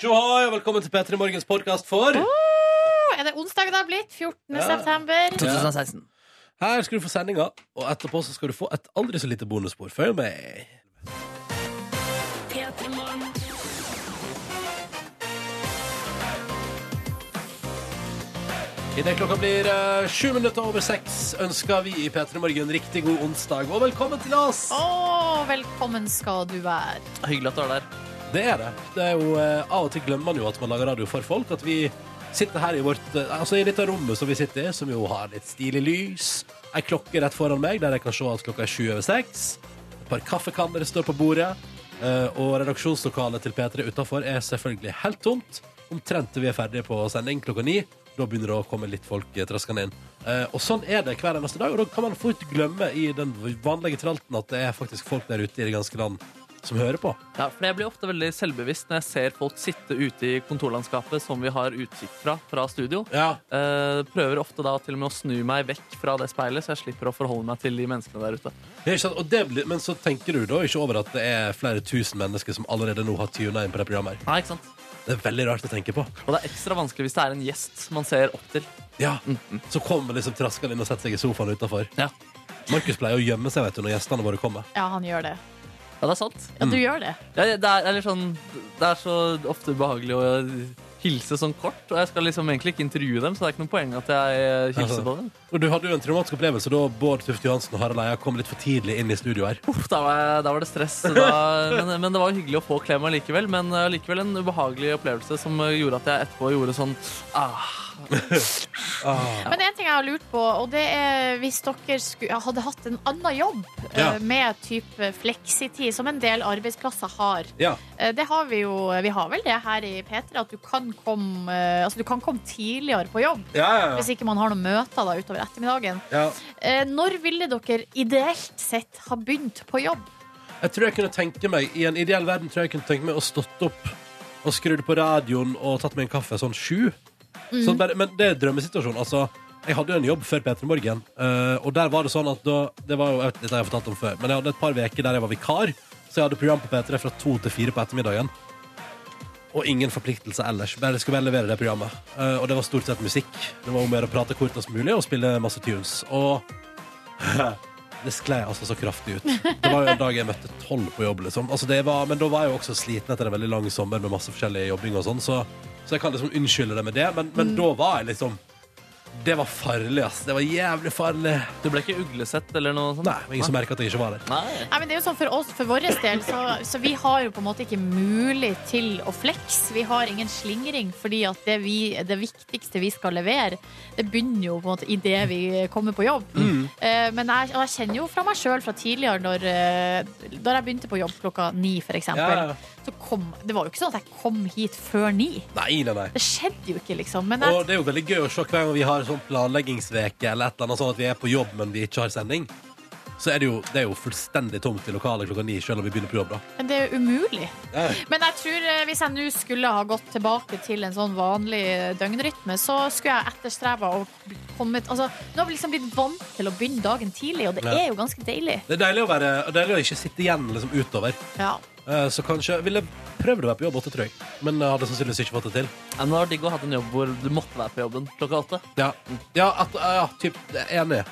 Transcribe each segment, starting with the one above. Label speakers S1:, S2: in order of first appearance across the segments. S1: Tjohoi, og velkommen til P3 Morgens podkast for
S2: Er det onsdag det har blitt? 14.
S1: Ja.
S2: september.
S3: 2016.
S1: Her skal du få sendinga, og etterpå så skal du få et aldri så lite bonusspor. Følg med. Idet klokka blir eh, sju minutter over seks, ønsker vi i P3 Morgen riktig god onsdag, og velkommen til oss!
S2: Å, velkommen skal du være.
S3: Hyggelig at du er der.
S1: Det er det. det er jo, eh, av og til glemmer man jo at man lager radio for folk. At vi sitter her i vårt eh, Altså i dette rommet som vi sitter i, som jo har litt stilig lys. Ei klokke rett foran meg der jeg kan se at klokka er sju over seks. Et par kaffekanner står på bordet. eh, og redaksjonslokalet til P3 utafor er selvfølgelig helt tomt. Omtrent til vi er ferdige på sending klokka ni. Da begynner det å komme litt folk eh, traskende inn. Eh, og sånn er det hver eneste dag, og da kan man fort glemme i den vanlige tralten at det er faktisk folk der ute i det ganske land som hører på.
S3: Ja, for Jeg blir ofte veldig selvbevisst når jeg ser folk sitte ute i kontorlandskapet som vi har utsikt fra, fra studio.
S1: Ja,
S3: Eh, prøver ofte da til og med å snu meg vekk fra det speilet, så jeg slipper å forholde meg til de menneskene der ute.
S1: Ja, ikke sant? Og det blir, men så tenker du da ikke over at det er flere tusen mennesker som allerede nå har tuna inn på det programmet. her.
S3: Nei, ikke sant?
S1: Det er veldig rart å tenke på.
S3: Og det er ekstra vanskelig hvis det er en gjest man ser opp til.
S1: Ja, Så kommer liksom traskene inn og setter seg i sofaen utafor.
S3: Ja,
S1: Markus pleier å gjemme seg vet du, når gjestene våre kommer.
S2: Ja, han gjør det.
S3: ja det er sant.
S2: Ja, du
S1: Mm.
S2: gjør det.
S3: Ja, det, er, eller sånn, det er så ofte ubehagelig å hilse sånn kort, og jeg skal liksom egentlig ikke intervjue dem, så det er ikke noe poeng at jeg hilser på dem.
S1: Og Du hadde jo en traumatisk opplevelse da Bård Tufte Johansen og Harald Eia kom litt for tidlig inn i studio her.
S3: Uff, da var, jeg, da var det stress. så Da, men, men det var hyggelig å få klem allikevel. Men eh, likevel en ubehagelig opplevelse som eh, gjorde at jeg etterpå gjorde sånn ah,
S1: Ah.
S2: Men en ting jeg har lurt på, og det er hvis dere sku, hadde hatt en annen jobb eh,
S1: Ja.
S2: med type fleksitid, som en del arbeidsplasser har.
S1: Ja,
S2: Eh, Det har vi jo, vi har vel det her i P3, at du kan komme, eh, altså du kan komme tidligere på jobb.
S1: ja,
S2: Hvis ikke man har noen møter da utover ettermiddagen. Eh, Når ville dere ideelt sett ha begynt på jobb?
S1: Jeg tror jeg kunne tenke meg I en ideell verden tror jeg kunne tenke meg å stått opp og skrudd på radioen og tatt meg en kaffe sånn sju. Sånn bare, men det er drømmesituasjonen. Altså, jeg hadde jo en jobb før P3 Morgen, eh, og der var det sånn at da det var jo, jeg vet- Dette har jeg fortalt om før, men jeg hadde et par uker der jeg var vikar, så jeg hadde program på P3 fra to til fire på ettermiddagen. Og ingen forpliktelse ellers. Bare jeg skulle bare levere det programmet. Eh, og det var stort sett musikk. Det var om å gjøre å prate kortest mulig og spille masse tunes. Og det sklei altså så kraftig ut. Det var jo en dag jeg møtte tolv på jobb, liksom. Altså, det var, men da var jeg jo også sliten etter en veldig lang sommer med masse forskjellig jobbing og sånn, så, så jeg kan liksom unnskylde det med det, men, men da var jeg liksom Det var farlig, ass. Det var jævlig farlig.
S3: Du ble ikke uglesett eller noe sånt?
S1: Nei, det var ingen som merka at jeg ikke var der.
S3: Nei.
S2: Nei, men det er jo sånn For oss, for vår del, så, så vi har jo på en måte ikke mulig til å flex. Vi har ingen slingring, fordi at det, vi, det viktigste vi skal levere, det begynner jo på en måte idet vi kommer på jobb.
S1: Mm.
S2: Eh, men jeg, og jeg kjenner jo fra meg sjøl fra tidligere, når, eh, da jeg begynte på jobb klokka ni, f.eks.,
S1: Ja, ja.
S2: så kom Det var jo ikke sånn at jeg kom hit før ni.
S1: Nei, nei, nei.
S2: Det skjedde jo ikke, liksom. Men
S1: Og
S2: jeg,
S1: det er jo veldig gøy å se hver gang vi har sånn planleggingsveke eller et eller annet sånn at vi er på jobb, men vi ikke har sending. Så er det jo, det er jo fullstendig tomt i lokalet klokka ni, selv om vi begynner på jobb, da.
S2: men det er jo umulig.
S1: Ja.
S2: Men jeg tror eh, hvis jeg nå skulle ha gått tilbake til en sånn vanlig døgnrytme, så skulle jeg etterstreba å komme altså, Nå har vi liksom blitt vant til å begynne dagen tidlig, og det
S1: Ja.
S2: er jo ganske deilig.
S1: Det er deilig å, være, deilig å ikke sitte igjen liksom, utover.
S2: Ja.
S1: Eh, Så kanskje ville prøvd å være på jobb åtte, tror jeg. Men jeg hadde sannsynligvis ikke fått det til.
S3: Ja, men det var digg å ha en jobb hvor du måtte være på jobben klokka åtte.
S1: Ja, ja, at, eh, ja typ, enig.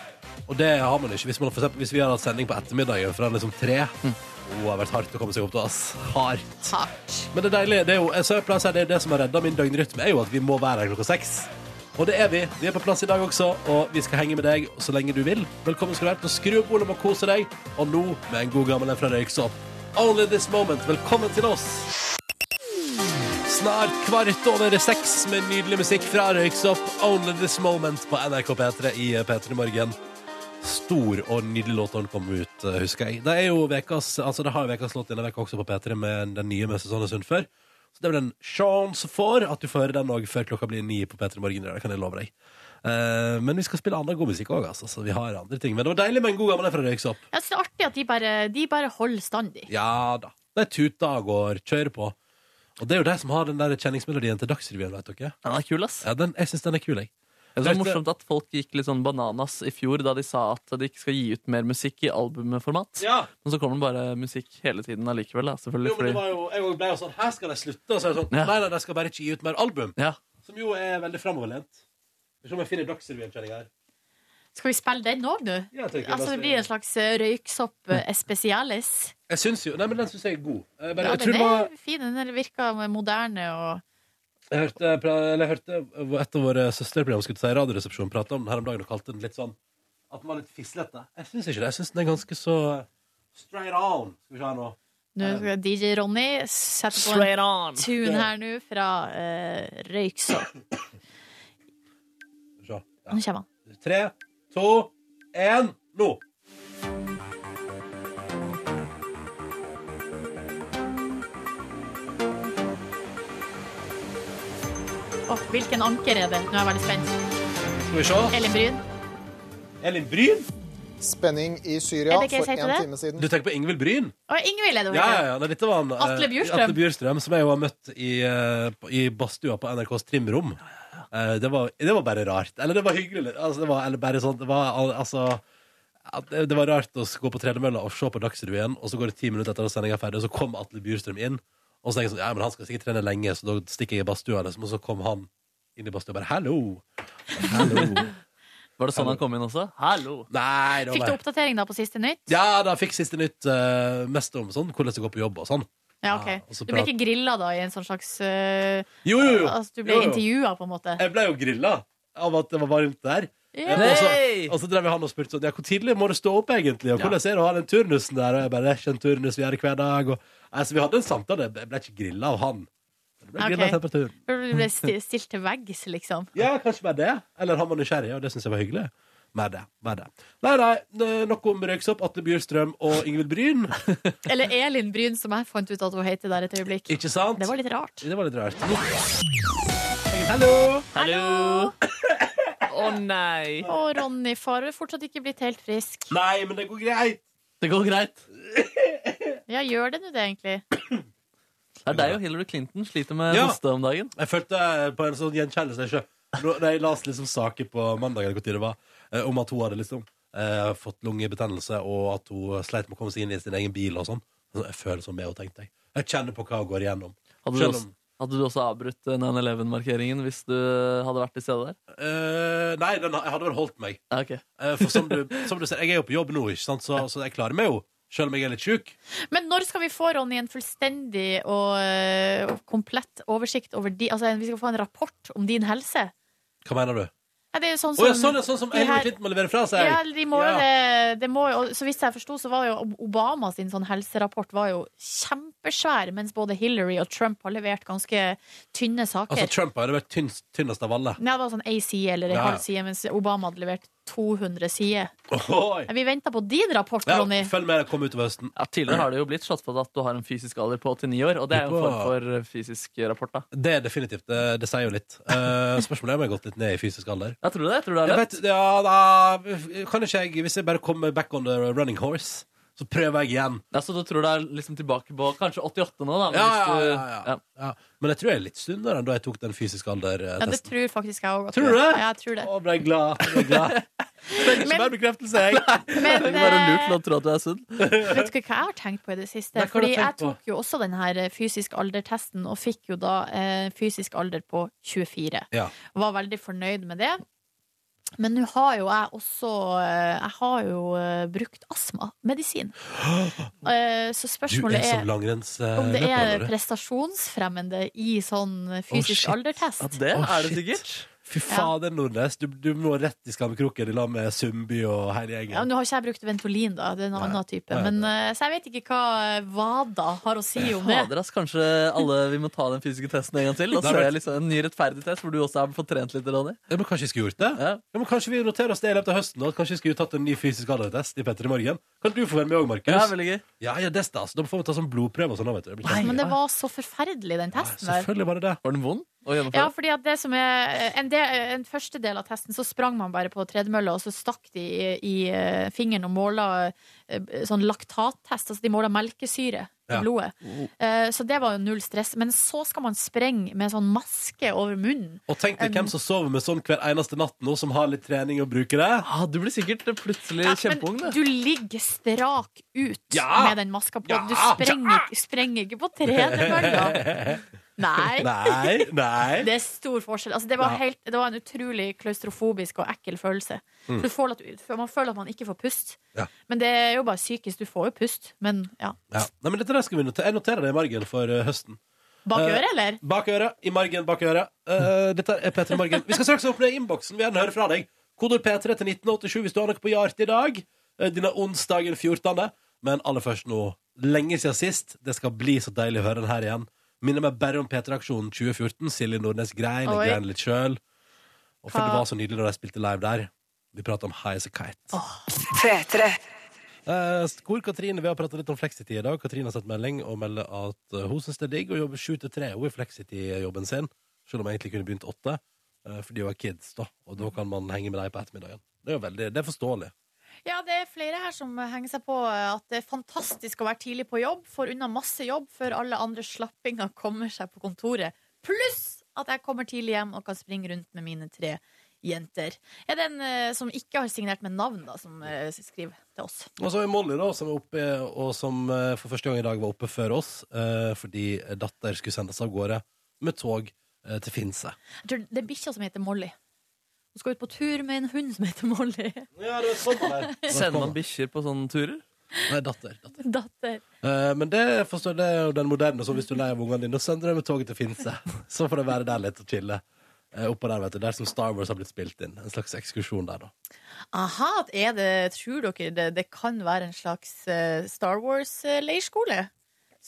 S1: Og det har man ikke. Hvis, man, for eksempel, hvis vi hadde hatt sending på ettermiddagen fra liksom tre Åh, det har vært hardt å komme seg opp til oss. Hardt.
S2: Hardt.
S1: Men det deilige det er jo, så jeg pleier å si, det, er det som har redda min døgnrytme, er jo at vi må være her klokka seks. Og det er vi. Vi er på plass i dag også, og vi skal henge med deg så lenge du vil. Velkommen skal du være til å skru opp volumet og kose deg. Og nå med en god gammel en fra Røyksopp. Only this moment. Velkommen til oss. Snart kvart over seks med nydelig musikk fra Røyksopp. Only this moment på NRK P3 i P3 Morgen. Stor og nydelig låt da den kom ut, eh, husker jeg. Det er jo vekas, altså det har jo vekas låt denne veka også på P3 med den nye med Susanne Sundfør. Så det er vel en sjanse for at du får høre den også før klokka blir ni på P3 Morgen. i dag, Det kan jeg love deg. Eh, men vi skal spille annen god musikk òg, altså. Så vi har andre ting. Men det var deilig med en god gammel en fra Røyksopp.
S2: Jeg synes det er artig at de bare, de bare holder stand, de.
S1: Ja da. Det er tuta og går, kjører på. Og det er jo de som har den der kjenningsmelodien til Dagsrevyen, vet dere.
S3: Den er kul, ass.
S1: Ja, den, jeg syns den er kul, jeg.
S3: Jeg synes det var morsomt at folk gikk litt sånn bananas i fjor da de sa at de ikke skal gi ut mer musikk i albumformat.
S1: Ja,
S3: Men så kommer det bare musikk hele tiden allikevel, da,
S1: jo,
S3: selvfølgelig.
S1: men det
S3: Fordi,
S1: var jo, jeg også ble jo sånn Her skal de slutte. Og så er det sånn
S3: Ja.
S1: Nei, nei, de skal bare ikke gi ut mer album.
S3: ja.
S1: Som jo er veldig framoverlent. Skal vi se om jeg finner Dagsrevyen-kjenninga her.
S2: Skal vi spille den òg nå?
S1: Ja, jeg tenker
S2: Altså, det blir en slags eh, røyksopp eh, spesialis.
S1: Jeg syns jo Nei, men den syns jeg er god. Jeg, bare,
S2: Ja,
S1: jeg, tror
S2: den
S1: det var,
S2: er fin. Den virker moderne og
S1: jeg, hørte, pra- eller jeg hørte et av våre søsterprogram skulle si Radioresepsjonen prate om den her om dagen og kalte den litt sånn At den var litt fislete. Jeg syns ikke det. Jeg syns den er ganske så straight on. Skal vi se her nå.
S2: Nå skal DJ Ronny sette på en
S3: on!
S2: tune her nå fra eh, Røyksopp.
S1: Skal vi se.
S2: Nå kommer han.
S1: Ja. Tre, to, én, nå!
S2: Åh, hvilken anker er det? Nå er jeg veldig spent.
S1: Skal vi se.
S2: Elin Bryn.
S1: Elin Bryn?
S4: Spenning i
S2: Er
S4: Syria
S2: det ikke
S4: for
S2: jeg sier
S4: en
S2: det?
S4: time siden.
S1: Du tenker på Ingvild Bryn?
S2: Og Ingvild er det hun
S1: Ja, ja,
S2: heter.
S1: ja. Nei, dette var han, eh,
S2: Atle Bjurstrøm.
S1: Atle Bjurstrøm, som jeg jo har møtt i, eh, på- i badstua på NRKs trimrom. Eh, Det var, det var bare rart. Eller det var hyggelig. eller- Altså, det var, eller bare sånn, det var, al- altså, at det, det var rart å s- gå på tredemølla og se på Dagsrevyen, og så går det ti minutter etter at sendinga er ferdig, og så kom Atle Bjurstrøm inn. Og så tenker jeg sånn, ja, men han skal sikkert trene lenge, så da stikker jeg i badstua, liksom. Og så kom han inn i badstua og bare 'hallo'. Hallo.
S3: Var det sånn han kom inn også? Hallo!
S1: Nei, det var
S2: Fikk du
S1: bare
S2: oppdatering da på siste nytt?
S1: Ja, da fikk siste nytt eh, mest om sånn, hvordan det går på jobb og sånn. Ja,
S2: Ja, ok.
S1: og så
S2: Du ble
S1: prat-
S2: ikke grilla da i en sånn slags eh,
S1: Jo, jo, jo.
S2: Altså, du
S1: Jo,
S2: ble
S1: jo.
S2: intervjua, på en måte.
S1: Jeg ble jo grilla av at det var varmt der.
S2: Ja.
S1: Og så,
S3: Hey!
S1: og så drev han og spurte sånn Ja, hvor tidlig må du stå opp, egentlig? Og
S3: Ja.
S1: hvordan er det å ha den turnusen der? Og jeg bare Ikke en turnus vi gjør hver dag. Og, altså, vi hadde en samtale. Jeg ble ikke grilla av han. Men Jeg ble
S2: Ok.
S1: grilla av temperaturen.
S2: Du ble sti- stilt til veggs, liksom.
S1: Ja, kanskje bare det. Eller han var nysgjerrig, og det syns jeg var hyggelig. Med det. Med det. Nei, nei, n- noe om Røyksopp, Atle Bjurstrøm og Ingvild Bryn.
S2: Eller Elin Bryn, som jeg fant ut at hun heter der et øyeblikk.
S1: Ikke sant?
S2: Det var litt rart.
S1: Det var litt rart. Hallo!
S3: Hallo! Å nei!
S2: Og Ronny far er fortsatt ikke blitt helt frisk.
S1: Nei, men det går greit.
S3: Det går greit.
S2: Ja, gjør det nå det, egentlig?
S3: Det er deg og Hillary Clinton sliter med
S1: Ja.
S3: hoste om dagen.
S1: Jeg følte på en sånn gjenkjennelse ikke? Nå- Da jeg leste liksom saker på mandag eller hvor tid det var, eh, om at hun hadde liksom eh, fått lungebetennelse, og at hun sleit med å komme seg inn i sin egen bil og sånn. Så Jeg føler som det hun tenkte. Jeg Jeg kjenner på hva hun går igjennom.
S3: Hadde du
S1: Selv
S3: også,
S1: om-
S3: hadde du også avbrutt 9-11-markeringen hvis du hadde vært til stede der?
S1: Eh, nei, den, jeg hadde vel holdt meg.
S3: Ja, ok.
S1: Eh, for som du, som du ser, jeg er jo på jobb nå, ikke sant? Så, så jeg klarer meg jo. Selv om jeg er litt sjuk.
S2: Men når skal vi få Ronny en fullstendig og eh, og komplett oversikt over de Altså, vi skal få en rapport om din helse?
S1: Hva mener du?
S2: Ja, det er jo sånn
S1: Å
S2: som
S1: ja, sånn, ja, sånn som
S2: de her-
S1: Hillary Clinton må levere fra seg.
S2: Ja, de må jo
S1: Ja.
S2: det, det må jo, og Så vidt jeg forsto, så var jo Obama sin sånn helserapport var jo kjempesvær, mens både Hillary og Trump har levert ganske tynne saker.
S1: Altså, Trump har jo vært tynnst, tynnest av alle.
S2: Nei, det var sånn ei side eller ei
S1: Ja.
S2: halv side, mens Obama hadde levert 200 sider.
S1: Ohoi.
S2: Nei, Vi venter på din rapport,
S1: Ja,
S2: Ronny.
S1: følg med, kom utover høsten.
S3: Ja, tidligere har det jo blitt slått fast at du har en fysisk alder på 89 år, og det er jo en form for eh, fysisk rapport, da.
S1: Det er definitivt. Det, det sier jo litt. Eh, spørsmålet er om jeg har gått litt ned i fysisk alder.
S3: Jeg tror det. Jeg tror det er
S1: Jeg
S3: det.
S1: vet, ja, da, kan ikke jeg, Hvis jeg bare kommer back on the running horse, så prøver jeg igjen.
S3: Ja, så du tror det er liksom tilbake på kanskje 88 nå, da? men
S1: Ja,
S3: hvis
S1: ja,
S3: du-
S1: ja, ja. Ja. Men jeg tror jeg er litt sunnere enn da jeg tok den eh, fysiske
S2: Ja, det
S1: alder-testen.
S2: tror faktisk jeg òg.
S1: Tror du det?
S2: Ja, jeg tror det.
S1: Å, ble jeg glad. Ble jeg glad. Trenger
S2: Men-
S1: ikke mer bekreftelse, jeg.
S2: Men
S3: Det er bare
S2: eh,
S3: lurt til å tro at du er sunn.
S2: vet du hva jeg har tenkt på i det siste?
S1: Nei, hva har du
S2: Fordi jeg
S1: tenkt på?
S2: tok jo også den her eh, fysisk alder-testen, og fikk jo da eh, fysisk alder på 24.
S1: Ja.
S2: Og var veldig fornøyd med det. Men nå har jo jeg også eh, Jeg har jo eh, brukt astmamedisin. Eh, Så
S1: Du er
S2: spørsmålet
S1: som eh,
S2: er om det er
S1: langrennsløper.
S2: prestasjonsfremmende i sånn
S1: shit.
S2: fysisk
S3: Ja,
S2: aldertest.
S3: det
S1: Å,
S3: er det
S1: shit.
S3: sikkert.
S1: Fy fader, Nordnes. Du, du må rett i skammekroken i lag med Sumby og hele
S2: Ja,
S1: gjengen.
S2: Nå har ikke jeg brukt Ventolin, da. Det er en
S1: Nei.
S2: annen type.
S1: Nei,
S2: Men, eh, så jeg vet ikke hva eh, WADA har å si om det.
S3: Fader, ass, kanskje alle vi må ta den fysiske testen en gang til. Og
S1: Det
S3: så
S1: har vært-
S3: er liksom en ny rettferdig test hvor du også har fått trent litt, Ronny.
S1: Ja, men kanskje jeg skulle gjort det?
S3: Ja.
S1: Ja, men Kanskje vi noterer oss det i løpet av høsten. Og at kanskje vi skulle tatt en ny fysisk aldertest i Petter i morgen. Kan du få være med òg, Markus?
S3: Ja,
S1: Ja,
S3: veldig gøy.
S1: ja, det er stas. Da får vi ta sånn blodprøve og sånn. da, Vet du. Det blir kjempegøy.
S2: Men det var så forferdelig, den testen
S1: ja,
S2: der.
S1: selvfølgelig var det det.
S3: Var den vond å
S2: Ja,
S3: gjennomføre?
S2: fordi at det som er eh, en, del, en første del av testen, så sprang man bare på tredemølla, og så stakk de i, i eh, fingeren og måla eh, sånn laktattest. Altså de måla melkesyre i
S1: Ja.
S2: blodet. Eh, Så det var jo null stress. Men så skal man sprenge med sånn maske over munnen.
S1: Og tenk deg hvem som sover med sånn hver eneste natt nå, som har litt trening og bruker det.
S3: Ah, du blir sikkert plutselig kjempeung,
S2: men du
S3: du.
S2: ligger strak ut
S1: Ja!
S2: med den maska på.
S1: Ja!
S2: Du sprenger, sprenger ikke på trenermølla. Nei.
S1: Nei, nei.
S2: Det er stor forskjell. Altså, det, var
S1: Ja.
S2: helt, det var en utrolig klaustrofobisk og ekkel følelse. Du får at, for man føler at man ikke får pust.
S1: Mm. Ja.
S2: Men det er jo bare psykisk. Du får jo pust, men ja.
S1: Ja. Nei, men dette der skal vi notere. Jeg noterer det i margen for eh, høsten.
S2: Bak
S1: Eh,
S2: øret, eller?
S1: Bak øret, i margen, bak øret. Eh, dette er P3 Morgen. Vi skal straks åpne innboksen. Vi vil gjerne høre fra deg. Kodord P3 til 1987 hvis du har noe på hjertet i dag. eh, Denne onsdagen 14. Men aller først nå. Lenge siden sist. Det skal bli så deilig å høre den her igjen. Minner meg bare om P3-aksjonen 2014. Silje Nordnes grein, jeg
S2: Oi.
S1: grein litt sjøl. Og for
S2: Hva-
S1: det var så nydelig da de spilte live der. Vi prata om High as a Kite.
S4: P3.
S1: Eh, Hvor Katrine, Vi har pratet litt om flexity i dag. Katrine har sett melding og melder at eh, hun syns det er digg å jobbe sju til tre hun i flexity-jobben sin. Selv om jeg egentlig kunne begynt åtte, eh, fordi hun er kids, da. Og da kan man henge med dem på ettermiddagen. Det er jo veldig, det er forståelig.
S2: Ja, det er flere her som henger seg på at det er fantastisk å være tidlig på jobb. Får unna masse jobb før alle andre slappinger kommer seg på kontoret. Pluss at jeg kommer tidlig hjem og kan springe rundt med mine tre jenter. Er det en eh, som ikke har signert med navn, da, som eh, skriver til oss?
S1: Og så er Molly, da, som er oppe, og som eh, for første gang i dag var oppe før oss, eh, fordi datter skulle sendes av gårde med tog eh, til Finse.
S2: Jeg tror det er bikkja som heter Molly. Hun skal ut på tur med en hund som heter Molly.
S1: Ja, det er sånn
S3: Sender man bikkjer på sånne turer?
S1: Nei, datter. datter.
S2: Datter.
S1: Eh, men det forstår det er jo den moderne, så hvis du er lei av ungene dine, så sender du dem med toget til Finse. Så får de være der litt og chille. Eh, oppå der, vet du. Der som Star Wars har blitt spilt inn. En slags ekskursjon der, da.
S2: Aha, er det, tror dere det, det kan være en slags eh, Star Wars-leirskole?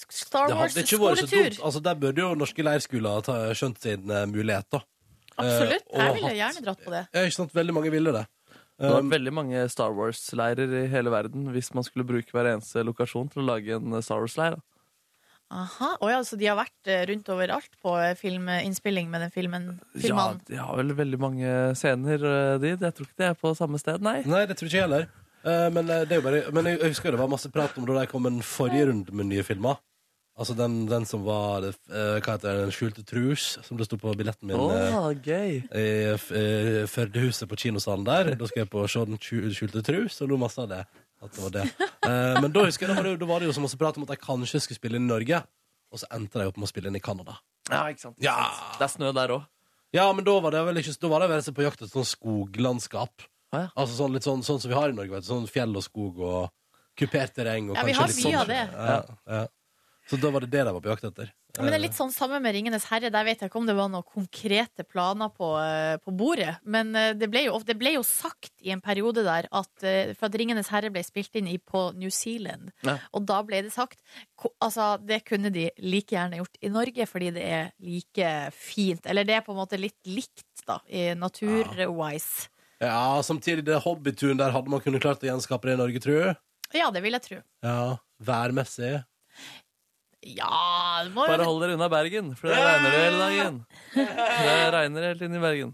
S2: Star
S1: Det hadde ikke vært så dumt.
S2: Wars-skoletur?
S1: Altså, der burde jo norske leirskoler ha ta- skjønt sin eh, mulighet, da. Eh,
S2: Absolutt.
S1: og
S2: Jeg ville
S1: hatt-
S2: gjerne dratt på det.
S1: Ja, ikke sant? Veldig mange ville det.
S3: Det var
S1: Um,
S3: veldig mange Star Wars-leirer i hele verden hvis man skulle bruke hver eneste lokasjon til å lage en eh, Star Wars-leir. da.
S2: Aha, oh, ja, Så de har vært eh, rundt overalt på eh, filminnspilling med den filmen?
S3: Ja,
S2: filmen.
S3: de har vel veldig mange scener, eh, de. Jeg tror ikke de er på samme sted, nei.
S1: Nei, det tror ikke jeg heller. Eh, men, eh, det er jo bare, men jeg jeg husker det var masse prat om da de kom med den forrige runden med nye filmer. Altså den, den som var eh, Hva heter det? Den skjulte trus, som det sto på billetten min.
S3: Åh,
S1: eh,
S3: gøy!
S1: i f- eh, Førdehuset på kinosalen der. Da skal jeg på Se den tju- skjulte trus, og lo masse av det. At det var det. Eh, men da husker jeg, da var det, jo- da var det jo som også prat om at jeg kanskje skulle spille inn i Norge, og så endte jeg opp med å spille inn i Canada.
S3: Ja, ikke sant.
S1: Ja.
S3: Det er snø der òg.
S1: Ja, men da var det vel ikke Da var det vel så på jakt etter sånn skoglandskap.
S3: Ah, ja.
S1: Altså sånn, litt sånn, sånn som vi har i Norge, vet du. Sånn fjell og skog og kupert terreng og
S2: Ja, vi
S1: kanskje
S2: har
S1: litt
S2: mye
S1: sånn.
S2: av det.
S1: Ja, ja. Så da var det det de var på jakt etter.
S2: Men det er litt sånn samme med 'Ringenes herre'. Der vet jeg ikke om det var noen konkrete planer på, eh, på bordet. Men eh, det ble, jo, ofte- det ble jo sagt i en periode der at eh, For at 'Ringenes herre' ble spilt inn i, på New Zealand.
S3: Ja.
S2: Og da ble det sagt ko- Altså, det kunne de like gjerne gjort i Norge, fordi det er like fint. Eller det er på en måte litt likt, da, i natur-wise.
S1: Ja, samtidig, det hobbyturen der hadde man kunnet klart å gjenskape det i Norge, tror jeg.
S2: Ja, det vil jeg tro.
S1: Ja, værmessig.
S2: Ja, det må jo
S3: Bare hold dere unna Bergen, for det regner det hele dagen. Det regner helt inn i Bergen.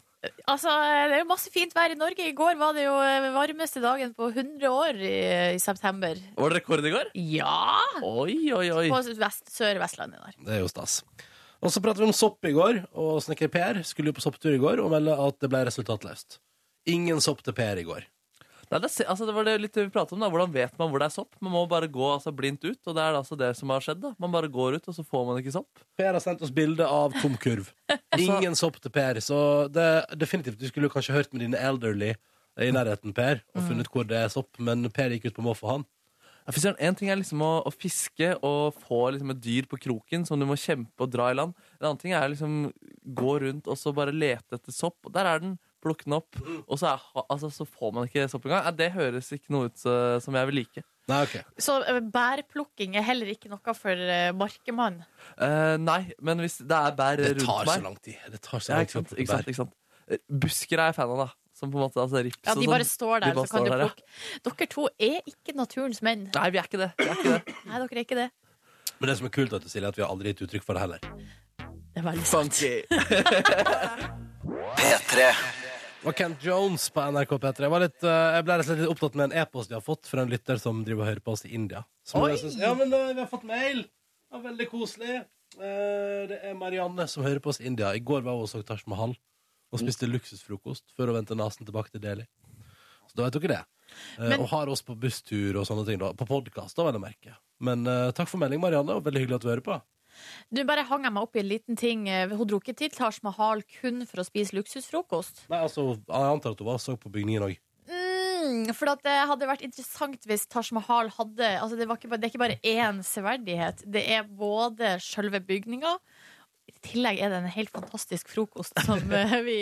S2: Altså, det er jo masse fint vær i Norge. I går var det jo eh, varmeste dagen på 100 år i, i september.
S3: Var det rekord i går?
S2: Ja!
S3: Oi, oi, oi.
S2: På vest, Sør-Vestlandet der.
S1: Det er jo stas. Og så pratet vi om sopp i går, og snekker Per skulle jo på sopptur i går og melde at det ble resultatløst. Ingen sopp til Per i går.
S3: Nei, det, er se- altså, det var det litt vi pratet om. da Hvordan vet man hvor det er sopp? Man må bare gå altså, blindt ut, og det er altså det som har skjedd. da Man bare går ut, og så får man ikke sopp.
S1: Per har sendt oss bilde av tom kurv.
S3: Altså-
S1: Ingen sopp til Per, så det, definitivt du skulle kanskje hørt med dine elderly i nærheten, Per,
S3: Mm.
S1: og funnet hvor det er sopp, men Per gikk ut på måfå, han.
S3: Ja, fy søren, En ting er liksom å, å fiske og få liksom et dyr på kroken som du må kjempe og dra i land. En annen ting er liksom gå rundt og så bare lete etter sopp. Og der er den! Plukke den opp. Og så, er, ha- altså, så får man ikke sopp engang. Ja, det høres ikke noe ut eh, som jeg vil like.
S1: Nei, ok.
S2: Så eh, bærplukking er heller ikke noe for eh, markemann.
S3: Eh, nei, men hvis det er bær
S1: Det
S3: rundt
S1: tar
S3: meg
S1: så lang tid. Det tar så
S3: Ja,
S1: lang
S3: ikke
S1: tid å
S3: sant,
S1: plukke
S3: ikke
S1: bær.
S3: sant, ikke sant. Eh, Busker er jeg fan av, da. Som på en måte, altså rips
S2: Ja,
S3: og
S2: De
S3: sånn.
S2: bare står
S3: De
S2: der,
S3: bare
S2: så kan
S3: står
S2: du
S3: der, ja.
S2: plukke. Dere to er ikke naturens menn.
S3: Nei, vi er ikke det. Vi er ikke det.
S2: Nei, dere er ikke det.
S1: Men det som er kult, vet du, Silje, er at vi har aldri gitt uttrykk for det heller.
S2: Det er veldig sant.
S3: Funky.
S4: P3.
S1: var Kent Jones på NRK P3. Jeg, var litt, eh, jeg ble rett og slett litt opptatt med en e-post jeg har fått fra en lytter som driver og hører på oss i India. Som
S2: Oi!
S1: jeg synes- ja, men eh, vi har fått mail! Det var veldig koselig. Eh, det er Marianne som hører på oss i India. I går var hun og så Taj Mahal og spiste luksusfrokost før hun vendte nesen tilbake til Delhi. Så da vet dere det. Eh,
S2: Men-
S1: og har oss på busstur og sånne ting. da På podkast, vel å merke. Men eh, takk for melding, Marianne, og veldig hyggelig at du hører på.
S2: Du bare hang jeg meg opp i en liten ting. Eh, Hun dro ikke til Taj Mahal kun for å spise luksusfrokost.
S1: Nei, altså, Jeg antar at hun var og så på bygningen òg.
S2: Mm, for at det hadde vært interessant hvis Taj Mahal hadde altså det, var ikke bare, det er ikke bare én severdighet. Det er både sjølve bygninga I tillegg er det en helt fantastisk frokost som, eh, vi,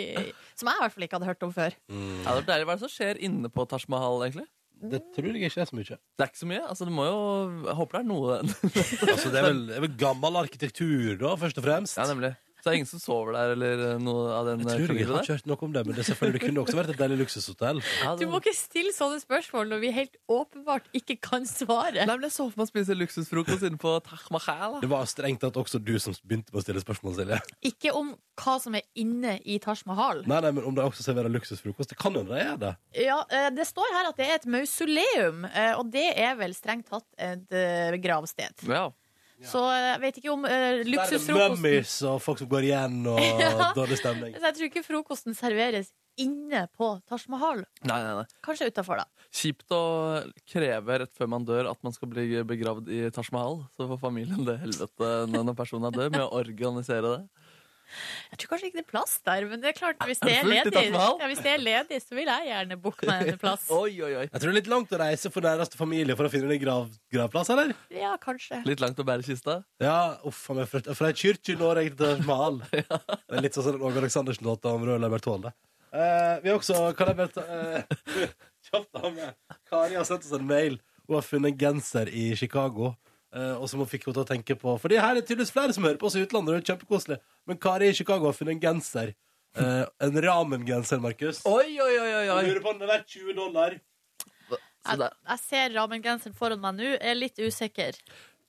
S2: som jeg i hvert fall ikke hadde hørt om før.
S3: Ja, det er deilig. Hva er det som skjer inne på Taj Mahal, egentlig?
S1: Det tror jeg ikke er så mye.
S3: Det er ikke så mye. altså det må jo, Jeg håper det er noe
S1: Altså, det, er vel, det er vel gammel arkitektur, da, først og fremst.
S3: Ja, nemlig. Så det er ingen som sover der, eller eh, noe av den
S1: jeg tror jeg
S3: kaliberen
S1: har ikke hørt noe om det, men det, selvfølgelig det kunne også vært et deilig luksushotell.
S3: Ja,
S2: Du
S3: det...
S2: må ikke stille sånne spørsmål når vi helt åpenbart ikke kan svare.
S3: Nei, men Jeg så for meg å spise luksusfrokost inne på Taj Mahal. da.
S1: Det var strengt tatt også du som begynte med å stille spørsmål, Silje.
S2: Ikke om hva som er inne i Taj Mahal.
S1: Nei, nei, men om det også serverer luksusfrokost. Det kan jo det er det.
S2: Ja, eh, Det står her at det er et mausoleum, eh, og det er vel strengt tatt et eh, gravsted.
S3: Ja.
S2: Så eh, jeg vet ikke om eh,
S1: Der er det
S2: luksusfrokosten
S1: mummies og folk som går igjen, og
S2: Ja.
S1: dårlig stemning.
S2: Så Jeg tror ikke frokosten serveres inne på Taj Mahal.
S3: Nei, nei, nei.
S2: Kanskje utafor, da.
S3: Kjipt å kreve rett før man dør at man skal bli begravd i Taj Mahal. Så får familien det helvete når når personen er død, med å organisere det.
S2: Jeg tror kanskje ikke det er plass der, men det er klart, hvis det
S3: Er
S2: er
S3: det fullt i
S2: ledig,
S3: Taj Mahal?
S2: ja, hvis det er ledig så vil jeg gjerne booke meg en plass.
S3: Oi, oi, oi.
S1: Jeg tror det er litt langt å reise for næreste familie for å finne en grav, gravplass, eller?
S2: Ja, kanskje.
S3: Litt langt å bære kista.
S1: Ja, uff, han er fra, fra ei kirke i Norge til Taj Mahal. Det er litt sånn som den Åge Aleksandersen-låta om Røde Leibert Haalle. Eh, vi har også kan jeg bare ta, eh, kjapt av med. Kari har sendt oss en mail. Hun har funnet en genser i Chicago. eh, og som hun fikk henne til å tenke på. Fordi her er tydeligvis flere som hører på oss i utlandet. og Det er kjempekoselig. Men Kari i Chicago har funnet en genser. Eh, en Ramen-genser, Markus.
S3: Oi, oi, oi, oi,
S1: Jeg
S3: oi.
S1: Lurer på om den er verdt 20 dollar.
S3: Så det,
S2: Jeg, jeg ser ramengenseren foran meg nå, jeg er litt usikker.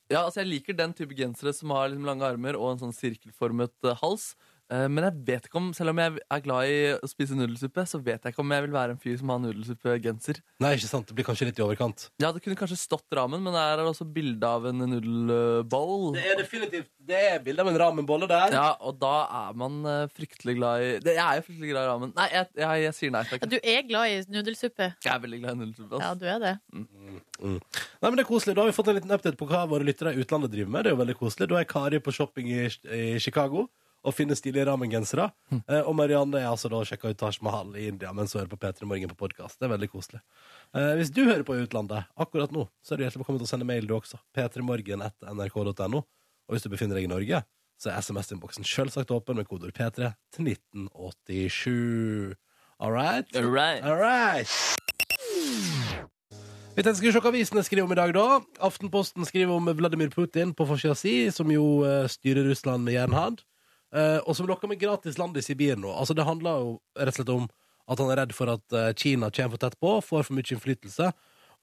S3: Ja, altså jeg liker den type gensere som har liksom lange armer og en sånn sirkelformet eh, hals. Eh, Men jeg vet ikke om, selv om jeg er glad i å spise nudelsuppe, så vet jeg ikke om jeg vil være en fyr som har nudelsuppegenser.
S1: Nei, ikke sant. Det blir kanskje litt i overkant.
S3: Ja, det kunne kanskje stått ramen, men her er det også bilde av en nudelbowl.
S1: Det er definitivt Det er bilde av en ramenbolle der.
S3: Ja, og da er man eh, fryktelig glad i det, Jeg er jo fryktelig glad i ramen. Nei, jeg, jeg, jeg sier nei
S2: Ja,
S3: takk.
S2: Du er glad i nudelsuppe?
S3: Jeg er veldig glad i nudelsuppe.
S2: Ja,
S3: ass.
S2: du er det.
S1: Nei, men det er koselig. Da har vi fått en liten update på hva våre lyttere i utlandet driver med. Det er jo veldig koselig. Da er Kari på shopping i, i Chicago og finner stilige ramengensere. Eh, og Marianne er altså da og sjekker ut Taj Mahal i India mens hun hører på P3 Morgen på podkast. Det er veldig koselig. Eh, hvis du hører på i utlandet akkurat nå, så er du hjertelig velkommen til å sende mail du også. p3morgen.nrk.no. Og hvis du befinner deg i Norge, så er SMS-innboksen selvsagt åpen med kodeord P3 til 1987. All right?
S3: All right.
S1: All right. Vi tenker skal vi se hva avisene skriver om i dag, da. Aftenposten skriver om Vladimir Putin på forsida si, som jo eh, styrer Russland med jernhand. Eh, og som lokker med gratis land i Sibir nå. Altså, det handler jo rett og slett om at han er redd for at eh, Kina kommer for tett på, får for mye innflytelse.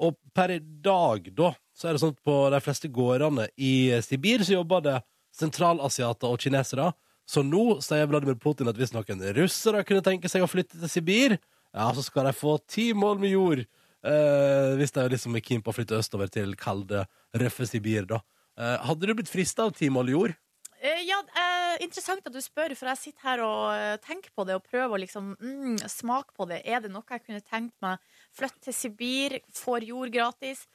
S1: Og per i dag, da, så er det sånn at på de fleste gårdene i eh, Sibir så jobber det sentralasiater og kinesere. Så nå sier Vladimir Putin at hvis noen russere kunne tenke seg å flytte til Sibir, ja, så skal de få ti mål med jord. eh, hvis de liksom er keen på å flytte østover til kalde, røffe Sibir, da. Eh, hadde du blitt frista av ti mål jord?
S2: Eh, Ja, eh, Interessant at du spør, for jeg sitter her og eh, tenker på det og prøver å liksom, mm, smake på det. Er det noe jeg kunne tenkt meg? Flytte til Sibir, får jord gratis.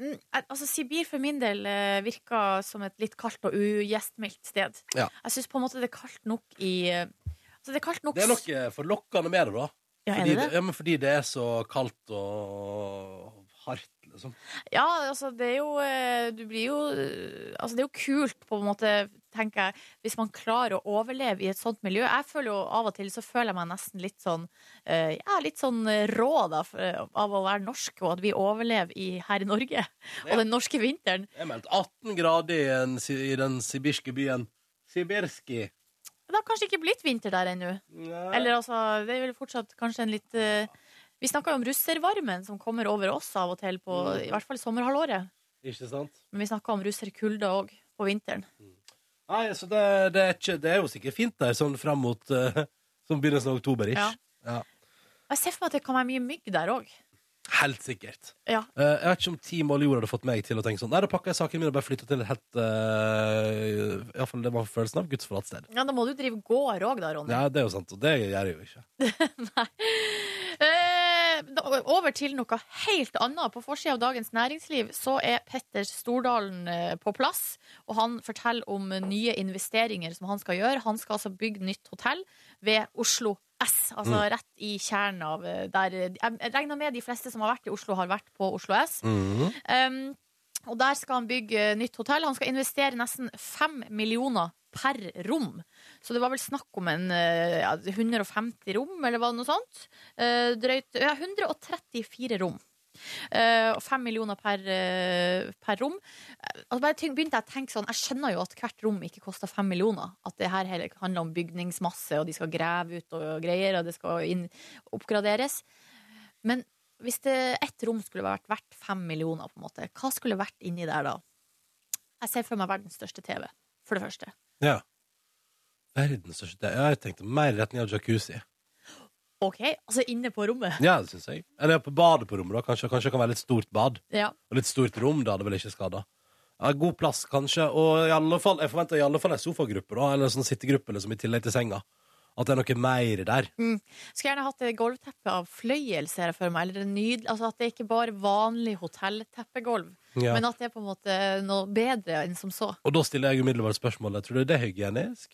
S2: Mm, eh, altså Sibir for min del eh, virker som et litt kaldt og ugjestmildt sted.
S1: Ja.
S2: Jeg syns på en måte det er kaldt nok i eh, altså det er kaldt nok
S1: Det er noe forlokkende med det, da.
S2: Ja, er
S1: fordi,
S2: det det?
S1: Ja, men fordi det er så kaldt og hardt, liksom.
S2: Ja, altså det er jo eh, Du blir jo eh, Altså det er jo kult på en måte, tenker jeg, hvis man klarer å overleve i et sånt miljø. Jeg føler jo av og til så føler jeg meg nesten litt sånn eh, Ja, litt sånn eh, rå da for- av å være norsk, og at vi overlever i, her i Norge. Og den norske vinteren.
S1: Jeg meldte 18 grader i, en, i den sibirske byen Sibirski.
S2: Det har kanskje ikke blitt vinter der ennå.
S1: Eller
S2: Eller altså, det er vel fortsatt kanskje en litt eh, Vi snakka jo om russervarmen som kommer over oss av og til, på, i hvert fall sommerhalvåret.
S1: Ikke sant?
S2: Men vi snakka om russerkulda òg, på vinteren.
S1: Nei, så det, det, er ikke, det er jo sikkert fint der, sånn fram mot eh, Sånn begynnelsen av oktober-ish.
S2: Ja.
S1: Ja.
S2: Og Jeg ser for meg at det kan være mye mygg der òg.
S1: Helt sikkert.
S2: Ja.
S1: Eh, jeg vet ikke om ti mål jord hadde fått meg til å tenke sånn. Nei, da pakker jeg sakene mine og bare flytter til et helt uh, Iallfall det var følelsen av gudsforlatt sted.
S2: ja, Da må du drive gård òg, da, Ronny.
S1: Ja, det er jo sant, og det gjør jeg jo ikke.
S2: Eh, da- over til noe helt annet. På forsida av Dagens Næringsliv så er Petter Stordalen eh, på plass. Og han forteller om nye investeringer som han skal gjøre. Han skal altså bygge nytt hotell ved Oslo S. Altså rett i kjernen av eh, der eh, Jeg regner med de fleste som har vært i Oslo, har vært på Oslo S. Um, og der skal han bygge eh, nytt hotell. Han skal investere nesten fem millioner per rom. Så det var vel snakk om en eh, ja, 150 rom, eller var det noe sånt? Eh, drøyt ja, 134 rom. Eh, Og fem millioner per, eh, per rom. Eh, Altså bare tenk- begynte Jeg å tenke sånn Jeg skjønner jo at hvert rom ikke koster fem millioner. At det her heller handler om bygningsmasse, og de skal grave ut og greier, og det skal inn, oppgraderes. Men hvis det, ett rom skulle vært verdt fem millioner, på en måte, hva skulle vært inni der da? Jeg ser for meg verdens største TV, for det første.
S1: Ja. Verdens største det- Jeg tenkte mer i retning av jacuzzi.
S2: OK, altså inne på rommet.
S1: Ja, det syns jeg. Eller på badet på rommet, da. Kanskje, kanskje det kan være litt stort bad.
S2: Ja.
S1: Og litt stort rom, det hadde vel ikke skada. Ja, god plass, kanskje. Og i alle fall, jeg forventer i alle fall ei sofagruppe, da. Eller en sånn sittegruppe, liksom, i tillegg til senga. At det er noe mer der.
S2: Skulle gjerne hatt et gulvteppe av fløyel, ser jeg for meg. Eller en nydel- altså At det ikke bare er vanlig hotellteppegulv,
S1: Ja.
S2: men at det er på en måte noe bedre enn som så.
S1: Og da stiller jeg umiddelbart spørsmålet tror du det er hygienisk.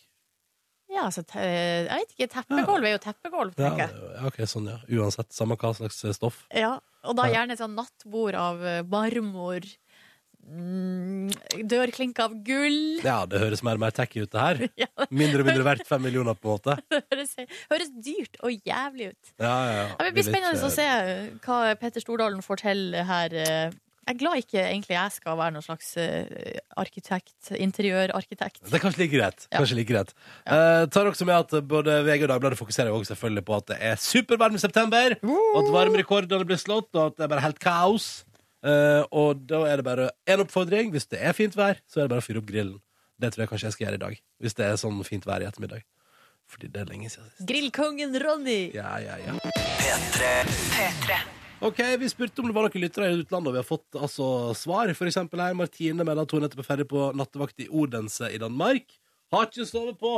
S2: Ja, altså, te jeg vet ikke, teppegulv er jo teppegulv,
S1: Ja,
S2: tenker jeg.
S1: ja, ok, sånn, ja. Uansett, samme hva slags eh, stoff.
S2: Ja, og da gjerne et sånn nattbord av eh, marmor. Mm, dørklinke av gull.
S1: Ja, det høres mer og mer tacky ut, det her.
S2: Ja,
S1: Mindre og mindre verdt fem millioner, på en måte.
S2: det høres, høres dyrt og jævlig ut.
S1: Ja, ja, ja.
S2: Ja, det blir
S1: eh,
S2: spennende å se hva Petter Stordalen får til her. eh. Jeg er glad ikke egentlig jeg skal være noen slags eh, arkitekt, interiørarkitekt.
S1: Det er kanskje like greit. Kanskje like greit. Eh, tar også med at både VG og Dagbladet fokuserer jo også selvfølgelig på at det er supervarm i september, og at varmerekordene blir slått, og at det er bare helt kaos. Eh, og da er det bare én oppfordring. Hvis det er fint vær, så er det bare å fyre opp grillen. Det tror jeg kanskje jeg skal gjøre i dag. Hvis det er sånn fint vær i ettermiddag. Fordi det er lenge siden sist.
S2: Grillkongen Ronny!
S1: Ja, ja, ja. Ok, Vi spurte om det var noen lyttere i utlandet, og vi har fått altså, svar. For eksempel her, Martine melder at hun nettopp er ferdig på nattevakt i Odense i Danmark. Har ikke sovet på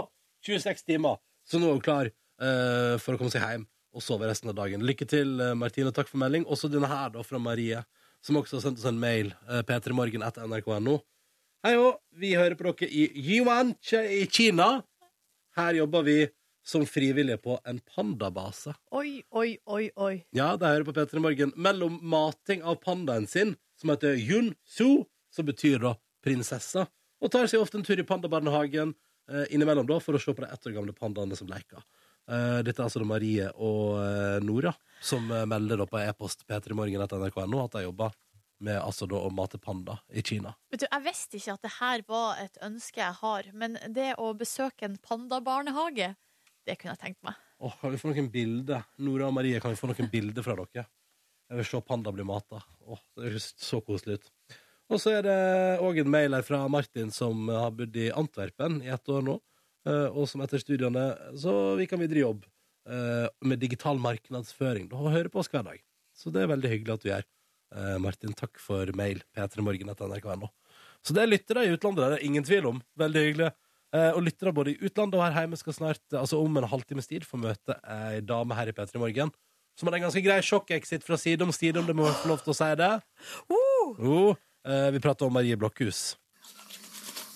S1: 26 timer, så nå er hun klar eh, for å komme seg hjem og sove resten av dagen. Lykke til, eh, Martine, og takk for melding. Også denne her, da, fra Marie, som også har sendt oss en mail. Uh, p3morgen etter nrk.no. Hei òg, vi hører på dere i Yuan i Kina. Her jobber vi som frivillige på en pandabase.
S2: Oi, oi, oi, oi.
S1: Ja, det hører på Peter i morgen. Mellom mating av pandaen sin, som heter Yun Su, som betyr da prinsessa, og tar seg ofte en tur i pandabarnehagen eh, innimellom da, for å se på de ett år gamle pandaene som leker. Eh, dette er altså da Marie og eh, Nora, som eh, melder da på e-post Peter i morgen etter nrk.no at de jobber med altså da å mate panda i Kina.
S2: Vet du, Jeg visste ikke at det her var et ønske jeg har, men det å besøke en pandabarnehage, det kunne jeg tenkt meg.
S1: Åh, kan vi få noen bilder? Nora og Marie, kan vi få noen bilder fra dere? Jeg vil se panda bli mata. Åh, det høres så koselig ut. Og så er det òg en mail her fra Martin, som har bodd i Antwerpen i ett år nå. eh, Og som etter studiene så vi kan videre i jobb eh, med digital markedsføring. Og hører på oss hver dag. Så det er veldig hyggelig at du gjør. Eh, Martin, takk for mail. p3morgen.nrk.no. Så det er lyttere i utlandet, det er det ingen tvil om. Veldig hyggelig. Eh, Og lyttere både i utlandet og her hjemme skal snart, eh, altså om en halvtimes tid, få møte ei dame her i P3 Morgen som hadde en ganske grei sjokkexit fra side om side, om det må jeg få lov til å si det. Jo, eh, vi prater om Marie Blokhus.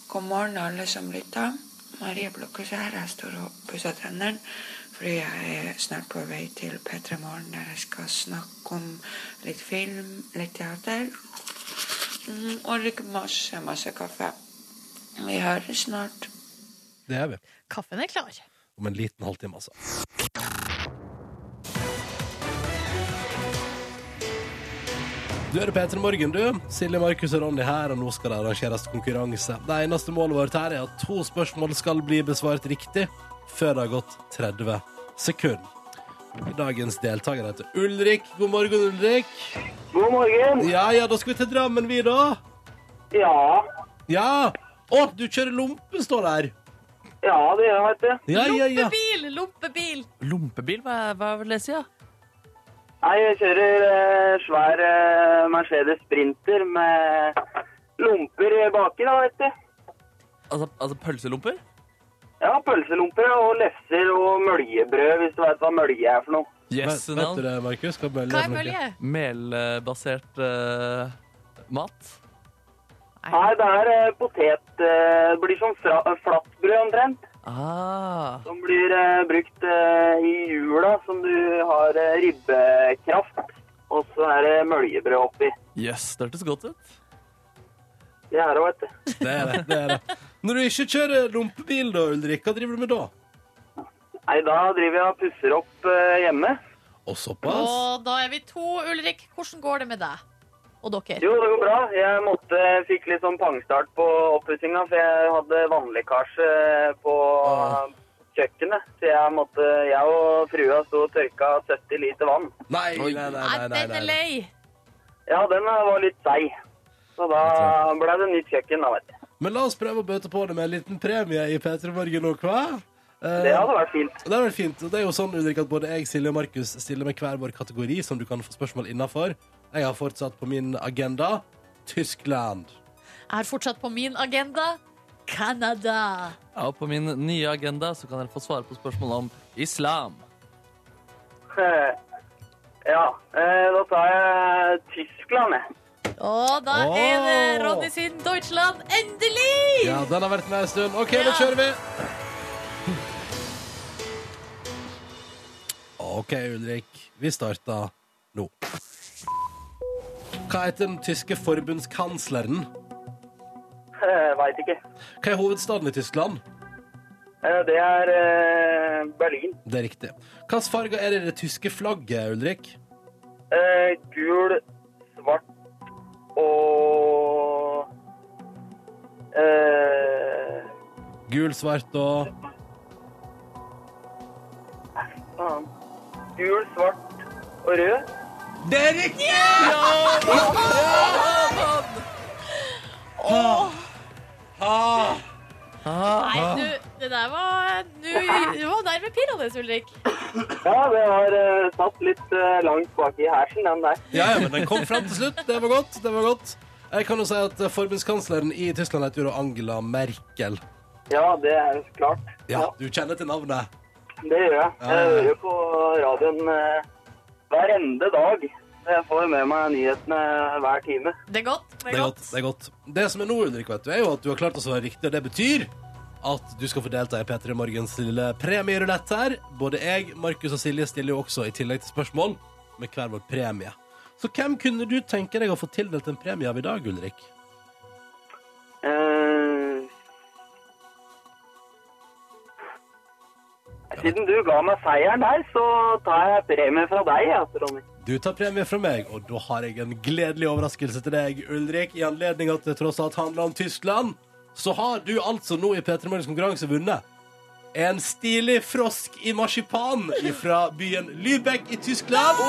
S4: God morgen, alle som lytter. Marie Blokhus her. Jeg står og pusser tennene fordi jeg er snart på vei til P3 Morgen, der jeg skal snakke om litt film, litt teater mm, og drikke masse, masse kaffe. Vi høres snart.
S1: Det er vi.
S2: Kaffen er klar.
S1: Om en liten halvtime, altså. Du er P3 Morgen, du. Silje, Markus og Ronny her, og nå skal det arrangeres konkurranse. Det eneste målet vårt her er at to spørsmål skal bli besvart riktig før det har gått 30 sekunder. Dagens deltaker heter Ulrik. God morgen, Ulrik.
S5: God morgen.
S1: Ja, ja, da skal vi til Drammen, vi, da.
S5: Ja,
S1: Ja. Å, du kjører lompe, står der.
S5: ja det gjør jeg, vet du.
S1: Ja, ja, ja.
S2: Lompebil! Lompebil!
S3: Lompebil, hva, hva leser jeg?
S5: Nei, jeg kjører eh, svær eh, Mercedes Sprinter med lomper baki, da, vet du.
S3: Altså, altså pølselomper?
S5: Ja, pølselomper og lefser og møljebrød, hvis du veit hva mølje er for noe.
S3: Yes,
S1: vet, vet du
S3: no.
S1: det, Markus? Hva bølle er
S2: Hva er
S1: for noe?
S2: bølge?
S3: Melbasert eh, mat?
S5: Nei, det er eh, potet eh, Det blir sånn fra, flatbrød omtrent.
S3: Ah,
S5: Som blir eh, brukt eh, i jula, som du har eh, ribbekraft. Og så er det møljebrød oppi.
S3: yes, det hørtes godt ut.
S5: Det er det, vet du.
S1: Det er det, det er det. Når du ikke kjører lompebil, da, Ulrik, hva driver du med da?
S5: Nei, da driver jeg og pusser opp eh, hjemme.
S1: Og såpass?
S2: Og da er vi to, Ulrik. Hvordan går det med deg og dere?
S5: Jo, det går bra. Jeg måtte, fikk litt sånn pangstart på oppussinga, for jeg hadde vannlekkasje eh, på
S3: Ah.
S5: kjøkkenet. Så jeg måtte Jeg og frua sto og tørka 70 liter vann.
S1: Nei, nei, nei, nei,
S2: Nei,
S1: nei,
S2: den er
S1: nei.
S2: lei.
S5: Ja, den eh, var litt seig. Så da ble det nytt kjøkken, da, vet du.
S1: Men la oss prøve å bøte på det med en liten premie i P3 Morgen nå, hva? Eh,
S5: Det hadde vært fint.
S1: Det er vel fint. og Det er jo sånn, Ulrik, at både jeg, Silje og Markus stiller med hver vår kategori som du kan få spørsmål innafor. Jeg har fortsatt på min agenda Tyskland.
S2: Jeg har fortsatt på min agenda Canada.
S3: Ja, og på min nye agenda så kan dere få svare på spørsmål om islam.
S5: Ja, eh, da tar jeg Tyskland, jeg.
S2: Og da
S1: Åh.
S2: er det Ronny sin Deutschland. Endelig!
S1: Ja, den har vært med en stund. OK,
S2: Ja.
S1: nå kjører vi! OK, Ulrik. Vi starter nå. Hva heter den tyske forbundskansleren?
S5: Eh, Veit ikke.
S1: Hva er hovedstaden i Tyskland?
S5: Eh, Det er eh, Berlin.
S1: Det er riktig. Hvilke farger er det i det tyske flagget, Ulrik?
S5: Eh, gul, svart og eh,
S1: Gul, svart og
S5: faen. Gul, svart og rød.
S1: Det er riktig!
S2: Nei, du, det der var Du, du var nærme pirrende, Ulrik.
S5: Ja, det var eh, satt litt eh, langt bak i hersen, den der.
S1: Ja, ja, men den kom fram til slutt. Det var godt. det var godt. Jeg kan jo si at eh, Forbundskansleren i Tyskland heter jo da Angela Merkel.
S5: Ja, det er klart.
S1: Ja, Du kjenner til navnet.
S5: Det gjør jeg.
S1: Ja,
S5: Jeg
S1: ja, ja.
S5: hører på radioen eh, hver ende dag. Jeg får med meg nyhetene hver time.
S2: Det er godt. Det
S1: Det
S2: er
S1: er godt.
S2: godt.
S1: Det er godt. Det som er nå, Ulrik, vet du, er jo at du har klart å svare riktig, og det betyr at du skal få delta i P3 Morgens lille premierulett her. Både jeg, Markus og Silje stiller jo også, i tillegg til spørsmål, med hver vår premie. Så hvem kunne du tenke deg å få tildelt en premie av i dag, Ulrik?
S5: Eh, Siden du ga meg seieren der, så tar jeg premie fra deg, ja, Ronny.
S1: Du tar premie fra meg, og da har jeg en gledelig overraskelse til deg, Ulrik. I anledning at det tross alt handler om Tyskland, så har du altså nå i P3 Morgens konkurranse vunnet en stilig frosk i marsipan fra byen Lübeck i Tyskland.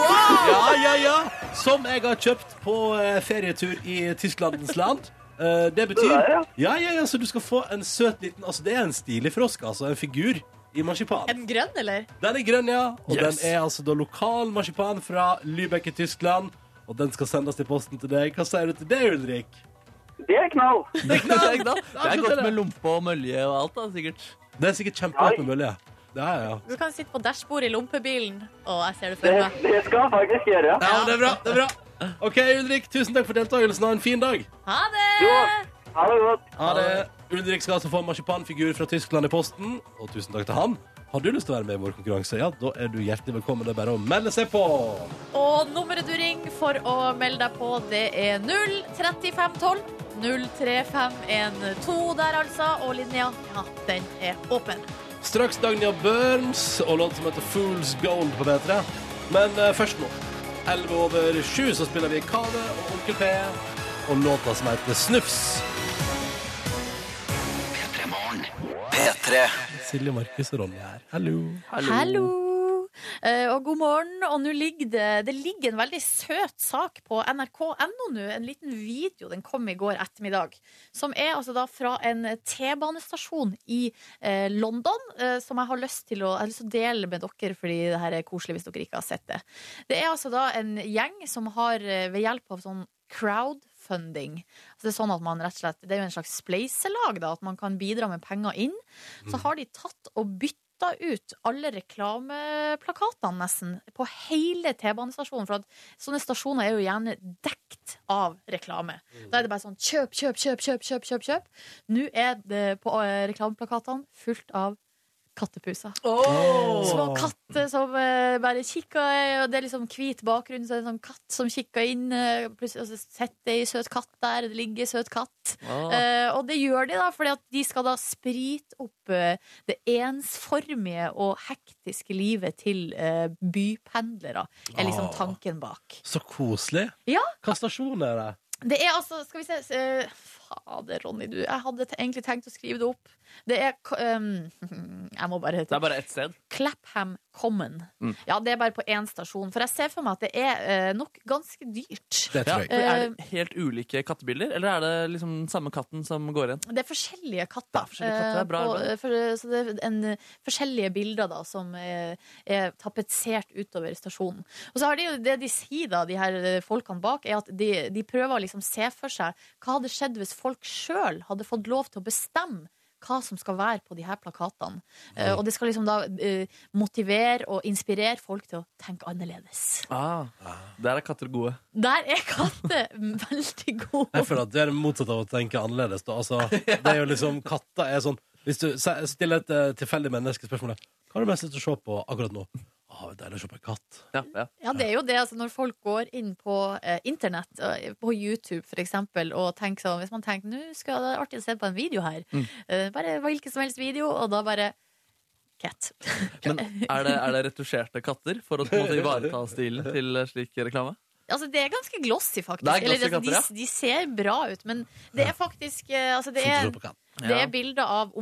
S1: Ja, ja, ja. Som jeg har kjøpt på eh, ferietur i Tysklandens land. Eh, Det betyr
S5: Det der, ja.
S1: Ja, ja, ja, så du skal få en søt liten Altså, det er en stilig frosk, altså. En figur i marsipan.
S2: Er den grønn, eller?
S1: Den er grønn, ja. Og
S3: Yes.
S1: den er altså da lokal marsipan fra Lübeck i Tyskland. Og den skal sendes til posten til deg. Hva sier du til det, Ulrik?
S5: Det er knall!
S3: Det er, ikke da. det er
S1: Absolutt
S3: godt
S1: det.
S3: med lompe og mølje og alt, da, sikkert.
S1: Det er sikkert kjempegodt med mølje. Ja, ja.
S2: Du kan sitte på dashbordet i lompebilen. Å, jeg ser det
S5: Det,
S2: for meg.
S5: det skal jeg faktisk gjøre.
S1: ja, men det er bra. det er bra. OK, Ulrik, tusen takk for deltakelsen. Ha en fin dag.
S2: Ha det!
S5: Jo. Ha det godt.
S1: Ha det. Ulrik skal altså få en marsipanfigur fra Tyskland i posten. Og tusen takk til han. Har du lyst til å være med i vår konkurranse, ja, da er du hjertelig velkommen. Det er bare å melde seg på.
S2: Og nummeret du ringer for å melde deg på, det er 03512. 03512 der, altså. Og linja, ja, den er åpen.
S1: Straks Dagnia Børms og låt som heter Fools Gold på P3. Men eh, først nå. 11 over 7 så spiller vi Kave og Onkel P og låta som heter Snufs. Silje, Markus og Ronny her. Hallo.
S2: Hallo! Eh, og god morgen. Og nå ligger det, det ligger en veldig søt sak på nrk.no nå. En liten video. Den kom i går ettermiddag. Som er altså da fra en T-banestasjon i eh, London. Eh, som jeg har lyst til å, jeg har lyst til å dele med dere, fordi det her er koselig hvis dere ikke har sett det. Det er altså da en gjeng som har eh, ved hjelp av sånn crowdfunding. Altså det er sånn at man rett og slett, det er jo en slags spleiselag, da, at man kan bidra med penger inn. Så har de tatt og bytta ut alle reklameplakatene, nesten, på hele T-banestasjonen. For at sånne stasjoner er jo gjerne dekt av reklame. Da er det bare sånn kjøp, kjøp, kjøp, kjøp, kjøp, kjøp. kjøp. Nå er det på eh, reklameplakatene fullt av kattepuser. Små katter som eh, bare kikker, og det er liksom hvit bakgrunn, så er det en sånn katt som kikker inn, eh, plutselig og så setter ei søt katt der, det ligger ei søt katt.
S3: Ah,
S2: Eh, og det gjør de, da, fordi at de skal da sprite opp eh, det ensformige og hektiske livet til eh, bypendlere, er liksom
S1: Ah.
S2: tanken bak.
S1: Så koselig.
S2: Ja.
S1: Hva stasjon er det?
S2: Det er altså, skal vi se eh, Fader, Ronny, du. Jeg hadde te- egentlig tenkt å skrive det opp. Det er k- ehm, Jeg må bare
S3: det er bare ett sted.
S2: Clapham Common.
S3: Mm.
S2: Ja, det er bare på én stasjon. For jeg ser for meg at det er eh, nok ganske dyrt.
S1: Det
S3: Ja,
S1: tror jeg.
S3: for er det helt ulike kattebilder, eller er det liksom den samme katten som går igjen?
S2: Det er forskjellige katter.
S3: Det er forskjellige katter, det er bra,
S2: eh, på-
S3: bra.
S2: for, eh, så det er en, eh, forskjellige bilder da, som eh, er tapetsert utover stasjonen. Og så har de jo det de sier, da, de her eh, folkene bak, er at de, de prøver å liksom se for seg hva hadde skjedd hvis folk sjøl hadde fått lov til å bestemme hva som skal være på de her plakatene. Eh, og det skal liksom da eh, motivere og inspirere folk til å tenke annerledes.
S3: Ah, der er katter gode.
S2: Der er katter veldig
S1: Jeg
S2: gode.
S1: føler at det er det motsatte av å tenke annerledes. Da. Altså, det er jo liksom, katta er sånn Hvis du se- stiller et eh, tilfeldig menneske spørsmålet Hva har du mest lyst til å se på akkurat nå? Å, det er deilig å se på en katt.
S3: Ja, ja.
S2: Ja, det er jo det. Altså, når folk går inn på eh, internett, eh, på YouTube for eksempel, og tenker sånn Hvis man tenker nå skal det være artig å se på en video her,
S3: Mm.
S2: eh, bare hvilken som helst video, og da bare Cat.
S3: Men er det, er det retusjerte katter for å på en måte ivareta stilen til slik reklame?
S2: Altså, det er ganske glossy, faktisk.
S3: Det er glossy
S2: Eller, altså,
S3: katter,
S2: de, de ser bra ut, men det er faktisk eh, altså, det,
S1: Fint å
S2: er,
S1: se på katt.
S2: det
S3: Ja.
S2: er bilder av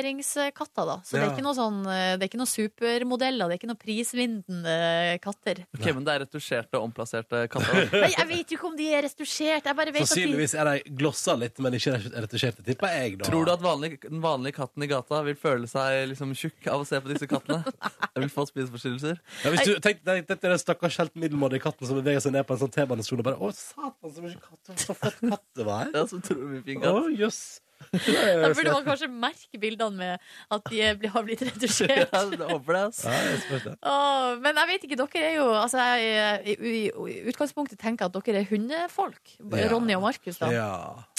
S2: omplasseringskatter, da. Så det er
S1: Ja.
S2: ikke noe sånn eh, Det er ikke noe supermodeller, det er ikke noe prisvinnende katter.
S3: Ok, men det er retusjerte og omplasserte katter.
S2: Nei, jeg vet jo ikke om de er restaurert. Jeg bare vet at de
S1: Sannsynligvis er de glossa litt, men ikke retusjerte, tipper jeg. Da.
S3: Tror du at vanlig, den vanlige katten i gata vil føle seg liksom tjukk av å se på disse kattene? Jeg vil få spiseforstyrrelser.
S1: ja, hvis du, tenk, tenk, tenk den stakkars helt middelmådige katten som beveger seg ned på en sånn T-banestasjon og bare Å, satan, så mye katt. Så flott katt det var.
S3: Ja, så tror du vi fikk
S1: Å,
S3: katt.
S1: jøss.
S2: Da burde man kanskje merke bildene med at de er- har blitt
S3: Ja,
S2: retusjert.
S3: jeg håper det, ass.
S1: Ja, jeg spurte.
S2: Åh, men jeg vet ikke, dere er jo altså jeg, i, i, I utgangspunktet tenker jeg at dere er hundefolk.
S1: Ja.
S2: Ronny og Markus, da.
S1: Ja.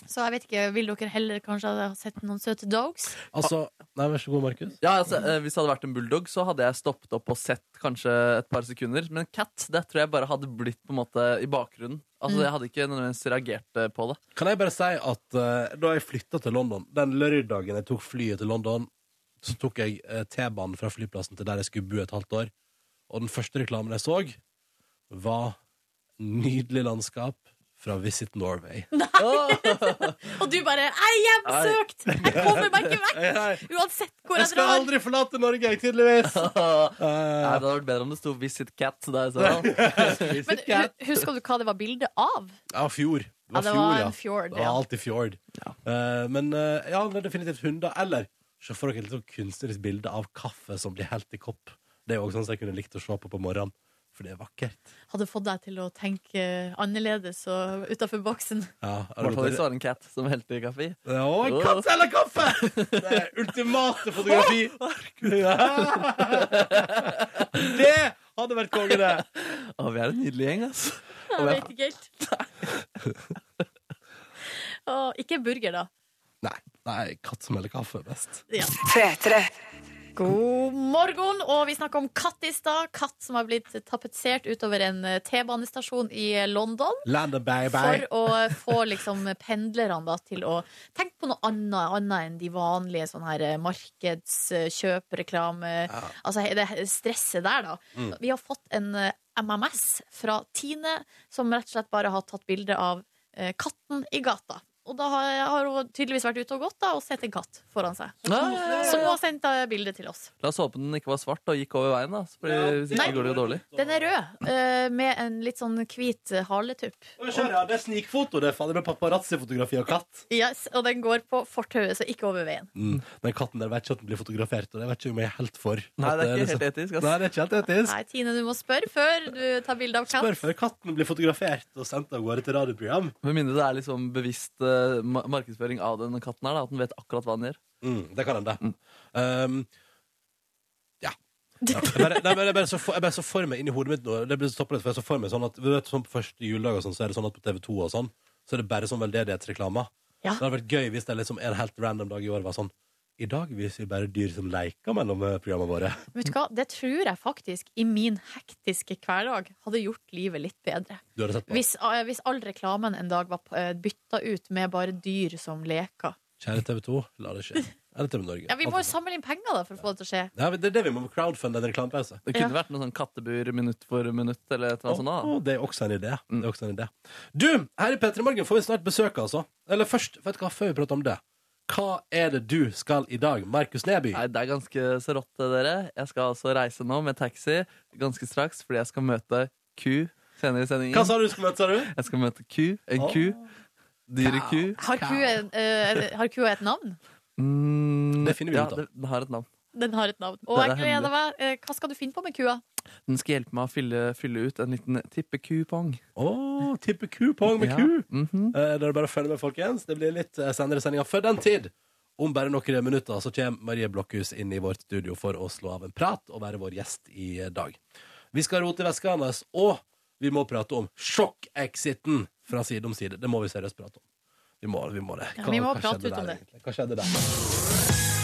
S2: Så jeg vet ikke, vil dere heller kanskje ha sett noen søte dogs?
S1: Altså Nei, vær så god, Markus.
S3: Ja, altså, eh, Hvis det hadde vært en bulldog, så hadde jeg stoppet opp og sett kanskje et par sekunder. Men cat det tror jeg bare hadde blitt på en måte i bakgrunnen. Altså, Jeg hadde ikke nødvendigvis reagert eh, på det.
S1: Kan jeg bare si at eh, da jeg flytta til London Den lørdagen jeg tok flyet til London, så tok jeg eh, T-banen fra flyplassen til der jeg skulle bo et halvt år. Og den første reklamen jeg så, var nydelig landskap fra Visit Norway.
S2: Og du bare 'Jeg er hjemsøkt! Jeg kommer meg ikke vekk! Uansett hvor
S1: Jeg
S2: jeg
S1: skal
S2: drar!'
S1: aldri forlate Norge, jeg, tydeligvis!
S3: Nei,
S1: Eh,
S3: det hadde vært bedre om det sto 'Visit Cat' der. Så. da. sånn,
S2: Men hu- husker du hva det var bilde av?
S1: Ja, fjord. Det
S2: Ja,
S1: var
S2: det
S1: fjord, ja. Det var
S2: var en fjord. Ja.
S1: alltid fjord. Eh, men eh, ja, det er definitivt hunder. Eller se for dere et litt sånn kunstnerisk bilde av kaffe som blir helt i kopp. Det er jo også sånn som jeg kunne likt å se på på morgenen, for det er vakkert.
S2: Hadde fått deg til å tenke annerledes og utafor boksen.
S1: Ja,
S3: I hvert fall hvis det var en cat som helte i kaffe. i.
S1: ja, en katt eller kaffe! Det er ultimate fotografi. Ja. Det hadde vært konge, det.
S3: Å, vi er en nydelig gjeng, ass.
S2: Jeg vet ikke helt. Å, ikke burger, da.
S1: Nei, nei, katt som heller kaffe er best.
S2: Ja. God morgen! Og vi snakker om katt i stad. Katt som har blitt tapetsert utover en eh, T-banestasjon i eh, London.
S1: Land of bye
S2: For
S1: bye.
S2: å få liksom pendlerne da, til å tenke på noe annet, annet enn de vanlige sånn her eh, markedskjøp, reklame Altså he- det he- stresset der, da. Vi har fått en eh, MMS fra Tine, som rett og slett bare har tatt bilde av eh, katten i gata. og da har, har hun tydeligvis vært ute og gått da, og sett en katt foran seg.
S3: Nei, ja, ja,
S2: Som hun
S3: ja.
S2: har sendt eh, bilde til oss.
S3: La oss håpe den ikke var svart og gikk over veien. Da. Så blir, hvis ikke
S2: Nei.
S3: går det jo dårlig.
S2: Den er rød, eh, med en litt sånn hvit eh, haletupp.
S1: Oi, kjære, ja, Det er snikfoto, det er fader med paparazzi-fotografi av katt.
S2: Yes, og den går på fortauet, så ikke over veien.
S1: Den katten der vet ikke at den blir fotografert, og det vet ikke om jeg er helt for.
S3: Nei, det er ikke
S1: At
S3: helt etisk.
S1: liksom- Nei,
S3: Ass.
S1: det er ikke helt etisk.
S2: Nei, Tine, du må spørre før du tar bilde av katt.
S1: Spør før katten blir fotografert og sendt av gårde til radioprogram.
S3: Med mindre det er liksom bevisst eh, ma- markedsføring av den katten her. Da, at den vet akkurat hva den gjør.
S1: Mm, det kan hende. Um, ja. ja. Jeg bare, nei, men jeg bare så for, jeg bare så for meg inni hodet mitt nå Det blir stoppet litt, for jeg så for meg sånn at du vet, sånn På første juledag og sånn, så er det sånn at på TV2 og sånn Så er det bare sånn veldedighetsreklame.
S2: Ja.
S1: Det hadde vært gøy hvis det liksom en helt random dag i år var sånn I dag viser vi bare dyr som leker mellom eh, programmene våre.
S2: Vet du hva? Det tror jeg faktisk, i min hektiske hverdag, hadde gjort livet litt bedre.
S1: Du hadde sett på.
S2: Hvis, eh, hvis all reklamen en dag var eh, bytta ut med bare dyr som leker.
S1: Kjære TV2, la det skje. Eller TV Norge.
S2: Ja, vi må jo samle inn penger da, for å få det til å skje.
S1: Ja, men det er det vi må crowdfunde en reklamepause.
S3: Det
S2: Ja.
S3: kunne vært noe sånn kattebur minutt for minutt. eller et eller annet sånt da. Mm.
S1: Å, det er også en idé. Det er også en idé. Du, her i P3 Morgen får vi snart besøk, altså. Eller først, vet du hva, før vi prater om det. Hva er det du skal i dag, Markus Neby?
S3: Nei, Det er ganske så rått, det, dere. Jeg skal altså reise nå med taxi ganske straks, fordi jeg skal møte ku senere i
S1: Hva
S3: sendingen.
S1: sa du du skulle møte, sa du?
S3: Jeg skal møte ku.
S1: Åh.
S3: En ku. Dyre ku.
S2: Har kua, eh, har kua et navn?
S3: Mm,
S1: Det finner vi
S3: ja,
S1: ut av.
S3: det- Den har et navn.
S2: Den har et navn. Og
S3: Det er
S2: jeg gleder meg. Eh, Hva skal du finne på med kua?
S3: Den skal hjelpe meg å fylle, fylle ut en liten tippekupong.
S1: Å, tippe kupong med
S3: Ja.
S1: ku.
S3: Mhm.
S1: Eh, det er bare å følge med, folkens. Det blir litt eh, senere sendinger før den tid. Om bare noen minutter så kommer Marie Blokhus inn i vårt studio for å slå av en prat og være vår gjest i dag. Vi skal rote i veska hennes, og vi må prate om sjokkexiten fra Side om side. Det må vi seriøst prate om. Vi må, vi må det.
S2: Ja, vi må prate
S1: skjedde
S2: ut om
S1: der,
S2: det.
S1: egentlig? Hva skjedde der?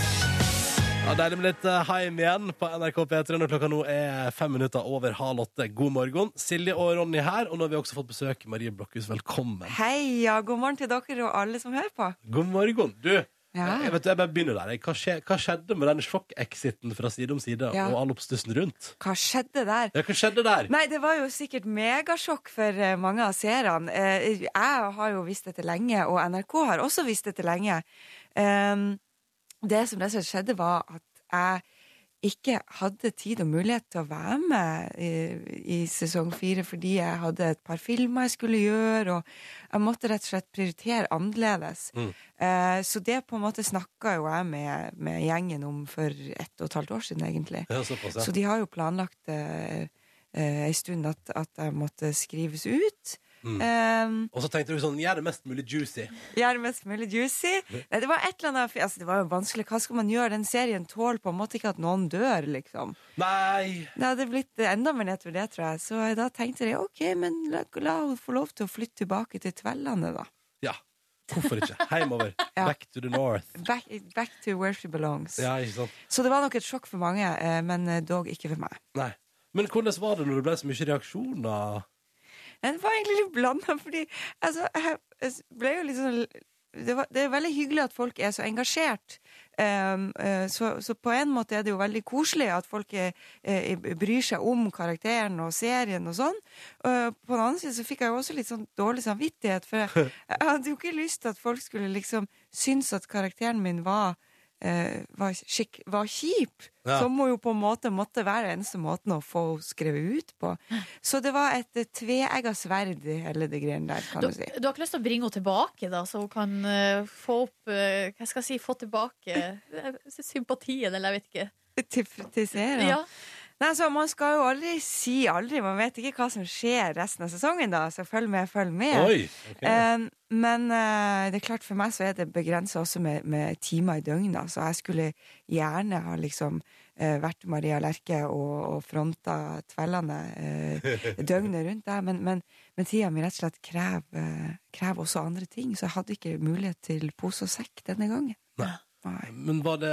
S1: Ja, Deilig med litt eh, heim igjen på NRK P3 når klokka nå er fem minutter over halv åtte. God morgen. Silje og Ronny her, og nå har vi også fått besøk. Marie Blokhus, velkommen.
S6: Hei, ja, god morgen til dere og alle som hører på.
S1: God morgen. Du, eh,
S6: Ja.
S1: jeg, vet, du, jeg bare begynner der. jeg. Hva, skje, hva skjedde med den sjokkexiten fra Side om side
S6: Ja.
S1: og all oppstussen rundt?
S6: Hva skjedde der?
S1: Ja, hva skjedde der?
S6: Nei, det var jo sikkert megasjokk for eh, mange av seerne. Eh, Jeg har jo visst dette lenge, og NRK har også visst dette lenge. Ehm, Det som rett og slett skjedde, var at jeg ikke hadde tid og mulighet til å være med i, i sesong fire fordi jeg hadde et par filmer jeg skulle gjøre, og jeg måtte rett og slett prioritere annerledes.
S1: Mm.
S6: Eh, Så det på en måte snakka jo jeg med, med gjengen om for ett og et halvt år siden, egentlig.
S1: Ja, såpass,
S6: Så
S1: ja.
S6: de har jo planlagt eh, eh, en stund at, at jeg måtte skrives ut.
S1: Mm.
S6: Eh,
S1: Og så tenkte du sånn, gjør det mest mulig juicy.
S6: Gjør det mest mulig juicy. Nei, det var et eller annet altså, Det var jo vanskelig. Hva skal man gjøre? Den serien tåler på en måte ikke at noen dør, liksom.
S1: Nei!
S6: Det hadde blitt enda mer nedtur, det, tror jeg. Så da tenkte jeg OK, men la, la henne få lov til å flytte tilbake til Tvellane, da.
S1: Ja. Hvorfor ikke? Heimover.
S6: Ja.
S1: Back to the north.
S6: Back, back to where she belongs.
S1: Ja, ikke sant?
S6: Så det var nok et sjokk for mange, eh, men eh, dog ikke for meg.
S1: Nei. Men hvordan var det når det ble så mye reaksjoner?
S6: Nei, Det var egentlig litt blanda, fordi altså, jeg- jeg ble jo litt sånn det, var, det er veldig hyggelig at folk er så engasjert. Ehm, eh, så, så på en måte er det jo veldig koselig at folk er, eh, bryr seg om karakteren og serien og sånn. Eh, på den annen side så fikk jeg jo også litt sånn dårlig samvittighet, for jeg, jeg hadde jo ikke lyst til at folk skulle liksom synes at karakteren min var eh, var, skikk, var kjip.
S1: Ja.
S6: Som hun jo på en måte måtte være eneste måten å få henne skrevet ut på. Så det var et eh, tveegga sverd i hele det greiene der, kan
S2: Du,
S6: du si.
S2: du har ikke lyst til å bringe henne tilbake, da, så hun kan eh, få opp eh, Hva skal jeg si, få tilbake eh, sympatien, eller jeg vet ikke.
S6: Tilfredsisere.
S2: Ja.
S6: Nei, altså, man skal jo aldri si aldri. Man vet ikke hva som skjer resten av sesongen, da. Så følg med, følg med.
S1: Oi! ok.
S6: Eh, men eh, det er klart, for meg så er det begrensa også med, med timer i døgnet. Så jeg skulle gjerne ha liksom eh, vært Maria Lerche og, og fronta tvellene eh, døgnet rundt der. Men, men, men tida mi rett og slett krever, eh, krever også andre ting. Så jeg hadde ikke mulighet til pose og sekk denne gangen.
S1: Nei.
S6: Nei.
S1: Men var det,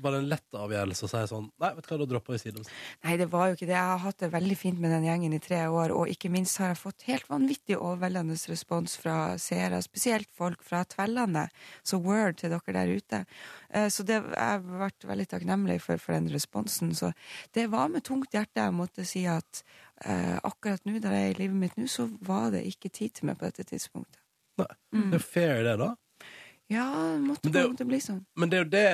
S1: var det en lett avgjørelse å si sånn Nei, vet du hva, da dropper vi side om side.
S6: Nei, det var jo ikke det. Jeg har hatt det veldig fint med den gjengen i tre år, og ikke minst har jeg fått helt vanvittig overveldende respons fra seere, spesielt folk fra Tvellane. Så word til dere der ute. Eh, Så det, jeg har vært veldig takknemlig for, for den responsen. Så det var med tungt hjerte jeg måtte si at eh, akkurat nå, der jeg er i livet mitt nå, så var det ikke tid til meg på dette tidspunktet.
S2: Mm.
S1: Nei. Det er fair, det, da.
S6: Ja, det måtte
S1: Men det er
S6: på
S1: jo-
S6: en måte bli sånn.
S1: Men det er jo det,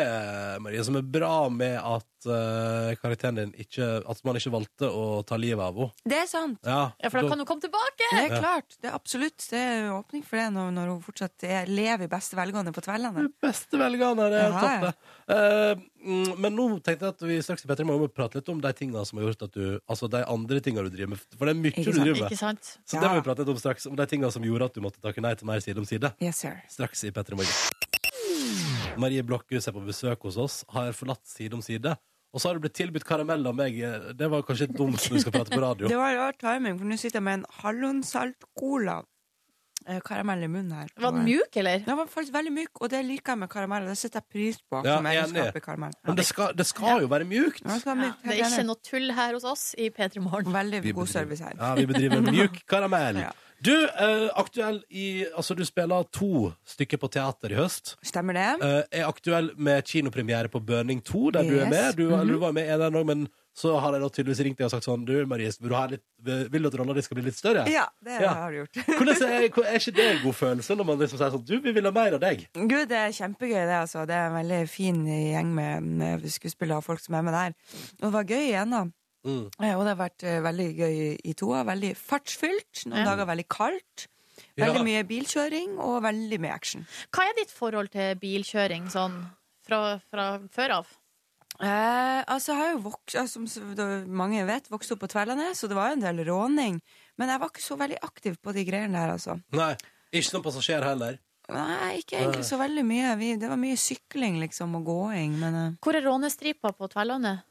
S1: Marie, som er bra med at eh, karakteren din ikke At man ikke valgte å ta livet av henne.
S6: Det er sant.
S1: Ja,
S2: Ja, for da kan du komme tilbake!
S6: Det er klart. Det er absolutt det er jo åpning for det når, når hun fortsatt er, lever i beste velgående på tvellene.
S1: Beste velgerne, det er
S6: Ja,
S1: topp,
S6: ja.
S1: det. Eh, mm, men nå tenkte jeg at vi straks i Petter må prate litt om de tingene som har gjort at du Altså de andre tingene du driver med. For det er mye
S6: Ikke
S1: du
S6: sant,
S1: driver
S2: Ikke
S1: med.
S2: sant?
S1: Så
S6: Ja.
S1: det må vi prate litt om straks. Om de tingene som gjorde at du måtte takke nei til mer Side om side.
S6: Yes, sir.
S1: Straks i Petter Morgen. Marie Blokhus er på besøk hos oss, har forlatt Side om side. Og så har du blitt tilbudt karamell av meg. Det var kanskje dumt når du skal prate på radio.
S6: Det var rar timing, for nå sitter jeg med en hallonsalt-cola. eh, Karamell i munnen her.
S2: Var den
S6: Og-
S2: mjuk, eller?
S6: Den var faktisk veldig myk, og det liker jeg med karamell. og Det setter jeg pris på.
S1: Ja,
S6: som egenskap
S1: enig.
S6: i karamell. Ja,
S1: Men det skal, det skal jo være mjukt.
S6: den skal være myk,
S2: Det er
S6: helt
S2: ikke
S6: enig.
S2: noe tull her hos oss i P3 Morgen.
S6: Veldig god service her.
S1: Ja, vi bedriver mjuk karamell.
S6: Ja.
S1: Du, eh, aktuell i Altså, du spiller to stykker på teater i høst.
S6: Stemmer det?
S1: Eh, er aktuell med kinopremiere på Burning 2, der du er
S6: Yes. Mhm.
S1: med. Du, eller du var med i en der nå, men så har de da tydeligvis ringt deg og sagt sånn Du, Marie, vil du, ha litt, vil du at rolla di skal bli litt større?
S6: Ja, det
S1: Ja.
S6: har du gjort.
S1: Hvordan er, hvor- er ikke det en god følelse når man liksom sier sånn Du, vi vil ha mer av deg.
S6: Gud, det er kjempegøy det, altså. Det er en veldig fin gjeng med, med skuespillere og folk som er med der. Og det var gøy igjen, da.
S1: Mm.
S6: Eh, Og det har vært eh, veldig gøy i toa. Veldig fartsfylt. Noen dager veldig kaldt.
S1: Ja.
S6: Veldig mye bilkjøring og veldig mye action.
S2: Hva er ditt forhold til bilkjøring sånn fra, fra før av?
S6: Eh, altså, jeg har jo vokst, altså, som s- da mange vet, vokst opp på Tverlandet, så det var jo en del råning. Men jeg var ikke så veldig aktiv på de greiene der, altså.
S1: Nei. Ikke som passasjer heller.
S6: Nei, ikke egentlig så veldig mye. Vi, det var mye sykling, liksom, og gåing, men eh,
S2: Hvor er rånestripa på Tverlandet?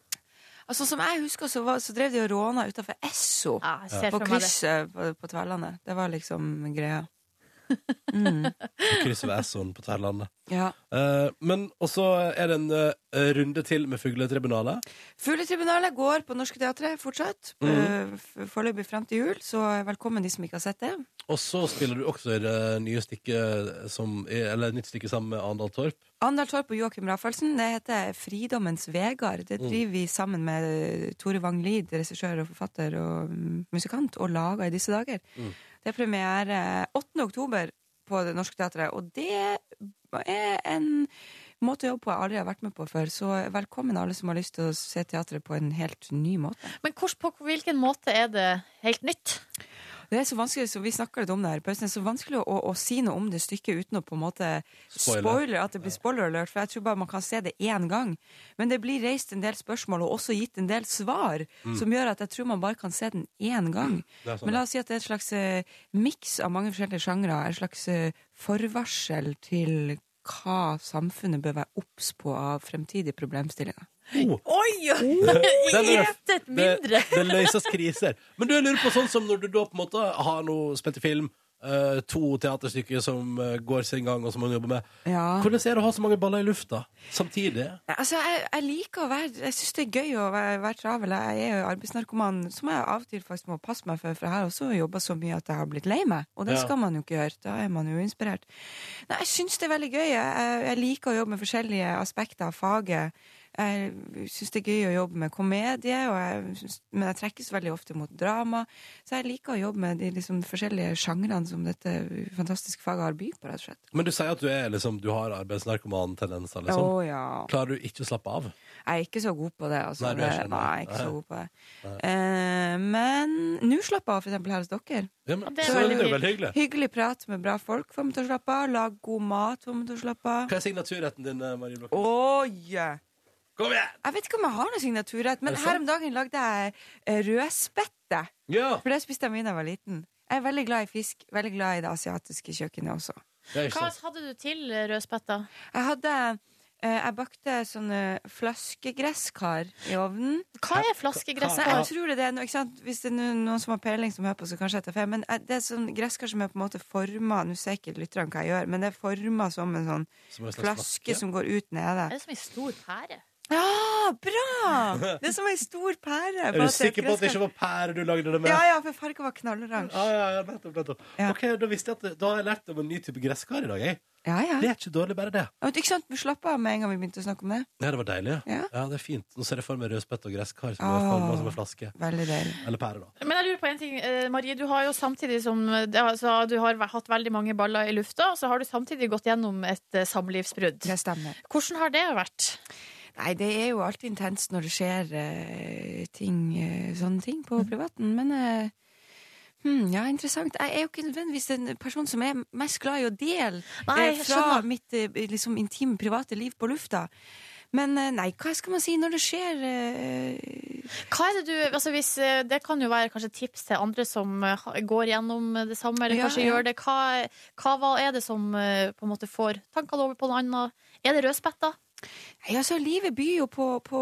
S6: Altså, som jeg husker, så, var, så drev de og råna utafor Esso.
S2: Ja, jeg ser
S6: På
S2: for meg det.
S6: krysset på, på Tverlandet. Det var liksom greia.
S1: På Krysset ved Essoen på Tverlandet.
S6: Ja.
S1: Eh, men også er det en eh, runde til med Fugletribunalet.
S6: Fugletribunalet går på Norske Teatret fortsatt.
S2: Mm.
S6: Eh, f- Foreløpig frem til jul, så velkommen de som ikke har sett det.
S1: Og så spiller du også i det eh, nye stykket som, Eller et nytt stykke sammen med Arendal Torp.
S6: Andal Torp og Joakim Raffelsen, det heter Fridommens Vegard. Det driver vi sammen med eh, Tore Wang Lid, regissør og forfatter og mm, musikant, og lager i disse dager. Det er premiere 8. oktober på Det Norske Teatret, og det er en måte å jobbe på jeg aldri har vært med på før, så velkommen alle som har lyst til å se teatret på en helt ny måte.
S2: Men hvor, på hvilken måte er det helt nytt?
S6: Det er så vanskelig, så vi snakker litt om det her i pausen, det er så vanskelig å, å si noe om det stykket uten å på en måte
S1: Spoiler.
S6: spoile at det blir spoiler alert, for jeg tror bare man kan se det én gang. Men det blir reist en del spørsmål, og også gitt en del svar, som gjør at jeg tror man bare kan se den én gang.
S1: Mm. Det er sånn,
S6: Men la oss si at det er et slags eh, miks av mange forskjellige sjangre, et slags eh, forvarsel til hva samfunnet bør være obs på av fremtidige problemstillinger.
S2: Oi!
S1: Den er-
S2: Intet mindre!
S1: Det, det løses kriser. Men du, jeg lurer på sånn som når du da på en måte har noe spilt i film, eh, to teaterstykker som eh, går sin gang, og som man jobber med.
S6: Ja.
S1: Hvordan er det å ha så mange baller i lufta samtidig?
S6: Nei, Altså, jeg, jeg liker å være Jeg syns det er gøy å være, være travel. Jeg er jo arbeidsnarkoman, som jeg av og til faktisk må passe meg for, for jeg har også jobba så mye at jeg har blitt lei meg. Og det
S1: Ja.
S6: skal man jo ikke gjøre. Da er man jo inspirert. Nei, jeg syns det er veldig gøy. Jeg, jeg- jeg liker å jobbe med forskjellige aspekter av faget. Jeg syns det er gøy å jobbe med komedie, og jeg synes, men jeg trekkes veldig ofte mot drama. Så jeg liker å jobbe med de liksom, forskjellige sjangrene som dette fantastiske faget har by på, rett og slett.
S1: Men du sier at du er liksom, du har arbeidsnarkoman-tendenser.
S6: Å
S1: Liksom.
S6: ja.
S1: Klarer du ikke å slappe av?
S6: Jeg er ikke så god på det. Altså.
S1: Nei, du er ikke
S6: Det-
S1: det.
S6: Nei, jeg er ikke så
S1: Nei.
S6: god på det. Eh, men nå slapp jeg av, for eksempel her hos dere.
S1: Ja, men,
S2: det er
S1: så
S2: veldig
S1: det er veldig hyggelig.
S6: Hyggelig prat med bra folk får meg til å slappe av. Lag god mat får meg til å slappe av.
S1: Hva er signaturretten din, eh, Marie Blokke?
S6: Oh, yeah.
S1: Kom igjen!
S6: Jeg vet ikke om jeg har noe signaturrett, men
S1: Er det
S6: her
S1: sant?
S6: om dagen lagde jeg eh, rødspette.
S1: Ja!
S6: For det spiste jeg mye da jeg var liten. Jeg er veldig glad i fisk. Veldig glad i det asiatiske kjøkkenet også.
S1: Det er ikke
S2: Hva
S1: sant.
S2: hadde du til eh, rødspetta?
S6: Jeg hadde eh, Jeg bakte sånne flaskegresskar i ovnen.
S2: Hva er
S6: Så
S2: flaskegresset?
S1: Ja.
S6: jeg tror det, er noe, ikke sant? Hvis det er no- noen som har peiling som hører på, så kanskje jeg tar feil. Men eh, det er sånn gresskar som er på en måte forma Nå ser ikke lytterne hva jeg gjør, men det er forma som en sånn
S1: Som en slags
S6: flaske
S1: flaske.
S6: som går ut nede.
S2: Er det som en stor pære?
S6: Ja, bra! Det er som ei stor pære.
S1: Er du sikker på at det ikke var pære du lagde det med?
S6: Ja, ja, for fargen var knalloransje.
S1: Ja, ja, ja, nettopp, nettopp.
S6: Ja.
S1: Ok, da visste jeg at Da har jeg lært om en ny type gresskar i dag, jeg.
S6: Ja, ja.
S1: Det er ikke dårlig, bare det.
S6: Ja, men Ikke sant? Vi slapp av med en gang vi begynte å snakke om det.
S1: Ja, det var deilig.
S6: Ja.
S1: Ja, det er fint. Nå ser jeg for meg rødspett og gresskar som er
S6: Ah.
S1: formet som en flaske.
S6: Veldig deilig.
S1: Eller pære, da.
S2: Men jeg lurer på en ting. Eh, Marie, du har jo samtidig som eh, det har- så du har væ- hatt veldig mange baller i lufta, så har du samtidig gått gjennom et eh, samlivsbrudd.
S6: Det stemmer.
S2: Hvordan har det vært?
S6: Nei, det er jo alltid intenst når det skjer eh, ting, eh, sånne ting
S2: Mm.
S6: på privaten, men eh, hmm, ja, interessant. Jeg er jo ikke nødvendigvis en person som er mest glad i å dele
S2: Nei,
S6: eh,
S2: jeg
S6: fra
S2: skjønner.
S6: mitt eh, liksom, intime, private liv på lufta. Men eh, nei, hva skal man si når det skjer eh,
S2: Hva er det du altså hvis, eh, Det kan jo være kanskje tips til andre som eh, ha- går gjennom det samme, eller
S6: Ja,
S2: kanskje
S6: ja.
S2: gjør det. Hva, hva hva er det som eh, på en måte får tankene over på noe annet? Er det rødspetta?
S6: Nei, altså, livet byr jo på, på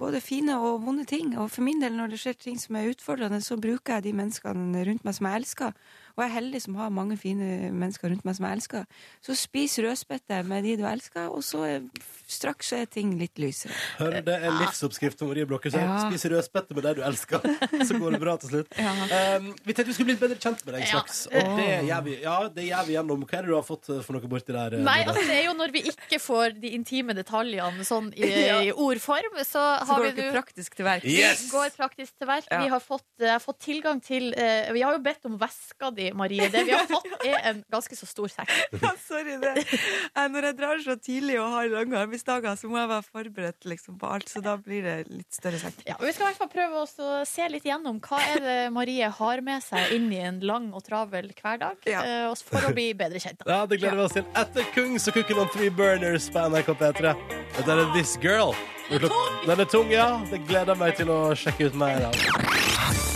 S6: både fine og vonde ting, og for min del, når det skjer ting som er utfordrende, så bruker jeg de menneskene rundt meg som jeg elsker, og jeg er heldig som har mange fine mennesker rundt meg som jeg elsker. Så spis rødspette med de du elsker, og så er, straks så er ting litt lysere.
S1: Hører du, det er livsoppskriften vår i blokka.
S6: Ja.
S1: Spis rødspette med deg du elsker, så går det bra til slutt. Um, vi tenkte vi skulle bli bedre kjent med deg
S2: Ja.
S1: straks, og det gjør vi, ja, det gjør vi gjennom. Hva er det du har fått eh, for noe borti der? eh,
S2: Nei,
S1: Nordnes?
S2: altså, det er jo når vi ikke får de intime detaljene sånn i,
S6: Ja.
S2: i ordform, så
S6: Så
S2: har
S6: går
S2: vi
S6: dere
S2: nå
S6: praktisk til verks.
S1: Yes!
S2: Vi går praktisk til verk.
S6: Ja.
S2: Vi har fått, eh, fått tilgang til eh, Vi har jo bedt om veska di, Marie. Det vi har fått, er en ganske så stor sekk.
S6: Ja, sorry det. Jeg, når jeg drar så tidlig og har lange arbeidsdager, så må jeg være forberedt liksom, på alt, så da blir det litt større sekk.
S2: Ja, og vi skal i hvert fall prøve oss å se litt gjennom hva er det Marie har med seg inn i en lang og travel hverdag,
S6: Ja.
S2: eh, og for å bli bedre kjent. da.
S1: Ja, det gleder vi oss til. Etter Kungs og Cooking on Three Burners på NRK P3. Dette er This Girl. Den er tung, ja. Det gleder jeg meg til å sjekke ut mer av.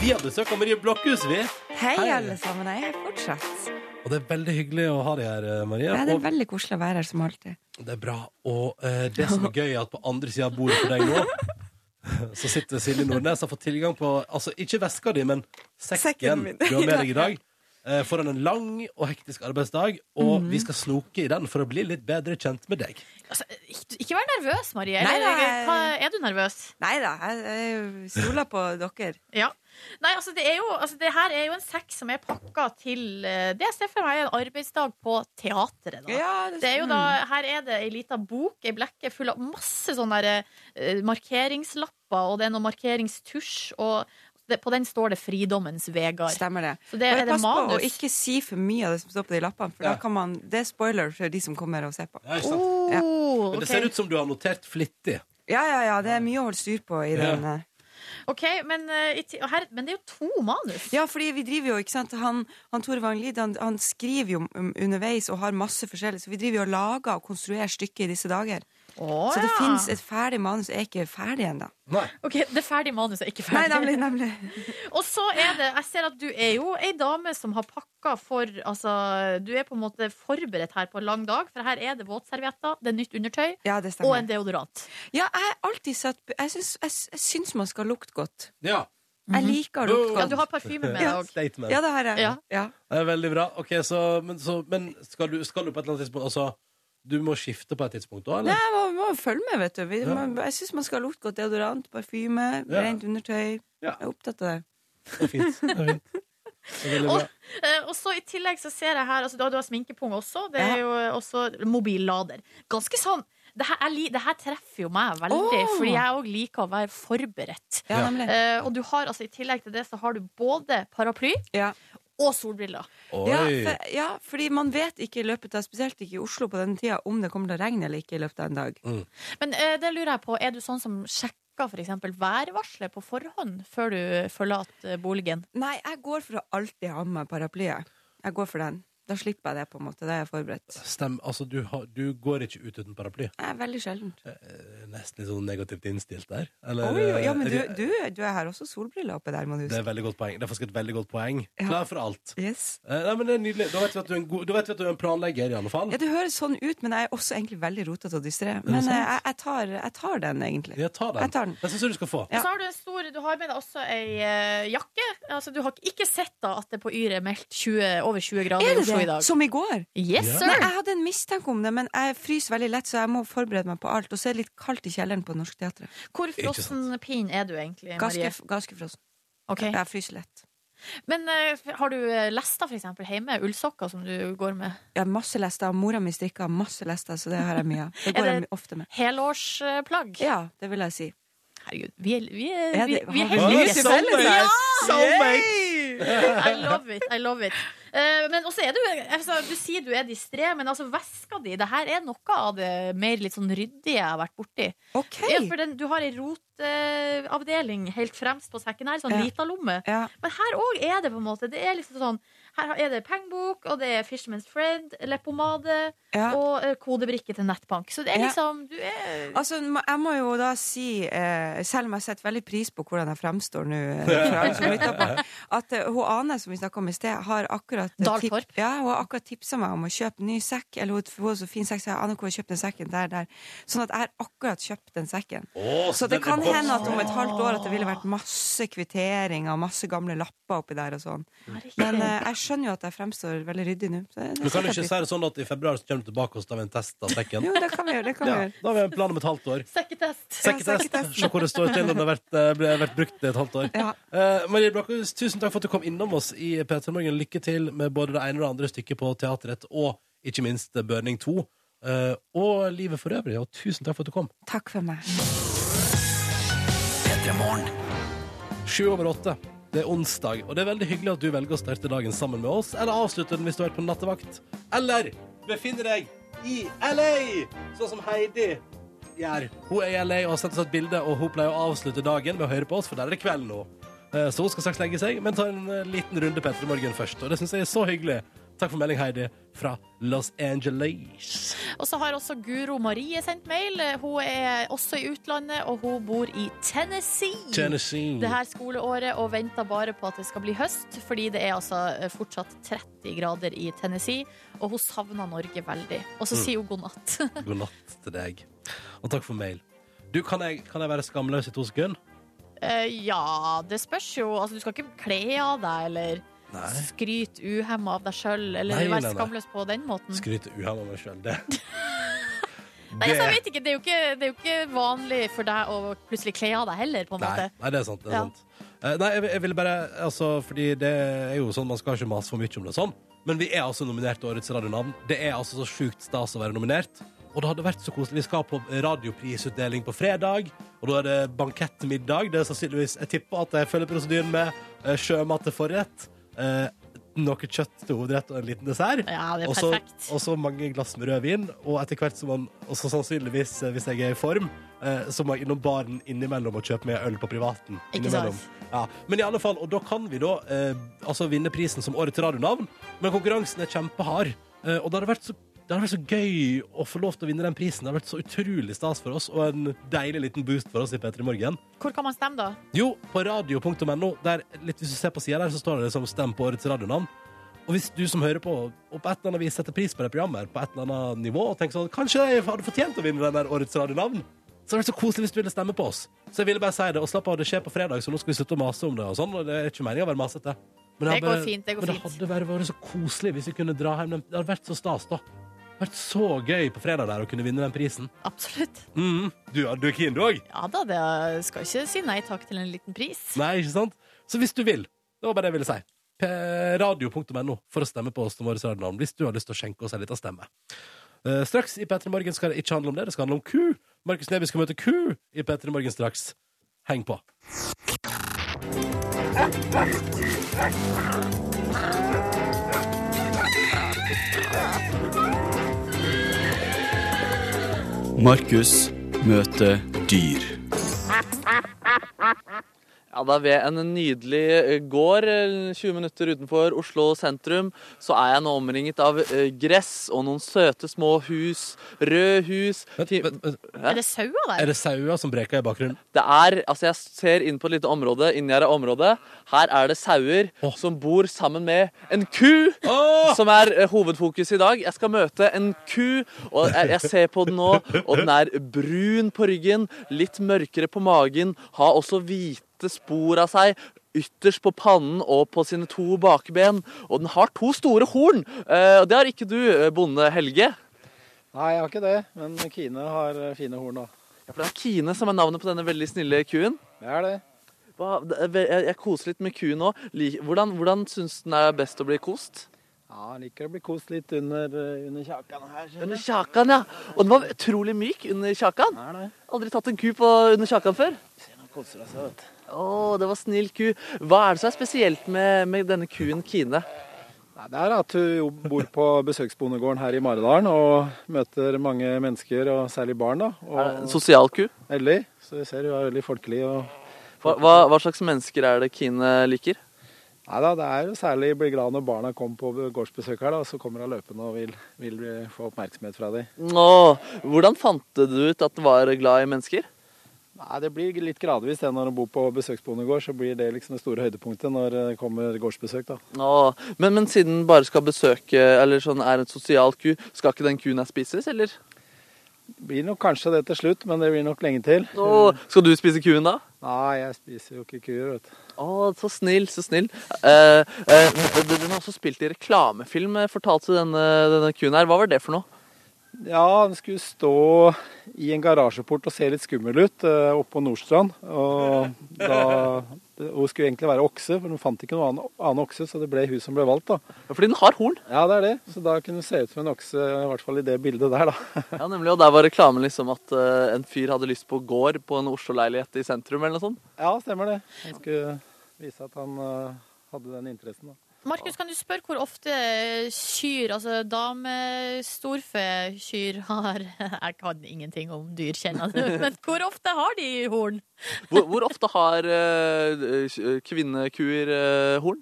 S1: Vi har besøk av Marie Blokhus, vi.
S6: Hei,
S1: Hei.
S6: alle sammen. Jeg er fortsatt.
S1: Og det er veldig hyggelig å ha deg her, eh, Marie.
S6: Nei, det er veldig koselig å være her som alltid.
S1: Og det er bra. Og eh, det som er gøy, er at på andre sida av bordet for deg nå så sitter Silje Nordnes og har fått tilgang på altså ikke veska di, men
S6: Sekken
S1: sekken
S6: min.
S1: du har med deg i dag. eh, Foran en lang og hektisk arbeidsdag, og
S6: Mhm.
S1: vi skal snoke i den for å bli litt bedre kjent med deg.
S2: Altså, ikke- ikke vær nervøs, Marie.
S6: Nei,
S2: Eller,
S6: nei.
S2: hva- Er du nervøs?
S6: Nei da, jeg, jeg stoler på dere.
S2: Ja. Nei, altså det, er jo, altså det her er jo en sekk som er pakka til eh, Det jeg ser for meg er en arbeidsdag på teatret. Da. Det er jo da, her er det ei lita bok, ei blekke full av masse sånne der, eh, markeringslapper, og det er noe markeringstusj, og det, på den står det 'Fridommens Vegard'.
S6: Stemmer det.
S2: Så det
S6: Og
S2: er det
S6: pass på å
S2: manus.
S6: ikke si for mye av det som står på de lappene, for
S1: Ja.
S6: da kan man, det er spoiler for de som kommer og ser på.
S1: Ja, ikke sant?
S2: Oh,
S1: Sånn. Men det
S2: ok.
S1: ser ut som du har notert flittig.
S6: Ja, ja, ja, det er mye å holde styr på i
S1: Ja.
S6: den. eh.
S2: OK, men, eh, i ti- og her, men det er jo to manus.
S6: Ja, fordi vi driver jo, ikke sant, han, han Tore Vanglid, han, han skriver jo um, underveis og har masse forskjellig, så vi driver jo og lager og konstruerer stykket i disse dager.
S2: Å,
S6: Så det
S2: ja.
S6: finnes et ferdig manus, jeg er ikke ferdig ennå.
S1: Nei.
S2: OK, det ferdige manuset er ikke
S6: Nei,
S2: ferdig.
S6: nemlig, nemlig.
S2: Og så er det, jeg ser at du er jo ei dame som har pakka for Altså, du er på en måte forberedt her på en lang dag, for her er det våtservietter, det er nytt undertøy
S6: Ja, det
S2: og
S6: stemmer.
S2: en deodorant.
S6: Ja, jeg har alltid satt Jeg syns, jeg, jeg syns man skal lukte godt.
S1: Ja.
S6: Jeg liker å lukte
S2: Mhm. Ja,
S6: godt.
S2: du har parfyme med deg
S6: Ja.
S2: òg.
S1: Statement.
S6: Ja, det har jeg.
S2: Ja.
S6: Ja.
S1: Det er veldig bra. Ok, så, men så, men skal, du, skal du på et eller annet tidspunkt Altså, du må skifte på et tidspunkt da,
S6: Nei,
S1: eller?
S6: man må følge med, vet du. Vi,
S1: Ja.
S6: man, jeg syns man skal lukte godt deodorant, parfyme,
S1: Ja.
S6: rent undertøy.
S1: Ja.
S6: Jeg er opptatt av det.
S1: Det er fint. Det er fint. Det er veldig
S2: Og,
S1: bra.
S2: eh, og så i tillegg så ser jeg her altså, Du har, du har sminkepung også. Det er
S6: Ja.
S2: jo eh, også mobillader. Ganske sånn det her, er li, det her treffer jo meg veldig,
S6: Åh!
S2: fordi jeg òg liker å være forberedt.
S6: Ja,
S1: Ja.
S6: nemlig.
S2: Eh, og du har altså i tillegg til det så har du både paraply
S6: Ja.
S2: og solbriller.
S1: Oi.
S6: Ja, for, ja, fordi man vet ikke i løpet av Spesielt ikke i Oslo på denne tida om det kommer til å regne eller ikke i løpet av en dag.
S2: Men eh, det lurer jeg på, er du sånn som sjekker for eksempel værvarselet på forhånd før du forlater boligen?
S6: Nei, jeg går for å alltid ha med meg paraplyet. Jeg går for den. Da slipper jeg det, på en måte. Da er jeg forberedt.
S1: Stem, altså, du, har, du går ikke ut uten paraply.
S6: Jeg er veldig sjeldent.
S1: Eh, Nesten litt sånn negativt innstilt der. Eller,
S6: Oi, oi, ja, men du,
S1: eh,
S6: du, du er her også solbriller oppe der, må du
S1: Det er
S6: huske.
S1: et veldig godt poeng. Det er faktisk et veldig godt poeng.
S6: Ja.
S1: Klar for alt.
S6: Yes.
S1: Eh, Nei, men det er nydelig. Da vet vi at du er en, god, da vet vi at du er en planlegger, i alle fall.
S6: Ja, Det høres sånn ut, men jeg er også egentlig veldig rotete og dystré. Men eh, jeg, jeg, tar, jeg tar den, egentlig.
S1: Ja, ta den.
S6: Jeg tar den.
S1: Den syns jeg du skal få.
S6: Ja.
S2: Og så har du en stor, du har med deg også ei eh, jakke. Altså, du har ikke sett da at det på Yr er meldt 20, over 20 grader
S6: Er
S2: i
S6: det
S2: Oslo i
S6: det?
S2: dag.
S6: Som i går?
S2: Yes,
S1: Ja.
S6: Nei,
S2: sir!
S6: jeg hadde en mistanke om det, men jeg fryser veldig lett, så jeg må forberede meg på alt. Og så er det litt kaldt i kjelleren på Norsk Teatret.
S2: Hvor
S1: sant.
S2: frossen pin er du egentlig,
S6: Ganske,
S2: Marie?
S6: ganske frossen.
S2: Ok.
S6: Jeg fryser lett.
S2: Men eh, har du eh, lester for eksempel hjemme? Ullsokker som du går med?
S6: Jeg har masse lester. Mora mi strikker masse lester, så det har jeg mye av. Det
S2: Er
S6: går
S2: det-
S6: jeg ofte med.
S2: Helårsplagg?
S6: Ja, det vil jeg si.
S2: Herregud, vi er, vi er,
S6: Ja,
S2: vi,
S6: det-
S2: vi er
S6: har vi
S2: heldige.
S6: mye til felles her?
S2: I love it. I love it. Eh, men også er du altså, Du sier du er distré, men altså veska di Det her er noe av det mer litt sånn ryddige jeg har vært borti.
S6: OK!
S2: Ja, for den, du har ei rotavdeling helt fremst på sekken her, sånn
S6: Ja.
S2: lita lomme.
S6: Ja.
S2: Men her òg er det på en måte Det er liksom sånn Her er det pengebok, og det er Fisherman's Friend, leppepomade
S6: Ja.
S2: og eh, kodebrikke til nettbank. Så det er
S6: Ja.
S2: liksom Du er
S6: Altså, ma- jeg må jo da si, eh, selv om jeg setter veldig pris på hvordan jeg fremstår nå, eh, for alle som lytter på, at eh, hun Ane, som vi snakka om i sted, har akkurat eh,
S2: Dahl
S6: tip-
S2: Torp.
S6: ja, hun har akkurat tipsa meg om å kjøpe ny sekk. Eller hun hun har så fin sekk, så jeg aner hvor jeg kjøpte den sekken der, der. Sånn at jeg har akkurat kjøpt den sekken.
S1: Å,
S6: Så
S1: den
S6: det
S1: er
S6: kan
S1: på-
S6: hende at om et halvt år at det ville vært masse kvitteringer, masse gamle lapper oppi der og sånn. Men eh, jeg skjønner jo at jeg fremstår veldig ryddig nå. så det- det
S1: Du kan jo
S6: setter jeg
S1: ikke
S6: pris
S1: si det sånn at i februar så kommer du tilbake og så tar vi en test av
S6: på.
S1: sekken.
S6: Jo, det kan vi gjøre. Det kan vi
S1: Ja,
S6: gjøre.
S1: da har vi en plan om et halvt år.
S2: Sekketest.
S1: Sekketest.
S6: sekketest.
S1: Se hvor det står til om det har vært, eh, ble, vært brukt i et halvt år.
S6: Ja.
S1: Eh, Marie Brakhus, tusen takk for at du kom innom oss i P3 Morgen. Lykke til med både det ene og det andre stykket på Teatret, og ikke minst Børning 2. eh, og livet for øvrig. Og tusen takk for at du kom.
S6: Takk for meg.
S1: Sju over åtte. Det er onsdag, og det er veldig hyggelig at du velger å starte dagen sammen med oss, eller avslutte den hvis du har vært på nattevakt, eller befinner deg i LA, sånn som Heidi gjør. Hun er i LA og har sendt oss et bilde, og hun pleier å avslutte dagen med å høre på oss, for der er det kveld nå. Eh, Så hun skal straks legge seg, men ta en eh, liten runde Petter i morgen først, og det syns jeg er så hyggelig. Takk for melding, Heidi, fra Los Angeles.
S2: Og så har også Guro Marie sendt mail. Hun er også i utlandet, og hun bor i Tennessee.
S1: Tennessee.
S2: Det her skoleåret og venter bare på at det skal bli høst, fordi det er altså eh, fortsatt 30 grader i Tennessee, og hun savner Norge veldig. Og så sier hun god natt.
S1: God natt til deg. Og takk for mail. Du, kan jeg, kan jeg være skamløs i to sekunder?
S2: Eh, ja, det spørs jo. Altså, du skal ikke kle av deg eller skryte uhemma av deg sjøl eller
S1: Nei, nei,
S2: være
S1: nei.
S2: skamløs på den måten.
S1: skryte uhemmet av meg sjøl. Det,
S2: Nei, altså, jeg vet ikke. Det er jo ikke, det er jo ikke vanlig for deg å plutselig kle av deg heller, på en
S1: nei,
S2: måte.
S1: nei, det er sant. Det er
S2: Ja.
S1: sant. Eh, nei, jeg, jeg ville bare altså, Fordi det er jo sånn, man skal ikke mase for mye om det sånn. Men vi er altså nominert til Årets radionavn. Det er altså så sjukt stas å være nominert. Og det hadde vært så koselig. Vi skal på radioprisutdeling på fredag, og da er det bankettmiddag. Det er sannsynligvis Jeg tipper at jeg følger prosedyren med eh, sjømat til forrett, eh, noe kjøtt til hovedrett og en liten dessert.
S2: Ja, det er
S1: Og så-
S2: perfekt.
S1: Og så mange glass med rødvin. Og etter hvert som man også sannsynligvis, eh, hvis jeg er i form, eh, så må jeg innom baren innimellom og kjøpe meg øl på privaten.
S2: Ikke
S1: Innimellom.
S2: sant?
S1: Ja. Men i alle fall, og da kan vi da eh, altså vinne prisen som årets radionavn, men konkurransen er kjempehard. Eh, og det hadde vært så det hadde vært så gøy å få lov til å vinne den prisen. Det hadde vært så utrolig stas for oss, og en deilig liten boost for oss i P3 Morgen.
S2: Hvor kan man stemme, da?
S1: Jo, på radio.no. der, litt Hvis du ser på sida der, så står det liksom 'Stem på årets radionavn'. Og hvis du som hører på, og på et eller annet vis setter pris på det programmet, her, på et eller annet nivå, og tenker sånn Kanskje jeg hadde fortjent å vinne den der årets radionavn? Så det er så koselig hvis du ville stemme på oss. Så jeg ville bare si det, og slapp av, det skjer på fredag, så nå skal vi slutte å mase om det og sånn, og det er ikke meningen å være masete. Men
S2: Det
S1: hadde
S2: går
S1: bare-
S2: fint, det går
S1: men det
S2: fint.
S1: hadde bare vært så koselig hvis vi kunne dra hjem den Det hadde vært så stas, da. Det hadde vært så gøy på fredag der å kunne vinne den prisen.
S2: Absolutt.
S1: Mhm. Du, du er keen, du òg?
S2: Ja da, det skal ikke si nei takk til en liten pris.
S1: Nei, ikke sant? Så hvis du vil, det var bare det jeg ville si. P- Radio.no for å stemme på oss som årets radionavn hvis du har lyst til å skjenke oss en liten stemme. Eh, straks i P3 Morgen skal det ikke handle om det, det skal handle om ku. Markus Neby skal møte ku i P3 Morgen straks. Heng på.
S7: Markus møter dyr.
S3: Ja, da ved en nydelig eh, gård, eh, 20 minutter utenfor Oslo sentrum, så er jeg nå omringet av eh, gress og noen søte små hus, røde hus
S1: Vent,
S3: ti-
S1: vent, vent.
S2: Er det sauer
S1: Er
S2: der?
S1: det sauer som breker i bakgrunnen?
S3: Det er, altså jeg ser inn på et lite område, inngjerda område. Her er det sauer
S1: Åh.
S3: som bor sammen med en ku, som er eh, hovedfokus i dag. Jeg skal møte en ku, og jeg, jeg ser på den nå, og den er brun på ryggen, litt mørkere på magen, har også hvite spor av seg. Ytterst på pannen og på sine to bakben. Og den har to store horn! Eh, Og det har ikke du, eh, bonde Helge.
S8: Nei, jeg har ikke det, men Kine har eh, fine horn, da.
S3: Ja, For det er Kine som er navnet på denne veldig snille kuen.
S8: Det er det.
S3: Hva, det er ve- jeg, jeg koser litt med kuen nå. Lik- Hvordan, hvordan syns den er best å bli kost?
S8: Ja, jeg liker å bli kost litt under, eh, under kjakan her. skjønner
S3: Under
S8: du.
S3: kjakan, ja. Og den var utrolig myk under kjakan.
S8: Nei, nei.
S3: Aldri tatt en ku på under kjakan før.
S8: Nei, koser hun seg, vet du.
S3: Å, det var snill ku. Hva er det som er spesielt med, med denne kuen Kine?
S8: Nei, Det er at hun jo bor på besøksbondegården her i Maridalen og møter mange mennesker, og særlig barn. da.
S3: Er det en
S8: Og
S3: sosial ku?
S8: Ellie, så vi ser hun er veldig folkelig. og...
S3: Hva, hva, hva slags mennesker er det Kine liker?
S8: Nei da, det er jo særlig blir glad når barna kommer på gårdsbesøk her, da, og så kommer hun løpende og vil, vil bli- få oppmerksomhet fra dem.
S3: Å, hvordan fant du ut at du var glad i mennesker?
S8: Nei, Det blir litt gradvis det når hun bor på besøksbondegård, så blir det liksom det store høydepunktet når det kommer gårdsbesøk. da.
S3: Å, men, men siden den bare skal besøke, eller sånn er en sosial ku, skal ikke den kuen her spises, eller?
S8: Det blir nok kanskje det til slutt, men det blir nok lenge til.
S3: Å, skal du spise kuen da?
S8: Nei, jeg spiser jo ikke kuer, vet du.
S3: Å, så snill, så snill. Eh, eh, den har også spilt i reklamefilm, eh, fortalte denne, denne kuen her. Hva var det for noe?
S8: Ja, den skulle stå i en garasjeport og se litt skummel ut eh, oppå Nordstrand. Og da Hun skulle egentlig være okse, for hun fant ikke noen annen, annen okse, så det ble hun som ble valgt, da.
S3: Fordi den har horn.
S8: Ja, det er det. Så da kunne hun se ut som en okse, i hvert fall i det bildet der, da.
S3: Ja, nemlig, og der var reklamen liksom at eh, en fyr hadde lyst på gård på en Oslo-leilighet i sentrum, eller noe sånt.
S8: Ja, stemmer det. Han skulle vise at han eh, hadde den interessen, da.
S2: Markus, kan du spørre hvor ofte kyr, altså damestorfekyr, har Jeg kan ingenting om dyr, kjenner du, men hvor ofte har de horn?
S3: Hvor, hvor ofte har eh, eh, kvinnekuer eh, horn?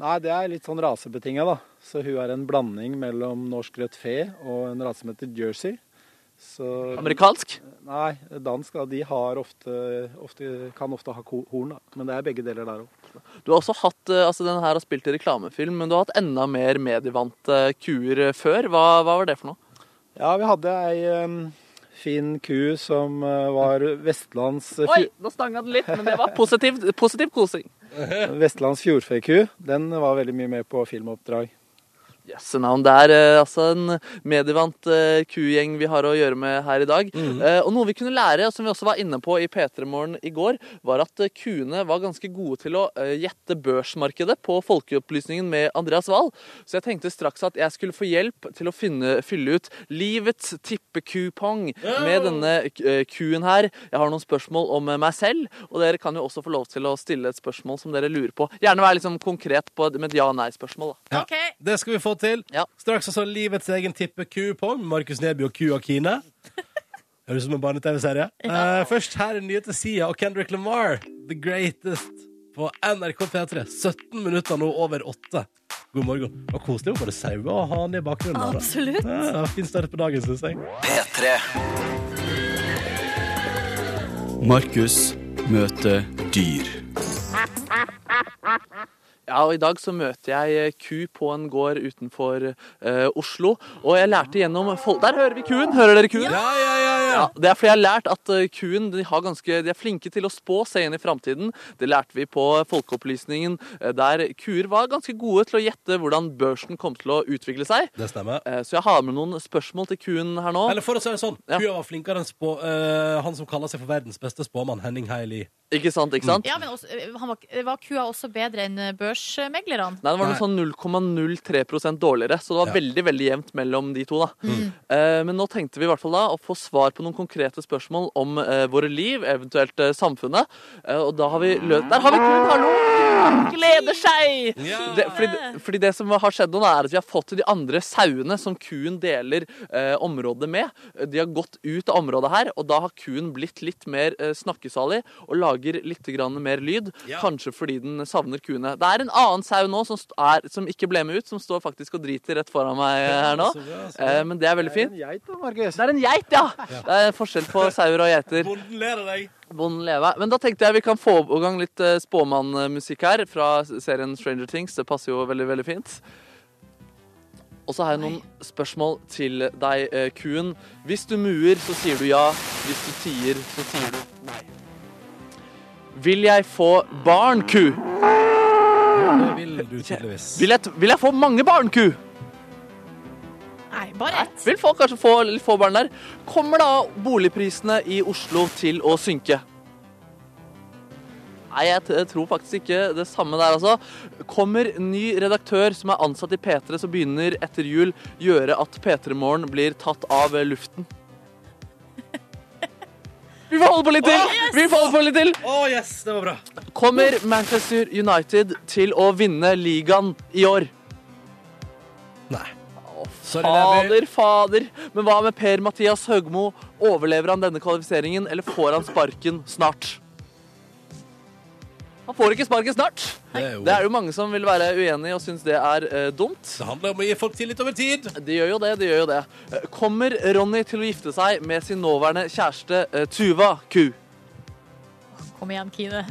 S8: Nei, det er litt sånn rasebetinga, da. Så hun er en blanding mellom norsk rødt fe og en rase som heter jersey. Så
S3: Amerikansk?
S8: Nei, dansk da, de har ofte, ofte, kan ofte ha ko- horn, da. men det er begge deler der òg.
S3: Du har også hatt, eh, altså Den her har spilt i reklamefilm, men du har hatt enda mer medievante kuer eh, før. Hva, hva var det for noe?
S8: Ja, vi hadde ei em, fin ku som eh, var Vestlands,
S3: Oi,
S8: fj
S3: nå stanga det litt, men det var positiv, positiv kosing.
S8: Vestlands fjordfeku. Den var veldig mye med på filmoppdrag.
S3: Jøsse navn. Det er eh, altså en medievant eh, kugjeng vi har å gjøre med her i dag. Eh, og noe vi kunne lære, og som vi også var inne på i P3 Morgen i går, var at eh, kuene var ganske gode til å eh, gjette børsmarkedet på Folkeopplysningen med Andreas Wahl. Så jeg tenkte straks at jeg skulle få hjelp til å finne, fylle ut livets tippekupong med denne eh, kuen her. Jeg har noen spørsmål om eh, meg selv, og dere kan jo også få lov til å stille et spørsmål som dere lurer på. Gjerne være liksom konkret på, med et ja-nei-spørsmål.
S1: Ja.
S3: da.
S2: OK,
S1: Det skal vi få til.
S3: Ja.
S1: Straks altså livets egen tippekupong med Markus Neby og Kua Kine. Høres ut som en barne-TV-serie. Eh, først her er nye til sida og Kendrick Lamar, The Greatest, på NRK P3. 17 minutter nå over 8. God morgen. Det var koselig å bare saue og ha den i bakgrunnen. her, da.
S2: absolutt.
S1: Ja, det var en fin start på dagen, syns jeg.
S7: Markus møter dyr.
S3: Ja, og I dag så møter jeg eh, ku på en gård utenfor eh, Oslo. Og jeg lærte gjennom fol Der hører vi kuen! Hører dere kuen?
S1: Ja, ja, ja, ja.
S3: Ja, det er fordi jeg har lært at eh, kuen de, har ganske, de er flinke til å spå seg inn i framtiden. Det lærte vi på Folkeopplysningen, eh, der kuer var ganske gode til å gjette hvordan børsen kom til å utvikle seg.
S1: Det stemmer.
S3: Eh, Så jeg har med noen spørsmål til kuen her nå.
S1: Eller for å si det sånn,
S3: Ja.
S1: Kua var flinkere enn spå, eh, han som kaller seg for verdens beste spåmann, Henning Heili.
S3: Ikke sant, ikke sant?
S2: Ja, men også, eh, han var, var kua også bedre enn eh, børsmeglerne?
S3: Nei, det var noe sånn 0,03 dårligere, så det var
S1: Ja.
S3: veldig veldig jevnt mellom de to. da. Eh, men nå tenkte vi i hvert fall da å få svar på noen konkrete spørsmål om eh, våre liv, eventuelt eh, samfunnet. Eh, og da har vi løst Der har vi kuen! Hallo! Gleder seg!
S1: Ja.
S3: Det, fordi, fordi det som har skjedd nå, da, er at vi har fått de andre sauene som kuen deler eh, området med. De har gått ut av området her, og da har kuen blitt litt mer eh, snakkesalig og lager litt grann mer lyd.
S1: Ja.
S3: Kanskje fordi den savner kuene. Det er en annen sau nå som, st- er, som ikke ble med ut, som står faktisk og driter rett foran meg eh, her nå.
S1: Så bra, så bra.
S3: Eh, men det er veldig
S8: Det
S3: fint.
S8: er en geit da, Markus.
S3: Det er en geit, ja! Det er forskjell på sauer og geiter.
S1: Bonden ler av deg.
S3: Bonden leve. Men da tenkte jeg vi kan få i gang litt eh, spåmannmusikk her fra serien Stranger Things. Det passer jo veldig, veldig fint. Og så har jeg noen spørsmål til deg, eh, kuen. Hvis du muer, så sier du ja. Hvis du tier, så sier du nei. Vil jeg få barn, ku?
S1: Det vil du tydeligvis.
S3: Vil jeg, vil jeg få mange barn, ku?
S2: Nei, bare ett.
S3: Vil folk kanskje få litt få barn der? Kommer da boligprisene i Oslo til å synke? Nei, jeg t- tror faktisk ikke det samme der, altså. Kommer ny redaktør som er ansatt i P3, så begynner etter jul gjøre at P3-morgen blir tatt av eh, luften? Vi får holde på litt til! Vi får holde på litt til!
S1: Å, yes, det var bra.
S3: Kommer Manchester United til å vinne ligaen i år?
S1: Nei. Sorry, Neby.
S3: Fader, fader. Men hva med Per-Mathias Høgmo? Overlever han denne kvalifiseringen, eller får han sparken snart? Han får ikke sparken snart.
S1: Det, er jo,
S3: Det er jo mange som vil være uenig og synes det er eh, dumt.
S1: det handler om å gi folk tillit over tid.
S3: De gjør jo det, de gjør jo det. Eh, Kommer Ronny til å gifte seg med sin nåværende kjæreste eh, Tuva Ku?
S2: Kom igjen, Kine.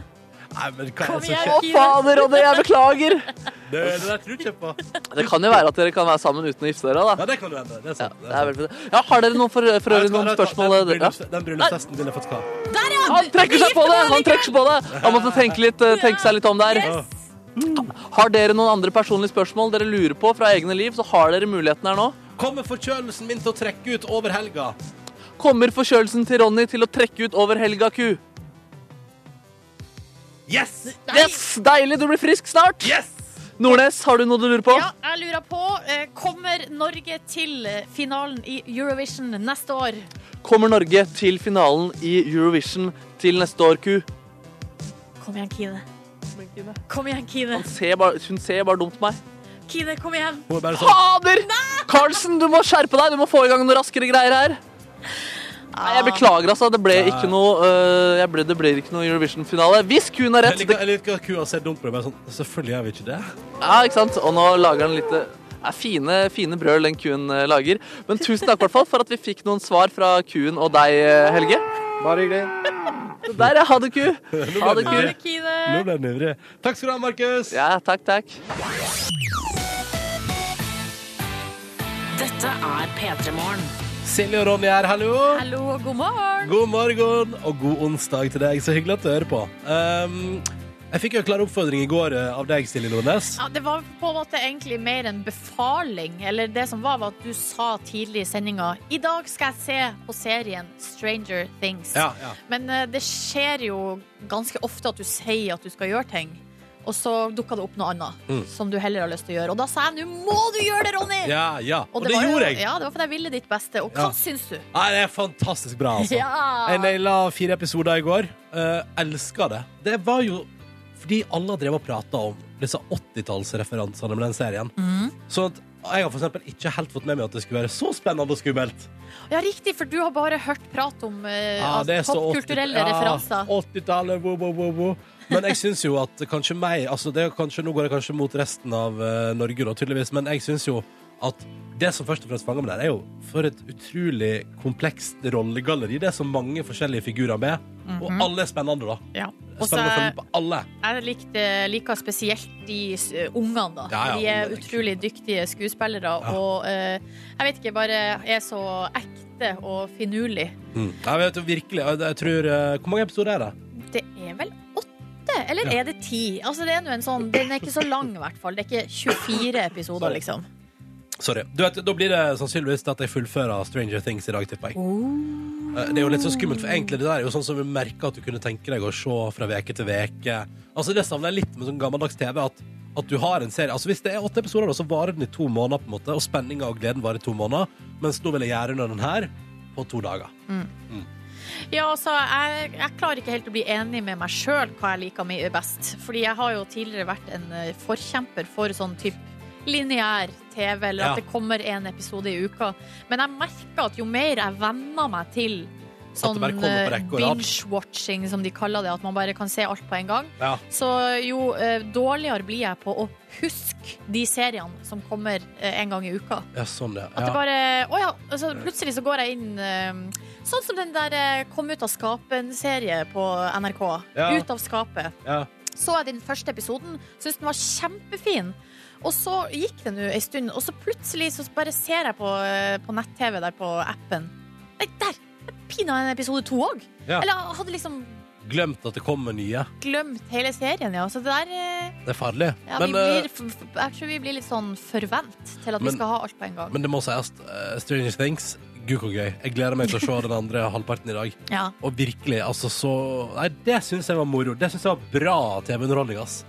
S1: Nei, men hva
S2: Kom
S1: er det som
S2: igjen,
S1: skjer?
S3: Å, fader, Ronny, jeg beklager!
S1: Det, det der tror ikke jeg på.
S3: Det kan jo være at dere kan være sammen uten å gifte dere, da.
S1: Ja, det kan du hende. Det er
S3: Ja,
S1: sant.
S3: det er vel... ja, har dere noen for, for øvrig noen spørsmål? eh,
S1: Den,
S3: Ja.
S1: bryllups, den bryllupsfesten din er fått hva?
S2: Der, ja!
S3: Han trekker seg på det! Han trekker seg på det! Han måtte tenke, litt, eh, tenke seg litt om der.
S1: Ja.
S3: Har dere noen andre personlige spørsmål dere lurer på fra egne liv, så har dere muligheten her nå.
S1: Kommer forkjølelsen min til å trekke ut over helga?
S3: Kommer forkjølelsen til Ronny til å trekke ut over helga ku?
S1: Yes!
S3: Yes! Deilig, du blir frisk snart!
S1: Yes!
S3: Nordnes, har du noe du lurer på?
S2: Ja, jeg lurer på, eh, kommer Norge til eh, finalen i Eurovision neste år?
S3: Kommer Norge til finalen i Eurovision til neste år, ku?
S2: Kom igjen, Kine. Kom igjen, Kine.
S3: Han ser bare, hun ser bare dumt på meg.
S2: Kine, kom igjen.
S1: Hun er bare sånn
S3: Fader! Carlsen, du må skjerpe deg! Du må få i gang noen raskere greier her. Nei, jeg beklager, altså. Det ble ikke noe, øh, jeg ble, det blir ikke noe Eurovision-finale. Hvis kun har
S1: Jeg
S3: rett, det
S1: liker jeg liker at kua ser dumt på det. Bare sånn, selvfølgelig gjør vi ikke det.
S3: Ja, ikke sant? Og nå lager han litt øh, er fine, fine brøl den kuen eh, lager. Men tusen takk hvertfall for at vi fikk noen svar fra kuen og deg, eh, Helge.
S8: Bare hyggelig.
S3: Der, ja. Ha det, ku. Ha det,
S2: Ha det,
S3: ku.
S2: Kine.
S1: Nå ble den ivrig. Takk skal du ha, Markus.
S3: Ja, takk, takk.
S9: Dette er P3 Morgen.
S1: Silje og Ronny her, hallo.
S2: Hallo, og god morgen.
S1: God morgen og god onsdag til deg. Så hyggelig at du hører på. Um, jeg fikk jo en klar oppfordring i går eh, av deg, Silje Nordnes.
S2: Ja, det var på en måte egentlig mer en befaling. Eller det som var, var at du sa tidlig i sendinga I dag skal jeg se på serien Stranger Things.
S1: Ja, ja.
S2: Men eh, det skjer jo ganske ofte at du sier at du skal gjøre ting. Og så dukker det opp noe annet som du heller har lyst til å gjøre. Og da sa jeg nå må du gjøre det, Ronny!
S1: Mm. ja, ja. Og det,
S2: var jo-
S1: gjorde jeg.
S2: Ja, det var fordi jeg ville ditt beste. Og hva
S1: Ja.
S2: syns du?
S1: Nei, det er fantastisk bra, altså. Jeg
S2: Ja.
S1: naila fire episoder i går. Uh, Elska det. Det var jo fordi alle drev og prata om disse 80-tallsreferansene med den serien.
S2: Mm.
S1: Sånn at jeg har for eksempel ikke helt fått med meg at det skulle være så spennende og skummelt.
S2: ja, riktig, for du har bare hørt prat om eh,
S1: Ja, Ah, det er
S2: altså,
S1: så 80
S2: popkulturelle
S1: ja,
S2: referanser.
S1: 80-tallet, wo, wo, wo, wo. Men jeg syns jo at kanskje meg altså det er kanskje, Nå går jeg kanskje mot resten av eh, Norge, da, tydeligvis, men jeg syns jo at det som først og fremst fanger meg der, er jo for et utrolig komplekst rollegalleri. Det er så mange forskjellige figurer med, og alle er spennende, da.
S2: Ja. Mhm. Og så
S1: Spennende å følge med på alle.
S2: Jeg likte, eh, liker spesielt de s- ungene, da.
S1: Ja, ja,
S2: de er
S1: ungene er
S2: utrolig dyktige skuespillere og eh, jeg vet ikke, bare er så ekte og finurlig.
S1: Mm. Jeg vet jo virkelig, jeg, jeg tror eh, Hvor mange episoder er det?
S2: Det er vel åtte? Eller
S1: Ja.
S2: er det ti? Altså, det er nå en sånn, den er ikke så lang, i hvert fall. Det er ikke 24 episoder, liksom.
S1: Sorry. Du vet, da blir det sannsynligvis til at jeg fullfører Stranger Things i dag, tipper jeg.
S2: Oh.
S1: Eh, Det er jo litt så skummelt, for egentlig det der er jo sånn som vi merker at du kunne tenke deg å se fra veke til veke. Altså Det savner jeg litt med sånn gammeldags TV. At, at du har en serie Altså Hvis det er åtte episoder, da, så varer den i to måneder, på en måte og spenninga og gleden varer i to måneder. Mens nå vil jeg gjøre under den her på to dager.
S2: Ja, altså, jeg, jeg klarer ikke helt å bli enig med meg sjøl hva jeg liker meg best. Fordi jeg har jo tidligere vært en eh, forkjemper for sånn type lineær TV, eller
S1: Ja.
S2: at det kommer en episode i uka. Men jeg merker at jo mer jeg venner meg til sånn
S1: det bare kommer på
S2: eh,
S1: rekke og rad.
S2: binge-watching, som de kaller det, at man bare kan se alt på en gang,
S1: Ja.
S2: så jo eh, dårligere blir jeg på å huske de seriene som kommer eh, en gang i uka.
S1: ja, sånn, ja.
S2: At det
S1: ja.
S2: bare Å ja. Altså, plutselig så går jeg inn eh, Sånn som den der eh, Kom ut av skapen-serie på NRK.
S1: Ja.
S2: Ut av skapet.
S1: ja.
S2: Så jeg den første episoden. Syns den var kjempefin. Og så gikk det nå ei stund, og så plutselig så bare ser jeg på, eh, på nett-TV der på appen. Nei, der! Pinadø en episode to òg.
S1: Ja.
S2: Eller jeg hadde liksom
S1: Glemt at det kommer nye.
S2: glemt hele serien, ja. Så det der eh,
S1: Det er farlig.
S2: ja,
S1: Men,
S2: vi
S1: eh,
S2: blir, f- f- Jeg tror vi blir litt sånn forvent til at
S1: Men-
S2: vi skal ha alt på en gang.
S1: men det må sies, eh, Stranger Things, gud hvor gøy. Jeg gleder meg til å se den andre halvparten i dag.
S2: Ja.
S1: Og virkelig, altså så Nei, det syns jeg var moro. Det syns jeg var bra TV-underholdning, ass.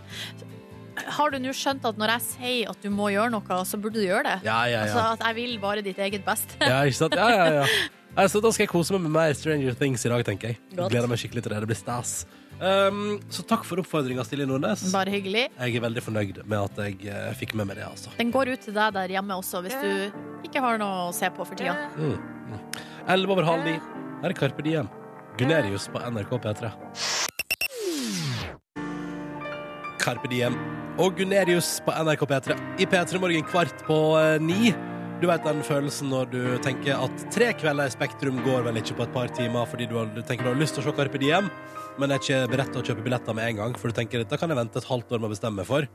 S2: Har du nå skjønt at når jeg sier at du må gjøre noe, så burde du gjøre det?
S1: Ja, ja,
S2: Altså
S1: ja.
S2: at jeg vil bare ditt eget beste.
S1: ja ikke sant? Ja, ja, ja. Nei, så da skal jeg kose meg med mer Stranger Things i dag, tenker jeg. jeg
S9: Godt.
S1: gleder meg skikkelig til det. Det blir stas. Um, så takk for oppfordringa, Silje Nordnes.
S2: Bare hyggelig.
S1: Jeg er veldig fornøyd med at jeg eh, fikk med meg det, altså.
S2: Den går ut til deg der hjemme også, hvis du ikke har noe å se på for tida.
S1: Mm, Elleve over halv ni. Her er Carpe Diem. Gunerius på NRK P3. Carpe Diem og Gunerius på NRK P3 i P3 Morgen kvart på eh, ni. Du vet den følelsen når du tenker at tre kvelder i Spektrum går vel ikke på et par timer fordi du, har, du tenker du har lyst til å se Carpe Diem, men er ikke beredt til å kjøpe billetter med en gang, for du tenker da kan jeg vente et halvt år med å bestemme meg for.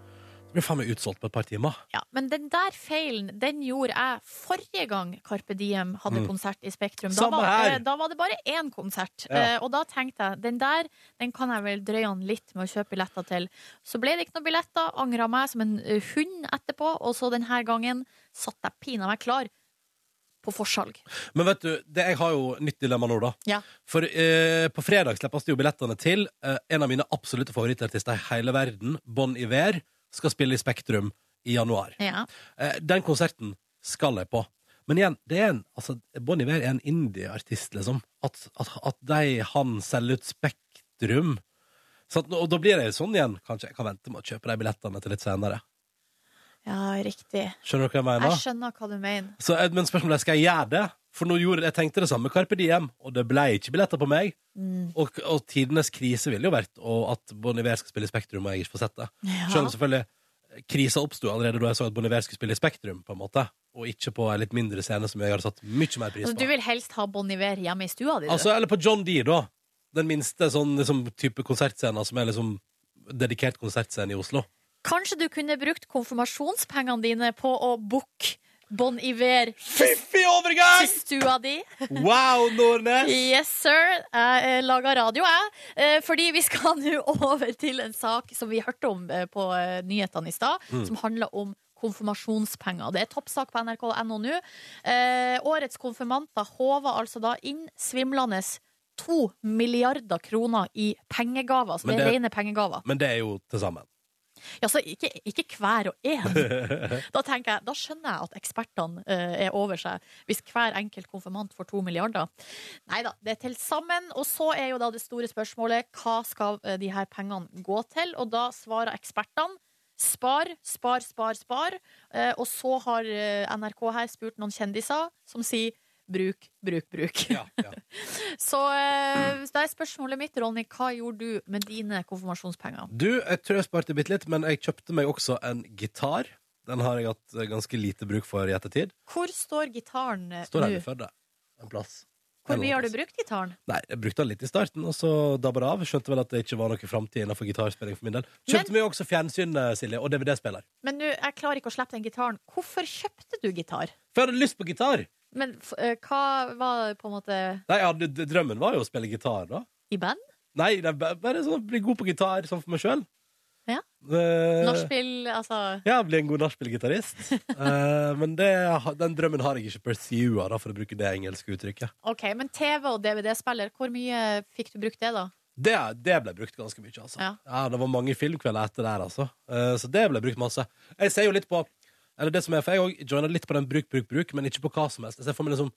S1: Det blir faen meg utsolgt på et par timer.
S2: Ja, men den der feilen den gjorde jeg forrige gang Carpe Diem hadde konsert i Spektrum. Da
S1: Mm. Samme
S2: var,
S1: her.
S2: eh, da var det bare én konsert.
S1: Ja.
S2: Eh, og da tenkte jeg den der den kan jeg vel drøye han litt med å kjøpe billetter til. Så ble det ikke noen billetter. Angra meg som en eh, hund etterpå. Og så denne gangen satt jeg pinadø meg klar på forsalg.
S1: Men vet du, det, jeg har jo nytt dilemma nå, da.
S2: Ja.
S1: For eh, på fredag slippes det jo billettene til eh, en av mine absolutte favorittartister i hele verden, Bon Iver, skal spille i Spektrum i januar.
S2: Ja.
S1: Eh, den konserten skal jeg på. Men igjen, det er en, altså, Bon Iver er en indie-artist, liksom. At, at, at de, han selger ut Spektrum. Sant? og da blir det jo sånn igjen. Kanskje jeg kan vente med å kjøpe de billettene til litt senere.
S2: ja, riktig.
S1: Skjønner dere hva jeg mener?
S2: Jeg skjønner hva du mener.
S1: Så, eh, men spørsmålet er, skal jeg gjøre det? For nå gjorde jeg tenkte det samme med Carpe Diem, og det ble ikke billetter på meg.
S2: Mm.
S1: Og, og tidenes krise ville jo vært og at Bon Iver skal spille i Spektrum, og jeg ikke får sett det.
S2: Ja.
S1: Selv om selvfølgelig eh, krisa oppsto allerede da jeg så at Bon Iver skulle spille i Spektrum, på en måte. Og ikke på en litt mindre scene som jeg hadde satt mye mer pris
S2: Altså,
S1: på.
S2: du vil helst ha Bon Iver hjemme i stua di? du?
S1: Altså, eller på John D, da. Den minste sånn liksom, type konsertscenen som er liksom dedikert konsertscene i Oslo.
S2: Kanskje du kunne brukt konfirmasjonspengene dine på å booke Bon Iver til
S1: Fy overgang!
S2: til stua di.
S1: Wow, Nordnes!
S2: Yes, sir. Jeg eh, lager radio, jeg. Eh, Fordi vi skal nå over til en sak som vi hørte om eh, på eh, nyhetene i stad,
S1: Mm.
S2: som handler om konfirmasjonspenger. Det er toppsak på nrk.no nå. Eh, Årets konfirmanter håva altså da inn svimlende to milliarder kroner i pengegaver, som
S1: Men
S2: er
S1: det-
S2: rene pengegaver.
S1: Men det er jo til sammen.
S2: Ja, så ikke, ikke hver og en. Da, tenker jeg, da skjønner jeg at ekspertene eh, er over seg, hvis hver enkelt konfirmant får to milliarder. Nei da, det er til sammen. Og så er jo da det store spørsmålet hva skal eh, de her pengene gå til? Og da svarer ekspertene spar, spar, spar, spar. Eh, og så har eh, NRK her spurt noen kjendiser som sier bruk, bruk, bruk.
S1: Ja, ja.
S2: Så eh, da er spørsmålet mitt, Ronny, hva gjorde du med dine konfirmasjonspenger?
S1: Du, jeg tror jeg sparte bitte litt, men jeg kjøpte meg også en gitar. Den har jeg hatt eh, ganske lite bruk for i ettertid.
S2: Hvor står gitaren eh,
S1: Står her i
S2: nå?
S1: Førde. En plass.
S2: Hvor
S1: En
S2: mye har
S1: eller annen plass.
S2: du brukt gitaren?
S1: Nei, Jeg brukte den litt i starten, og så dabba det av. Skjønte vel at det ikke var noe framtid innenfor gitarspilling for min del. Kjøpte meg også fjernsyn eh, Silje, og DVD-spiller.
S2: Men nå, jeg klarer ikke å slippe den gitaren. Hvorfor kjøpte du gitar?
S1: For jeg hadde lyst på gitar!
S2: Men f- eh, hva var på en måte
S1: Nei, jeg hadde, d- Drømmen var jo å spille gitar, da.
S2: i band?
S1: Nei, det er ba- bare sånn å bli god på gitar sånn for meg Eh, sjøl.
S2: Ja. Nachspiel, altså
S1: Ja, bli en god nachspielgitarist. Eh, men det, den drømmen har jeg ikke pursua, da, for å bruke det engelske uttrykket.
S2: OK, men TV og DVD-spiller, hvor mye fikk du brukt det, da?
S1: Det, det ble brukt ganske mye, altså. Ja.
S2: Ja.
S1: Det var mange filmkvelder etter der, altså. Eh, så det ble brukt masse. Jeg ser jo litt på Eller det som er, for jeg òg joina litt på den bruk, bruk, bruk, men ikke på hva som helst. Jeg ser for meg liksom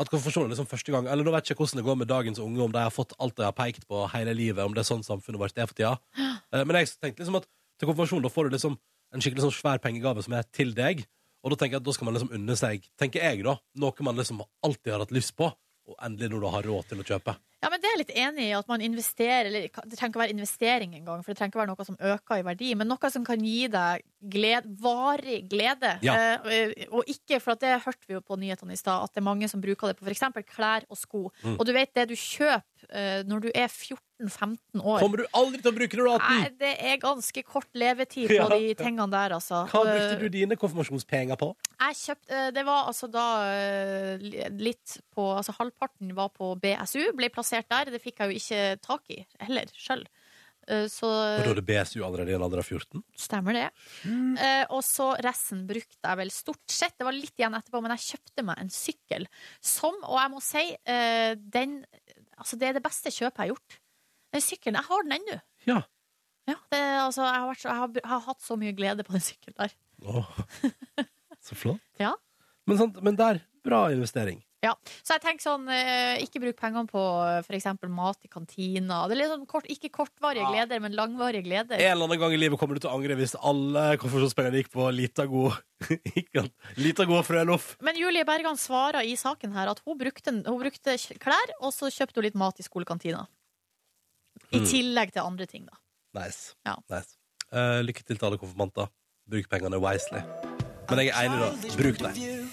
S1: at konfirmasjon er liksom første gang Eller nå vet jeg ikke hvordan det går med dagens unge, om de har fått alt de har pekt på hele livet, om det er sånn samfunnet vårt er for tida. Eh, men jeg tenkte liksom at til konfirmasjon da får du liksom en skikkelig sånn svær pengegave som er til deg. Og da tenker jeg at da skal man liksom unne seg, tenker jeg da, noe man liksom alltid har hatt lyst på, og endelig når du har råd til å kjøpe.
S2: Ja, men Det er jeg litt enig i, at man investerer eller ka- Det trenger ikke være investering engang, for det trenger ikke være noe som øker i verdi, men noe som kan gi deg gled, varig glede.
S1: Ja.
S2: Eh, og ikke, for at det hørte vi jo på nyhetene i stad, at det er mange som bruker det på f.eks. klær og sko.
S1: Mm.
S2: Og du vet, det du kjøper eh, når du er 14-15 år
S1: Kommer du aldri til å bruke når du er 18?
S2: Nei, det er ganske kort levetid på
S1: Ja.
S2: de tingene der, altså.
S1: Hva brukte du dine konfirmasjonspenger på?
S2: Jeg kjøpte eh, Det var altså da eh, li- litt på Altså halvparten var på BSU, ble plassert der. Det fikk jeg jo ikke tak i heller sjøl. Så
S1: Og da er det BSU allerede i en alder av 14?
S2: stemmer det. Eh, Og så resten brukte jeg vel stort sett. Det var litt igjen etterpå, men jeg kjøpte meg en sykkel som, og jeg må si, eh, den Altså, det er det beste kjøpet jeg har gjort. Den sykkelen. Jeg har den ennå.
S1: Ja.
S2: Ja, det, er altså, jeg, har vært så, jeg, har, br- jeg har hatt så mye glede på den sykkelen der.
S1: Åh. Så flott.
S2: Ja.
S1: Men, sant, men der, bra investering.
S2: Ja. Så jeg tenker sånn, eh, ikke bruk pengene på f.eks. mat i kantina. Det er litt sånn kort, ikke kortvarige gleder, men langvarige gleder.
S1: En eller annen gang i livet kommer du til å angre hvis alle konfirmasjonspengene gikk på lita god gikk an- Lita god frøloff.
S2: Men Julie Bergan svarer i saken her at hun brukte, hun brukte klær, og så kjøpte hun litt mat i skolekantina. I
S1: Mm.
S2: tillegg til andre ting, da.
S1: Nice.
S2: Ja.
S1: nice. Eh, lykke til til alle konfirmanter. Bruk pengene wisely. Men jeg er enig, da. Bruk dem.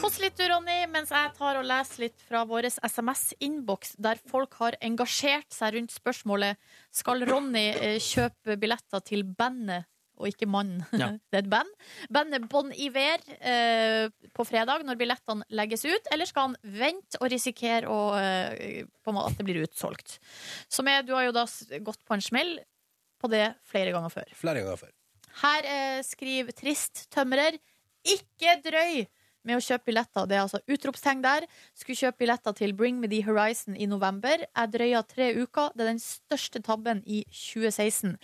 S2: Kos litt, du, Ronny, mens jeg tar og leser litt fra vår SMS-innboks, der folk har engasjert seg rundt spørsmålet Skal Ronny eh, kjøpe billetter til bandet og ikke mannen?
S3: Ja.
S2: Det er et band. Bandet Bon Iver eh, på fredag, når billettene legges ut, eller skal han vente og risikere å, eh, på en måte at det blir utsolgt? Som er, du har jo da s- gått på en smell på det flere ganger før.
S1: Flere ganger før.
S2: Her eh, skriver Trist Tømrer Ikke drøy med å kjøpe billetter Det er altså utropstegn der Skulle kjøpe billetter til Bring Me The Horizon i november Jeg drøya tre uker Det er den største tabben i 2016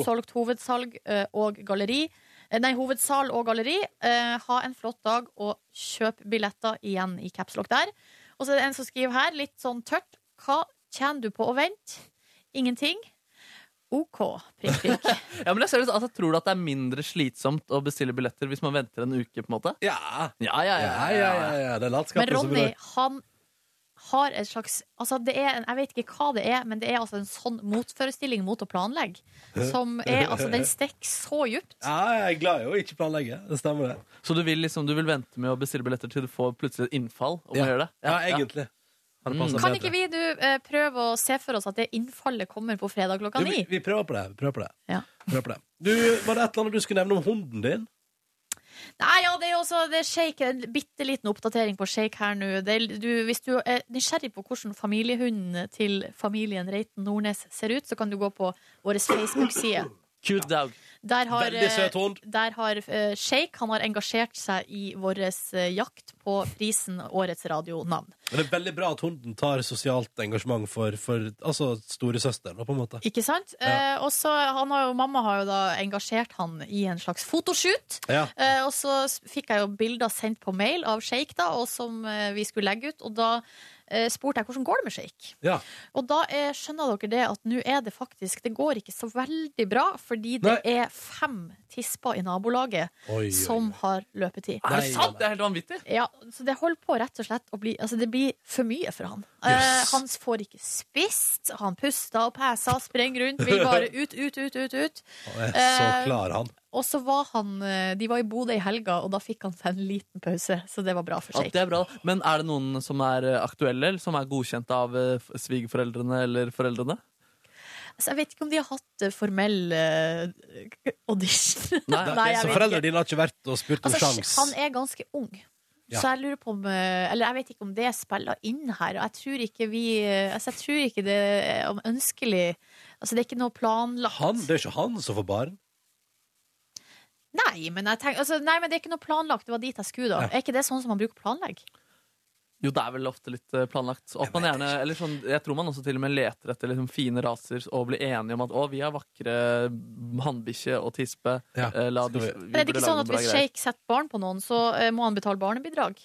S2: Utsolgt hovedsalg eh, og galleri Eh, Nei, hovedsal og galleri Eh, Ha en flott dag og kjøp billetter igjen i capslock der Og så er det en som skriver her, litt sånn tørt Hva tjener du på å vente? Ingenting Ok, prikk, prikk
S3: Ja, men jeg ser det sånn at jeg tror at det er mindre slitsomt å bestille billetter hvis man venter en uke. på en måte
S1: Ja.
S3: Ja, ja, ja,
S1: Ja, ja, ja, ja. Det er
S2: Men
S1: latskapen som
S2: Ronny,
S1: rår.
S2: han har en slags altså det er, en- Jeg vet ikke hva det er, men det er altså en sånn motforestilling mot å planlegge. Som er, altså Den stikker så djupt.
S1: Ja, jeg er glad i å ikke planlegge. Det stemmer, det.
S3: Så du vil liksom, du vil vente med å bestille billetter til du får plutselig et innfall? om
S1: Ja.
S3: å gjøre det?
S1: Ja, egentlig. Hadde passet
S2: Kan
S1: bedre.
S2: ikke vi nå eh, prøve å se for oss at det innfallet kommer på fredag klokka
S1: Jo, vi,
S2: ni?
S1: vi prøver på det. Vi prøver på det.
S2: Ja.
S1: Prøver på det. Du, var det et eller annet du skulle nevne om hunden din?
S2: Nei, ja, det er jo også det er shake, en bitte liten oppdatering på Shake her nå. Det er, du, hvis du er nysgjerrig på hvordan familiehunden til familien Reiten Nordnes ser ut, så kan du gå på vår Facebook-side.
S3: Cute dog.
S2: Der har, eh,
S1: Veldig søt hund.
S2: Der har eh, Sheik han har engasjert seg i vår eh, jakt på prisen Årets radionavn.
S1: Men det er veldig bra at hunden tar sosialt engasjement for, for altså, storesøsteren, da, på en måte.
S2: Ikke sant? Eh, og så han har jo, Mamma har jo da engasjert han i en slags fotoshoot.
S1: Ja.
S2: Eh, og så s- fikk jeg jo bilder sendt på mail av Sheik, da, og som eh, vi skulle legge ut. Og da eh, spurte jeg hvordan går det med Sheik.
S1: Ja.
S2: Og da eh, skjønner dere det at nå er det faktisk Det går ikke så veldig bra, fordi det er fem tisper i nabolaget
S1: Oi, oi,
S2: som
S1: oi.
S2: har løpetid.
S3: Er det
S1: Nei,
S3: sant?
S1: nei.
S3: Det er helt vanvittig.
S2: Ja, så det holder på rett og slett å bli Altså, det blir for mye for han. Eh,
S1: Yes.
S2: han får ikke spist, han puster og peser, sprenger rundt, vil bare ut, ut, ut, ut. ut.
S1: Han er så
S2: Eh,
S1: klar, han.
S2: Og så var han eh, De var i Bodø i helga, og da fikk han seg en liten pause, så det var bra for
S3: Ja,
S2: seg.
S3: det er bra. da. Men er det noen som er eh, aktuelle, eller som er godkjent av eh, f- svigerforeldrene eller foreldrene?
S2: Så jeg vet ikke om de har hatt eh, formell eh, audition.
S3: Nei,
S1: Nei,
S2: jeg
S1: så
S2: vet
S1: foreldrene
S2: ikke.
S1: dine har ikke vært og spurt om
S2: Altså,
S1: sjans.
S2: Han er ganske ung.
S1: Ja.
S2: Så jeg lurer på om eh, Eller jeg vet ikke om det spiller inn her. Og jeg tror ikke vi eh, Altså, jeg tror ikke det er om ønskelig Altså, det er ikke noe planlagt.
S1: Han, det er ikke han som får barn.
S2: Nei, men jeg tenker altså, Nei, men det er ikke noe planlagt. Det var dit jeg skulle, da.
S1: Ja.
S2: Er ikke det sånn som man bruker planlegg?
S3: Jo, det er vel ofte litt eh, planlagt. Og at man gjerne, eller sånn, jeg tror man også til og med leter etter liksom, fine raser og blir enige om at å, vi har vakre hannbikkje og tispe.
S1: Ja,
S3: Eh, La,
S1: skal
S3: vi,
S1: vi-
S2: Men er det
S3: burde
S2: ikke
S3: lage
S2: sånn
S3: noen
S2: at
S3: bra
S2: hvis
S3: greier.
S2: Shake setter barn på noen, så eh, må han betale barnebidrag?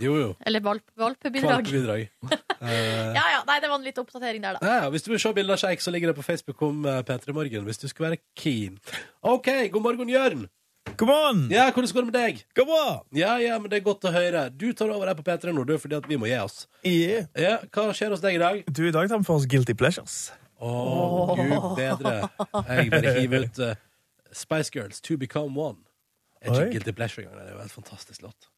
S1: Jo, jo.
S2: Eller valp, valpebidrag?
S1: Kvalpebidrag.
S2: Ja ja, nei, det var en liten oppdatering der, da.
S1: Ja, ja, hvis du vil se bilder av sjeik, så ligger det på Facebook om eh, P3 Morgen. Hvis du skulle være keen. OK, god morgen, Jørn.
S9: Come on!
S1: Ja, hvordan går det med deg?
S9: Come on!
S1: Ja, ja, men det er godt å høre. Du tar over her på P3 nå, du, fordi at vi må gi oss.
S9: Yeah.
S1: Ja, Hva skjer hos deg i dag?
S9: Du, i dag tar vi for oss Guilty Pleasures.
S1: Å, gud bedre. Jeg bare hiver ut eh, Spice Girls, To Become One. Jeg er
S9: Oi.
S1: ikke guilty pleasure engang. Det er jo en fantastisk låt.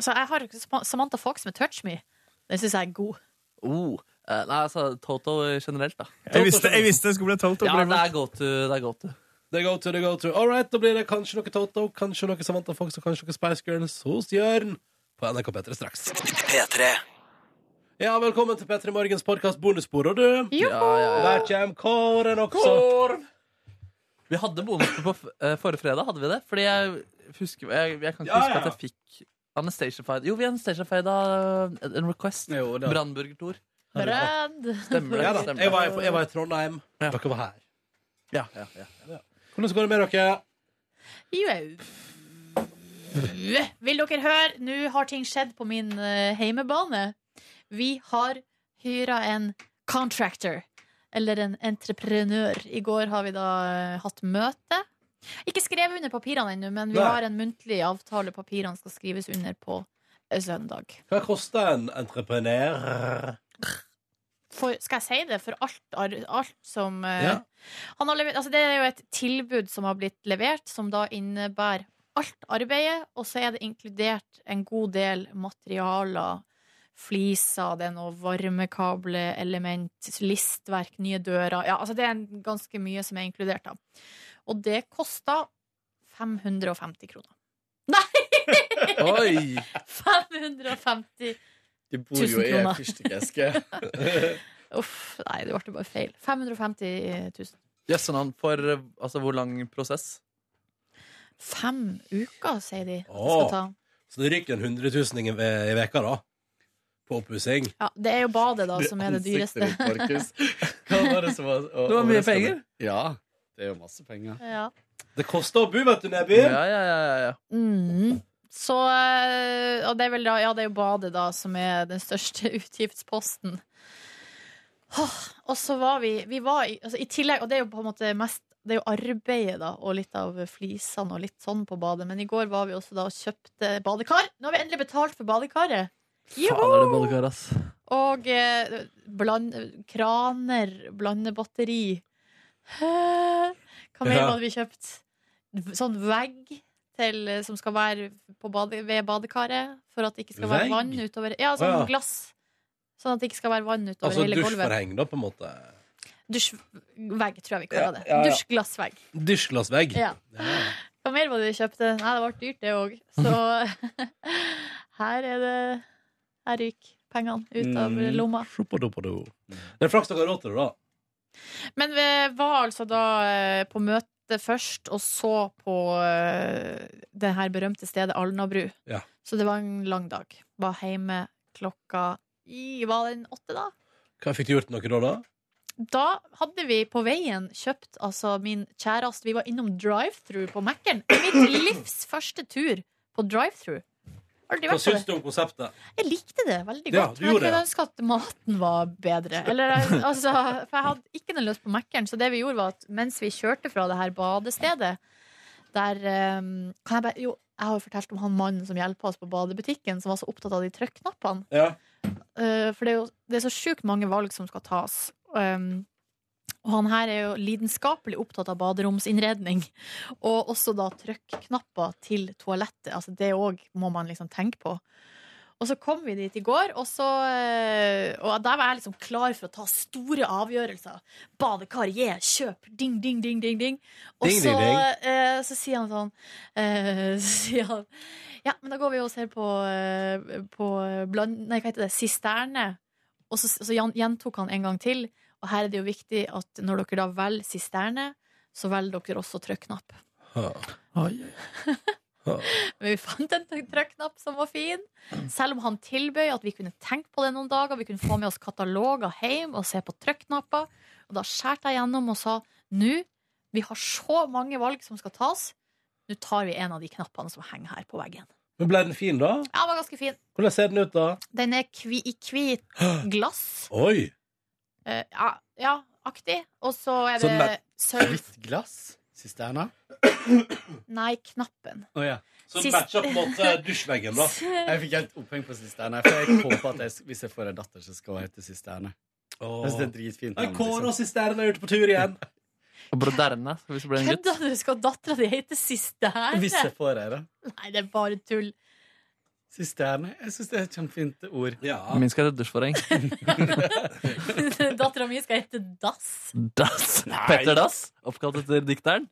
S2: Så jeg har Sam- Samantha Fox med 'Touch Me'. Den syns jeg er god.
S3: Oh, eh, nei, altså Toto generelt, da.
S9: Jeg visste, jeg visste det skulle bli Toto.
S3: Ja,
S9: men
S3: det
S9: det
S3: er go to. Det er go to.
S1: Det er go to, det er go to. All right, da blir det kanskje noe Toto, kanskje noe Samantha Fox og kanskje noe Spice Girls hos Jørn på NRK P3 straks. Ja, velkommen til P3 Morgens podkast Bonusspor, og du.
S2: Jo.
S3: Ja, ja, ja.
S1: Der kommer kåren også.
S3: Vi hadde bonus på f- eh, forrige fredag, hadde vi det? Fordi jeg husker Jeg, jeg kan ikke
S1: Ja,
S3: huske
S1: ja.
S3: at jeg fikk Anastacia-fide. Jo, vi Anastacia-fida en request.
S1: Jo, da.
S3: Brannburger-Tor.
S2: Brand.
S3: Stemmer det.
S1: Ja, da.
S3: stemmer
S1: Jeg, var,
S3: det.
S1: jeg var i Trondheim.
S3: Ja.
S1: Dere var her.
S3: Ja, ja, ja.
S1: Hvordan går det med dere?
S2: Jo. Vil dere høre? Nå har ting skjedd på min eh, heimebane. Vi har hyra en contractor, eller en entreprenør. I går har vi da eh, hatt møte. Ikke skrevet under papirene ennå, men vi
S1: Nei.
S2: har en muntlig avtale papirene skal skrives under på eh, søndag.
S1: Hva koster en entreprenør?
S2: For, skal jeg si det? For alt, ar- alt som eh,
S1: Ja.
S2: han har levert, altså Det er jo et tilbud som har blitt levert, som da innebærer alt arbeidet, og så er det inkludert en god del materialer. Fliser, det er noe varmekableelement, listverk, nye dører ja, altså Det er en- ganske mye som er inkludert. da Og det kosta 550 kroner.
S3: Oi!
S2: 550
S10: De bor jo
S2: Tusen
S10: i ei
S2: kroner.
S10: fyrstikkeske.
S2: Uff, nei, det ble bare feil. eh, 550 000.
S3: Jøssen han for eh, altså, hvor lang prosess?
S2: Fem uker, sier de. at det
S1: Åh.
S2: Skal ta.
S1: Så det ryker en hundretusening i ve- i veka da. På oppussing.
S2: Ja, det er jo badet da som er det
S10: Ansiktet
S2: dyreste.
S10: ditt, Markus. Hva var det som var å-
S3: Det var mye
S10: overraskende?
S3: penger.
S10: Ja. Det er jo masse penger.
S2: Ja.
S1: Det koster å bo, vet du, Neby.
S3: Ja, ja, ja, ja, ja.
S2: Mm. Så eh, Og det er vel da Ja, det er jo badet, da, som er den største utgiftsposten. Åh, og så var vi Vi var i, altså, i tillegg Og det er jo på en måte mest Det er jo arbeidet, da, og litt av flisene og litt sånn på badet. Men i går var vi også da og kjøpte badekar. Nå har vi endelig betalt for badekaret. Joho!
S3: Faen er det badekar, ass.
S2: Og eh, bland, kraner, blandebatteri. Hæ? Hva mer
S1: Ja.
S2: hadde vi kjøpt? Sånn vegg til, eh, som skal være på bade, ved badekaret, for at det ikke skal
S1: Vegg?
S2: være vann utover Ja, sånn
S1: Å, ja.
S2: glass. Sånn at det ikke skal være vann utover
S1: Altså
S2: hele gulvet.
S1: dusjforheng, da, på en måte.
S2: Dusjvegg, tror jeg vi kaller det.
S1: Ja, ja, ja.
S2: Dusjglassvegg.
S1: Dusjglassvegg.
S2: Ja. Hva mer var det vi kjøpte? Nei, det ble dyrt, det òg. Så her er det Her ryker pengene ut av
S10: Mm.
S2: lomma.
S1: Sjopadopodo. Det er flaks dere har råd til det, da.
S2: Men vi var altså da eh, på møte først, og så på eh, det her berømte stedet Alnabru.
S1: Ja.
S2: Så det var en lang dag. Var hjemme klokka i, Var den åtte, da?
S1: Hva fikk du gjort noe da, da?
S2: Da hadde vi på veien kjøpt altså min kjæreste Vi var innom drive-thru på Mækkern. Det er Mitt livs første tur på drive-thru. Aldri
S1: Hva
S2: vært på
S1: syns
S2: det.
S1: du om konseptet?
S2: Jeg likte det veldig
S1: Ja,
S2: godt.
S1: du
S2: men jeg
S1: gjorde
S2: kunne
S1: det.
S2: ønske at maten var bedre. Eller, altså, for jeg hadde ikke noe lyst på Mækkern. Så det vi gjorde, var at mens vi kjørte fra det her badestedet der eh, kan jeg, bare, jo, jeg har jo fortalt om han mannen som hjelper oss på badebutikken, som var så opptatt av de trykknappene.
S1: Ja.
S2: Eh, for det er jo det er så sjukt mange valg som skal tas. Um, og han her er jo lidenskapelig opptatt av baderomsinnredning. Og også da trykknapper til toalettet. Altså det òg må man liksom tenke på. Og så kom vi dit i går, og, så, eh, og der var jeg liksom klar for å ta store avgjørelser. Badekar, yeah, kjøp! Ding, ding, ding, ding. ding. Og
S1: Ding,
S2: så,
S1: ding, ding.
S2: eh, så sier han sånn eh, Så sier han ja, men da går vi og ser på, eh, på bland, Nei, hva heter det? Sisterne. Og så, så gjen- gjentok han en gang til. Og her er det jo viktig at når dere da velger sisterne, så velger dere også trykknapp. Men vi fant en tryk- trykknapp som var fin. Selv om han tilbød at vi kunne tenke på det noen dager. Vi kunne få med oss kataloger hjem og se på trykknapper. Og da skjærte jeg gjennom og sa nå, vi har så mange valg som skal tas. Nå tar vi en av de knappene som henger her på veggen.
S1: Men ble den fin, da?
S2: Ja, den var ganske fin.
S1: Hvordan ser den ut, da?
S2: Den er kvi, i hvit glass.
S1: Oi!
S2: Eh, ja, ja, aktig. Og så er
S1: Sånn
S2: det
S1: med-
S2: sølv...
S10: Hvitt glass. Sisterna.
S2: Nei, knappen.
S10: Å ja.
S1: Så
S2: Sist-
S1: den matcher på en måte dusjveggen, da.
S10: Jeg fikk helt oppheng på Sisterna. For jeg kom på at jeg, hvis jeg får en datter, så skal hun hete Sisterne. Jeg synes det er dritfint.
S1: Nei,
S10: navn,
S1: Kåre
S10: liksom.
S1: og sisteren er ute på tur igjen.
S3: Og Broderne, hvis det ble en gutt.
S2: Kødda du? Skal dattera di hete Sisterne?
S10: Hvis jeg får ei, da.
S2: Nei, det er bare tull.
S10: Sisterne. Jeg syns det er et kjempefint ord.
S1: Ja.
S3: Min skal hete dusjforheng.
S2: Dattera mi skal hete Dass.
S3: Dass. Petter Dass, oppkalt etter dikteren.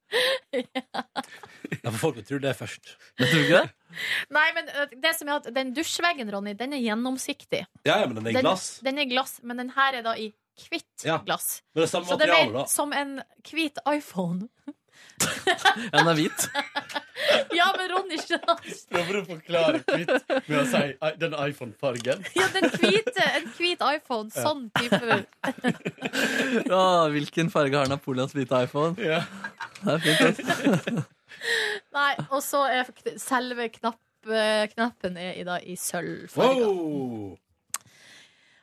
S1: ja, for folk vil tro det først.
S3: Men tror du ikke det?
S2: Nei, men eh, det som er at den dusjveggen, Ronny, den er gjennomsiktig.
S1: Ja, ja, men den er i
S2: Den,
S1: glass.
S2: den er glass, men den her er da i hvitt
S1: Ja.
S2: glass.
S1: Men det er samme
S2: Så det er
S1: materialet,
S2: mer
S1: da.
S2: som en hvit iPhone.
S3: Ja, den er hvit.
S2: Ja, men Ronny skjønner
S10: Prøver du å forklare hvitt med å si i- den iPhone-fargen?
S2: Ja, den hvite, en hvit iPhone. Sånn type
S3: Å, hvilken farge har Napoleons hvite iPhone?
S10: Ja.
S3: Det er fint, ass.
S2: Nei, og så er fakt- selve knapp, eh, knappen er i, da, i sølvfarga.
S1: Wow!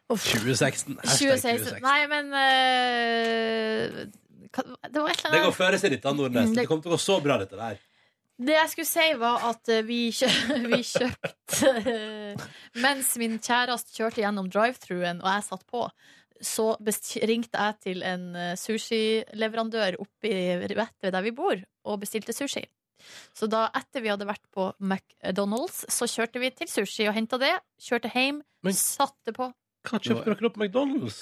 S1: 2016. Hashtag
S2: 2016. Nei, men eh, hva- Det var et eller
S1: Det går
S2: annet
S1: føre seg litt, da, Nordnes.
S2: Mm, det-
S1: Det kommer til å gå så bra, dette der.
S2: Det jeg skulle si, var at eh, vi, kjø vi kjøpte eh, Mens min kjæreste kjørte gjennom drive-thruen, og jeg satt på, så best- ringte jeg til en eh, sushileverandør oppe i rett ved der vi bor, og bestilte sushi. Så da, etter vi hadde vært på McDonald's, så kjørte vi til sushi og henta det. Kjørte hjem, satte på.
S1: Hva kjøpte dere da på McDonald's?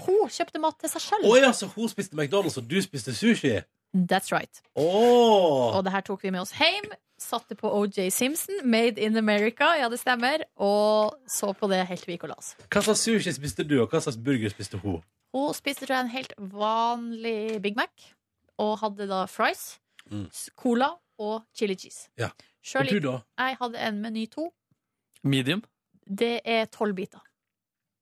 S2: Hun kjøpte mat til seg
S1: Å
S2: sjøl.
S1: ja, så hun spiste McDonald's, og du spiste sushi?
S2: That's right.
S1: Åh
S2: Og det her tok vi med oss hjem. Satte på OJ Simpson, Made in America, ja det stemmer. Og så på det helt til vi gikk og la oss.
S1: Hva slags sushi spiste du, og hva slags burger spiste hun?
S2: Hun spiste tror jeg en helt vanlig Big Mac, og hadde da fries,
S1: Mm.
S2: s- cola og chili cheese.
S1: Ja.
S2: Selv
S1: Og du da?
S2: gikk- Jeg hadde en meny to.
S3: Medium.
S2: Det er tolv biter.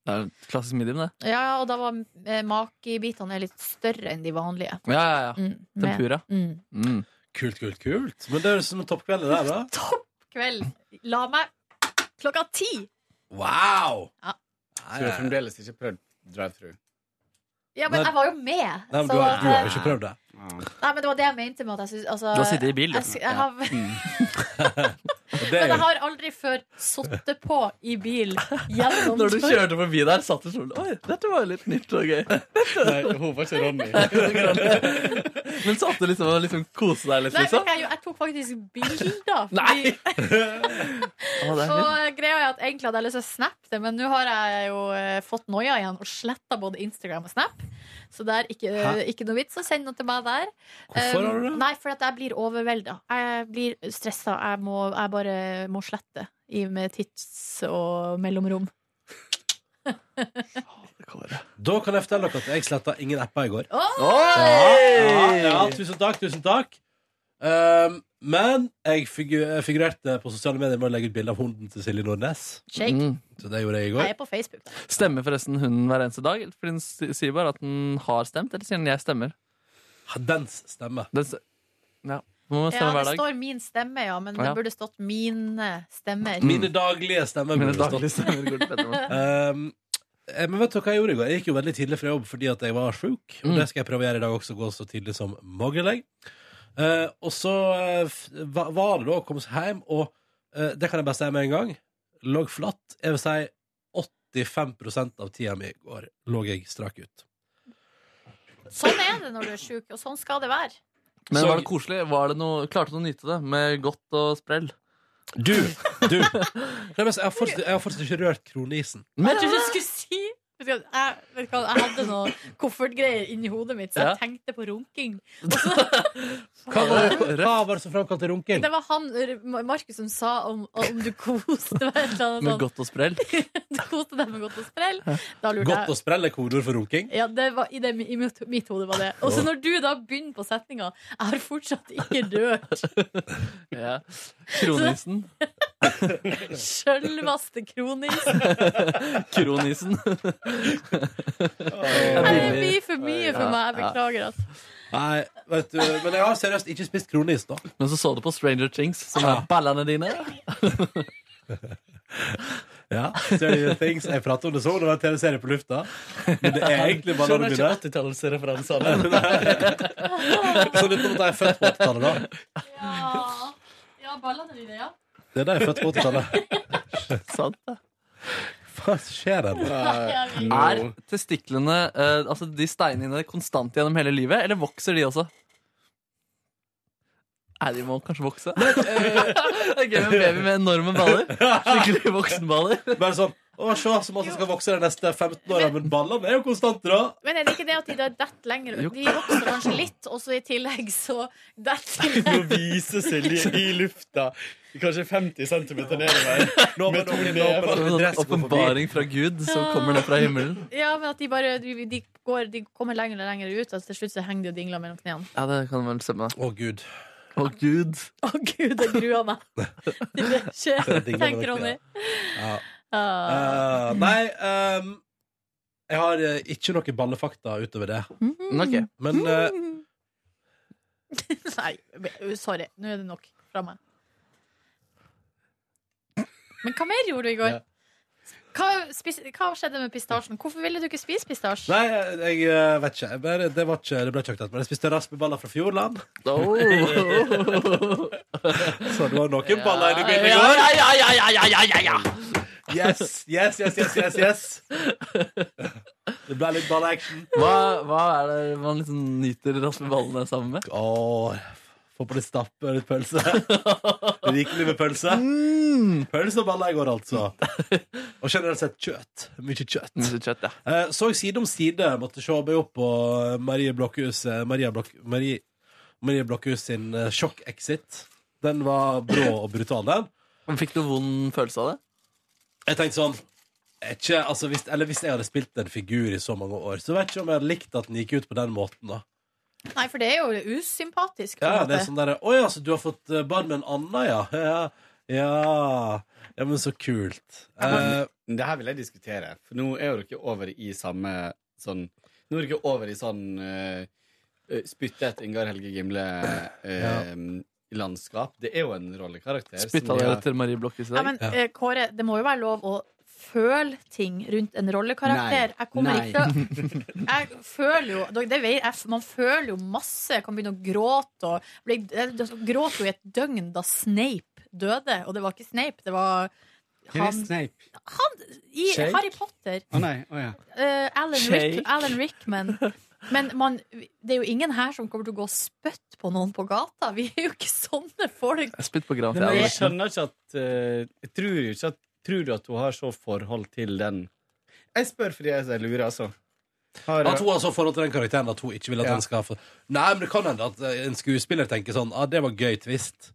S3: Det er klassisk medium, det.
S2: Ja, og da var eh, makibitene litt større enn de vanlige.
S3: Ja, ja, ja.
S2: Mm, med-
S3: Tempura.
S2: Mm.
S1: Kult, kult, kult. Men det høres ut som en toppkveld, det der, da.
S2: Kveld. La meg klokka ti!
S1: Wow!
S2: Ja.
S10: Så du har fremdeles ikke prøvd drive-thru?
S2: Ja, men
S10: Nei.
S2: jeg var jo med.
S10: Nei, men
S2: så
S10: du har-
S2: at- eh,
S10: du har jo ikke
S1: Prøv det.
S2: Nei, men det var det jeg mente med at jeg synes, altså,
S1: Du har sittet i bil, du.
S2: jeg, sy- jeg har,
S3: Mm. Og
S2: Men jeg har aldri før sittet på i bil gjennom
S3: Når du kjørte forbi der, satt du sånn Oi, dette var jo litt nytt og gøy. Nei,
S10: hun var ikke Ronny.
S3: Men satt du liksom og liksom koste deg litt,
S2: Nei,
S3: liksom?
S2: men jeg, jeg tok faktisk bilder.
S3: Nei! Å, det er
S2: Og
S3: litt-
S2: greia er at Egentlig hadde jeg lyst til å snappe det, men nå har jeg jo eh, fått noia igjen og sletta både Instagram og Snap. Så det er ikke, eh,
S11: Hæ?
S2: ikke noe vits å sende noe til meg der.
S11: Hvorfor
S2: Um,
S11: har du det?
S2: Nei, for at jeg blir overvelda. Jeg blir stressa. Jeg, må- jeg bare må slette i, med tids og mellomrom.
S1: Da kan jeg fortelle dere at jeg sletta ingen apper i går.
S2: Oi!
S1: Ja, ja, tusen takk, tusen takk. Um, men jeg figu jeg figurerte på sosiale medier med å legge ut bilde av hunden til Silje Nordnes.
S2: Shake.
S3: Mm,
S1: Så det gjorde jeg i går.
S2: Jeg er på Facebook. da.
S3: Stemmer forresten hunden hver eneste dag? Fordi den s- sier bare at den har stemt, eller sier den 'jeg stemmer'?
S1: Dens stemme.
S3: ja. Man må
S1: Sånn
S2: Ja,
S3: stemme
S2: det
S3: hver dag.
S2: står min stemme, ja, men det
S3: Ja.
S2: burde stått mine stemmer.
S10: Mm.
S1: Mine daglige stemmer.
S3: Mine
S1: burde det
S3: daglige
S1: stått.
S3: stemmer går til Petter
S1: um, eh, men vet du hva jeg gjorde i går? Jeg gikk jo veldig tidlig fra jobb fordi at jeg var sjuk. Og
S3: Mm.
S1: det skal jeg prøve å gjøre i dag også, gå så tidlig som mulig. Eh, og så eh, f- va- var det da å komme seg hjem, og eh, det kan jeg bare si med en gang, lå flatt. Jeg vil si 85 av tida mi i går lå jeg strak ut.
S2: Sånn er det når du er sjuk, og sånn skal det være.
S3: Men var det koselig? Var det noe, klarte du å nyte det med godt og sprell?
S1: Du! Du! Nei, men Jeg har fortsatt, jeg har fortsatt ikke rørt kroneisen.
S2: Jeg trodde du skulle si Vet du hva, jeg, vet du hva, jeg hadde noe koffertgreier inni hodet mitt, så jeg
S1: Ja.
S2: tenkte på runking.
S1: Hva var det, hva var det som framkalte runking?
S2: Det var han R- Markus som sa om, om du koste deg med et eller
S1: Med
S2: annet sånt.
S1: godt og sprell?
S2: Du koste deg med godt og sprell. Da lurte jeg-
S1: Godt og sprell er kodeord for runking?
S2: Ja, det var, i, det, i mitt, mitt hode var det. Og så når du da begynner på setninga 'Jeg har fortsatt ikke rørt
S3: Ja. Kronisen.
S2: sjølvaste kronis'
S3: Kronisen.
S2: Det er mye for mye for meg. Jeg beklager, altså.
S1: Nei, vet du, men jeg har seriøst ikke spist kronis, da.
S3: Men så så du på Stranger Things, som er ballene dine.
S1: Ja, Stranger Things. Jeg prater om det sånn, det var en TV-serie på lufta. Men det er egentlig bare
S10: Skjønner ikke 80-tallsreferansene.
S1: Så litt om at jeg er født på 80-tallet, da.
S2: Ja, ja ballene dine, ja.
S1: Det er da jeg er født på 80-tallet.
S3: Sant det.
S1: Hva skjer her?
S2: Nei,
S3: Er testiklene eh, altså de steinene konstant gjennom hele livet, eller vokser de også? Nei, de må kanskje vokse. Det er gøy med baby med enorme baller. Skikkelig voksenballer.
S1: Bare sånn Å, se så masse skal vokse de neste 15 åra, men ballene er jo konstante, da.
S2: Men er det ikke det at de da detter lenger?
S1: Jo.
S2: De vokser kanskje litt, og så i tillegg så detter de
S10: Nå viser Silje i lufta. Kanskje 50 cm nedover. Med to never.
S3: Sånn Åpenbaring fra Gud som kommer ned fra himmelen.
S2: Ja, men at de bare de, de, går, de kommer lenger og lenger ut, og til slutt så henger de og dingler mellom knærne.
S3: Ja, det kan vel stemme.
S1: Å, Gud.
S3: Å, Gud.
S2: Å gud, jeg gruer meg til det skjer,
S1: Det dingler mellom
S2: tenker Ronny.
S1: Ja.
S2: Ah.
S1: Eh, nei, ehm, jeg
S3: Mm.
S1: har eh, ikke noe ballefakta utover det.
S2: Mm. Ok.
S1: Men eh,
S2: Nei, sorry. Nå er det nok fra meg. Men hva mer gjorde du i går? Hva, spis, hva skjedde med pistasjen? Hvorfor ville du ikke spise pistasje?
S1: Nei, jeg, jeg eh, vet ikke. Jeg bare, det, var ikke det ble ikke aktuelt. Men jeg spiste raspeballer fra Fjordland.
S3: Oh.
S1: Så det var noen baller inni bildet i
S3: ja,
S1: går.
S3: ja, ja, ja, ja, ja, ja, ja, ja.
S1: Yes, yes, yes, yes, yes, yes. Det ble litt ballaction.
S3: Hva, hva er det man liksom nyter raspeballene sammen med?
S1: få på litt stappe og litt pølse. Mm. Rikelig med pølse. Pølse og baller i går, altså. Og generelt sett kjøtt. Mye kjøtt.
S3: Mye kjøtt, ja.
S1: Eh, Så jeg side om side måtte se meg opp på Marie Blokhus eh, Maria, Blok, Marie, Marie Blokhus sin eh, sjokk-exit. Den var brå og brutal, den.
S3: Men Fikk du vond følelse av det?
S1: Jeg tenkte sånn er ikke, altså hvis, Eller hvis jeg hadde spilt en figur i så mange år, så vet jeg ikke om jeg hadde likt at den gikk ut på den måten. da
S2: Nei, for det er jo usympatisk. på en
S1: Ja, det er
S2: måte.
S1: sånn der, Oi, altså, du har fått eh, barn med en annen, ja. ja. Ja, ja men så kult. Eh,
S10: Men Det her vil jeg diskutere, for nå er jo dere over i samme sånn Nå er dere over i sånn eh, eh, spyttet Ingar Helge Gimle-landskap. Det er jo en rollekarakter. som
S3: Spytta
S10: vi
S3: dere
S10: har-
S3: til Marie Blokhus i
S2: Ja,
S3: dag?
S2: men eh, Kåre, det må jo være lov å føle ting rundt en rollekarakter.
S10: Nei.
S2: Jeg kommer
S10: Nei.
S2: ikke til å Jeg føler jo det vet, jeg, Man føler jo masse. Jeg kan begynne å gråte. Og, bli, jeg gråt jo i et døgn da Snape døde. Og det var ikke Snape, det var
S10: Hvem er
S2: han
S10: Snape?
S2: i
S10: Shake?
S2: Harry Potter.
S10: Å nei, å ja.
S2: Eh, Alan, Rick,
S3: Shake?
S2: Alan Rickman. Men man, det er jo ingen her som kommer til å gå og spytte på noen på gata. Vi er jo ikke sånne folk.
S3: Jeg spytt på
S10: Men jeg
S3: granfjæra.
S10: skjønner ikke at eh, Jeg tror jo ikke at Tror du at hun har så forhold til den Jeg spør fordi jeg er lurer, altså. Har,
S1: At hun har så forhold til den karakteren at hun ikke vil at
S10: Ja.
S1: den skal få Nei, men det kan hende at eh, en skuespiller tenker sånn ah, det var gøy twist.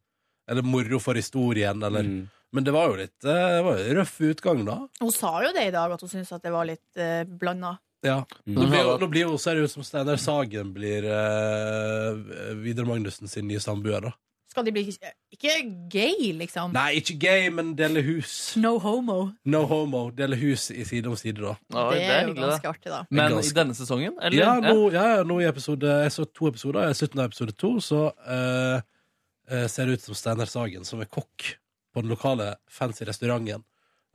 S1: Eller moro for historien, eller
S10: Mm.
S1: Men det var jo litt eh, det var jo røff utgang, da.
S2: Hun sa jo det i dag, at hun syntes at det var litt uh, blanda.
S1: Nå blir, jo- nå blir jo ser det ut som Steinar Sagen blir eh, Vidar Magnussen sin nye samboer, da.
S2: Skal de bli eh, Ikke gay, liksom.
S1: Nei, ikke gay, men dele hus.
S2: No homo.
S1: No homo. Dele hus i side om side, da.
S3: Oi,
S2: det, er jo
S3: hyggelig,
S2: ganske
S3: da.
S2: artig, da.
S3: Men
S1: Ganske-
S3: i denne sesongen? Eller?
S1: Ja, nå, ja, ja, nå i episode Jeg så to episoder. I slutten av episode to så eh, eh, ser det ut som Steinar Sagen, som er kokk på den lokale fancy restauranten,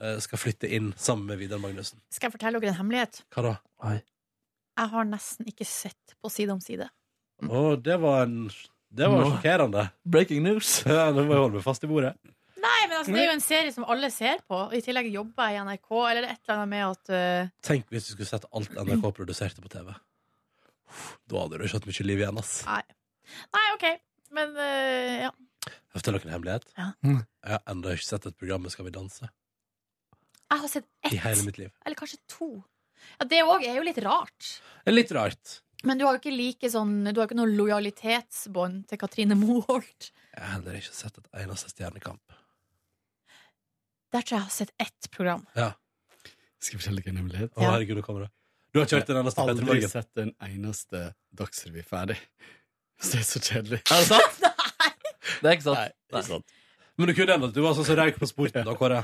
S1: eh, skal flytte inn sammen med Vidar Magnussen.
S2: Skal jeg fortelle dere en hemmelighet?
S1: Hva da?
S2: Jeg har nesten ikke sett på Side om side.
S1: Å, det var en Det var
S3: Nå.
S1: sjokkerende.
S3: Breaking news.
S1: Ja, nå må jeg holde meg fast i bordet.
S2: Nei, men altså, Det er jo en serie som alle ser på. og I tillegg jobber jeg i NRK. Eller det er et eller annet med at eh,
S1: Tenk hvis du skulle sett alt NRK produserte på TV. Uff, Da hadde du ikke hatt mye liv igjen, ass.
S2: Nei. Nei, OK. Men eh, ja.
S1: Jeg forteller dere en hemmelighet.
S2: Ja.
S1: Jeg har ennå ikke sett et program med Skal vi danse
S2: Jeg har sett
S1: i hele
S2: ett,
S1: mitt liv.
S2: eller kanskje to. Ja, Det òg er jo litt rart.
S1: Det er litt rart.
S2: Men du har jo ikke like sånn Du har ikke noe lojalitetsbånd til Katrine Moholt.
S1: Jeg har heller ikke sett et eneste Stjernekamp.
S2: Der tror jeg jeg har sett ett program.
S10: Skal jeg fortelle deg en hemmelighet?
S1: Å,
S2: Ja.
S1: herregud, nå kommer det. Du har ikke hørt den eneste Petter
S10: Aldri
S1: Morgen?
S10: sett en eneste Dagsrevy ferdig. Så det er så kjedelig.
S3: Er det sant? Det er ikke sant.
S10: Nei, ikke sant.
S1: Men du kunne ennå du var sånn som røyk på sporten, da, Kåre.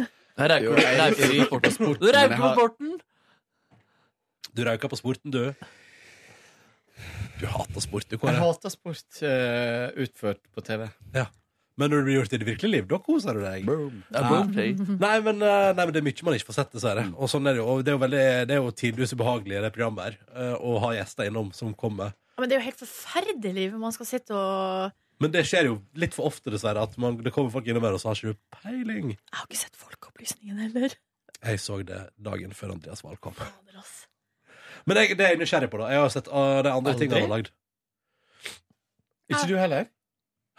S3: Jeg
S10: Jo,
S3: rauker
S10: jeg
S3: jeg rauker på
S10: ryker
S3: porten.
S10: på sporten,
S3: Du
S10: men jeg
S3: rauker på
S10: har-
S3: porten!
S1: Du røyka på sporten, du. Du hater sport, du,
S10: Jeg
S1: Kåre.
S10: hater sport eh, utført på TV.
S1: Men når det blir gjort i det virkelige liv, da koser du
S10: Mm.
S1: deg.
S3: Ja, boom, shake.
S1: Nei men, eh, nei, men det er mye man ikke får sett, dessverre.
S10: Mm.
S1: Og sånn er det jo. Og det er jo, veldig, det er jo tidvis ubehagelig i det programmet her eh, å ha gjester innom som kommer.
S2: Ja, Men det er jo helt forferdelig hvor man skal sitte og
S1: Men det skjer jo litt for ofte, dessverre, at man, det kommer folk innom her, og så har ikke du peiling.
S2: Jeg har ikke sett Folkeopplysningen heller.
S1: Jeg så det dagen før Andreas Wahl kom.
S2: Fader, ass.
S1: Men jeg, det er jeg nysgjerrig på, da. Jeg har sett ah, de andre
S10: Aldri?
S1: tingene han har lagd.
S10: Ikke du heller?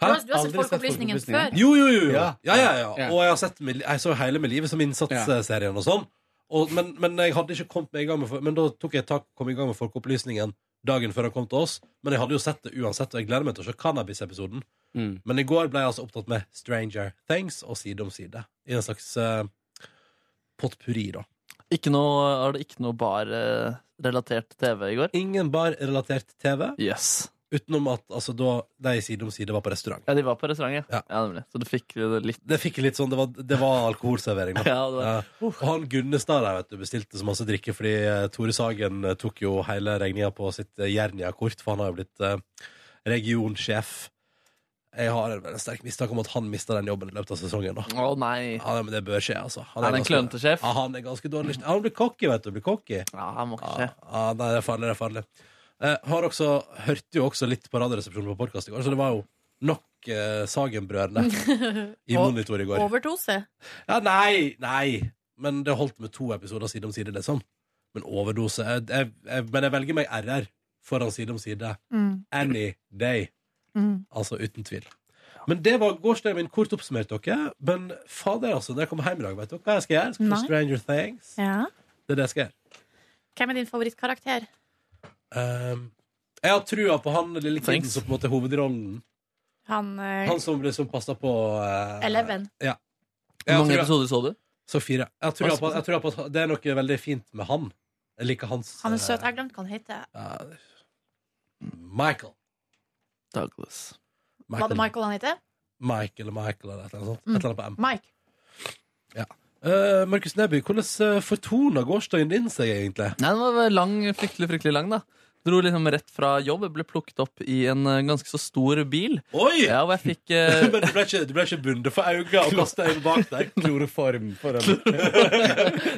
S2: Du har, du har sett
S10: Aldri sett
S2: Folkeopplysningen
S10: Folkeopplysningen.
S2: før.
S1: Jo, jo, jo. jo. Ja,
S10: Ja.
S1: ja, ja.
S10: Ja.
S1: Og jeg, har sett, Mil- jeg så hele med livet som innsatsserien og sånn. Og, men, men jeg hadde ikke kommet meg i gang med for- Men da tok jeg tak, kom jeg i gang med Folkeopplysningen dagen før han kom til oss. Men jeg hadde jo sett det uansett, og jeg gleder meg til å se Cannabis-episoden.
S10: Mm.
S1: Men i går ble jeg altså opptatt med Stranger Things og Side om side. I en slags eh, potpurri, da.
S3: Ikke noe, er det ikke noe bar-relatert TV i går?
S1: Ingen bar-relatert TV,
S3: Yes.
S1: utenom at altså, da de Side om side var på restaurant.
S3: Ja, de var på restaurant, ja.
S1: Ja.
S3: ja nemlig. Så du fikk det litt
S1: Det fikk jeg litt sånn, det var, det var alkoholservering, da.
S3: Ja, det var-
S1: Ja. Og han Gunnestad der, vet du, bestilte så masse drikke fordi eh, Tore Sagen eh, tok jo hele regninga på sitt eh, Jernia-kort, for han har jo blitt eh, regionsjef. Jeg har en en sterk mistanke om at han mista den jobben i løpet av sesongen. Da.
S3: Å nei.
S1: Ja, nei, men det bør skje, altså.
S3: Er Ah. det en
S1: ganske-
S3: klønete sjef?
S1: Ja, han er ganske dårlig. Han blir cocky, vet du. Blir cocky.
S3: Ja, han må
S1: Ja,
S3: ikke skje.
S1: ja, nei, det er farlig, det er farlig. Eh, har også, hørte jo også litt på Radioresepsjonen på podkast i går, så det var jo nok eh, Sagen-brødrene i
S2: Og-
S1: monitor i går.
S2: Overdose.
S1: Ja, nei, nei. Men det holdt med to episoder side om side, liksom. Men overdose jeg, jeg, jeg, Men jeg velger meg RR foran side om side.
S2: Mm.
S1: Any day.
S2: Mm.
S1: Altså uten tvil. Men det var gårsdagen min. Kort oppsummert, dere. Men fader, altså. Når jeg kommer hjem i dag, vet dere hva jeg skal gjøre? Jeg skal
S2: Nei.
S1: på Stranger Things.
S2: Ja.
S1: Det er det jeg skal gjøre.
S2: Hvem er din favorittkarakter?
S1: Um, jeg har trua på han lille kiden
S3: Thanks.
S1: som på en måte er hovedrollen.
S2: Han, eh,
S1: Han som liksom passa på eh,
S2: Eleven.
S1: Ja. Jeg
S3: Hvor
S1: har
S3: mange
S1: trua-
S3: episoder så du?
S1: Så fire. Jeg har trua på, jeg har trua på at det er noe veldig fint med han. Jeg liker hans
S2: han
S1: eh,
S2: er søt. Jeg glemte hva han heter.
S1: ja, Michael.
S3: Douglas.
S2: Var det Michael han heter?
S1: Michael eller Michael eller et eller annet sånt.
S2: Mm.
S1: Et eller annet på M.
S2: Mike.
S1: Eh, Markus Neby, hvordan eh, fortoner gårsdagen din seg egentlig?
S3: Nei, den var lang, fryktelig, fryktelig lang, da. Dro liksom rett fra jobb, ble plukket opp i en eh, ganske så stor bil.
S1: Oi!
S3: Ja, og jeg fikk
S1: Men
S3: eh,
S1: du ble ikke, du ble ikke bundet for øynene og kasta øynene bak deg?
S10: Kloroform for dem.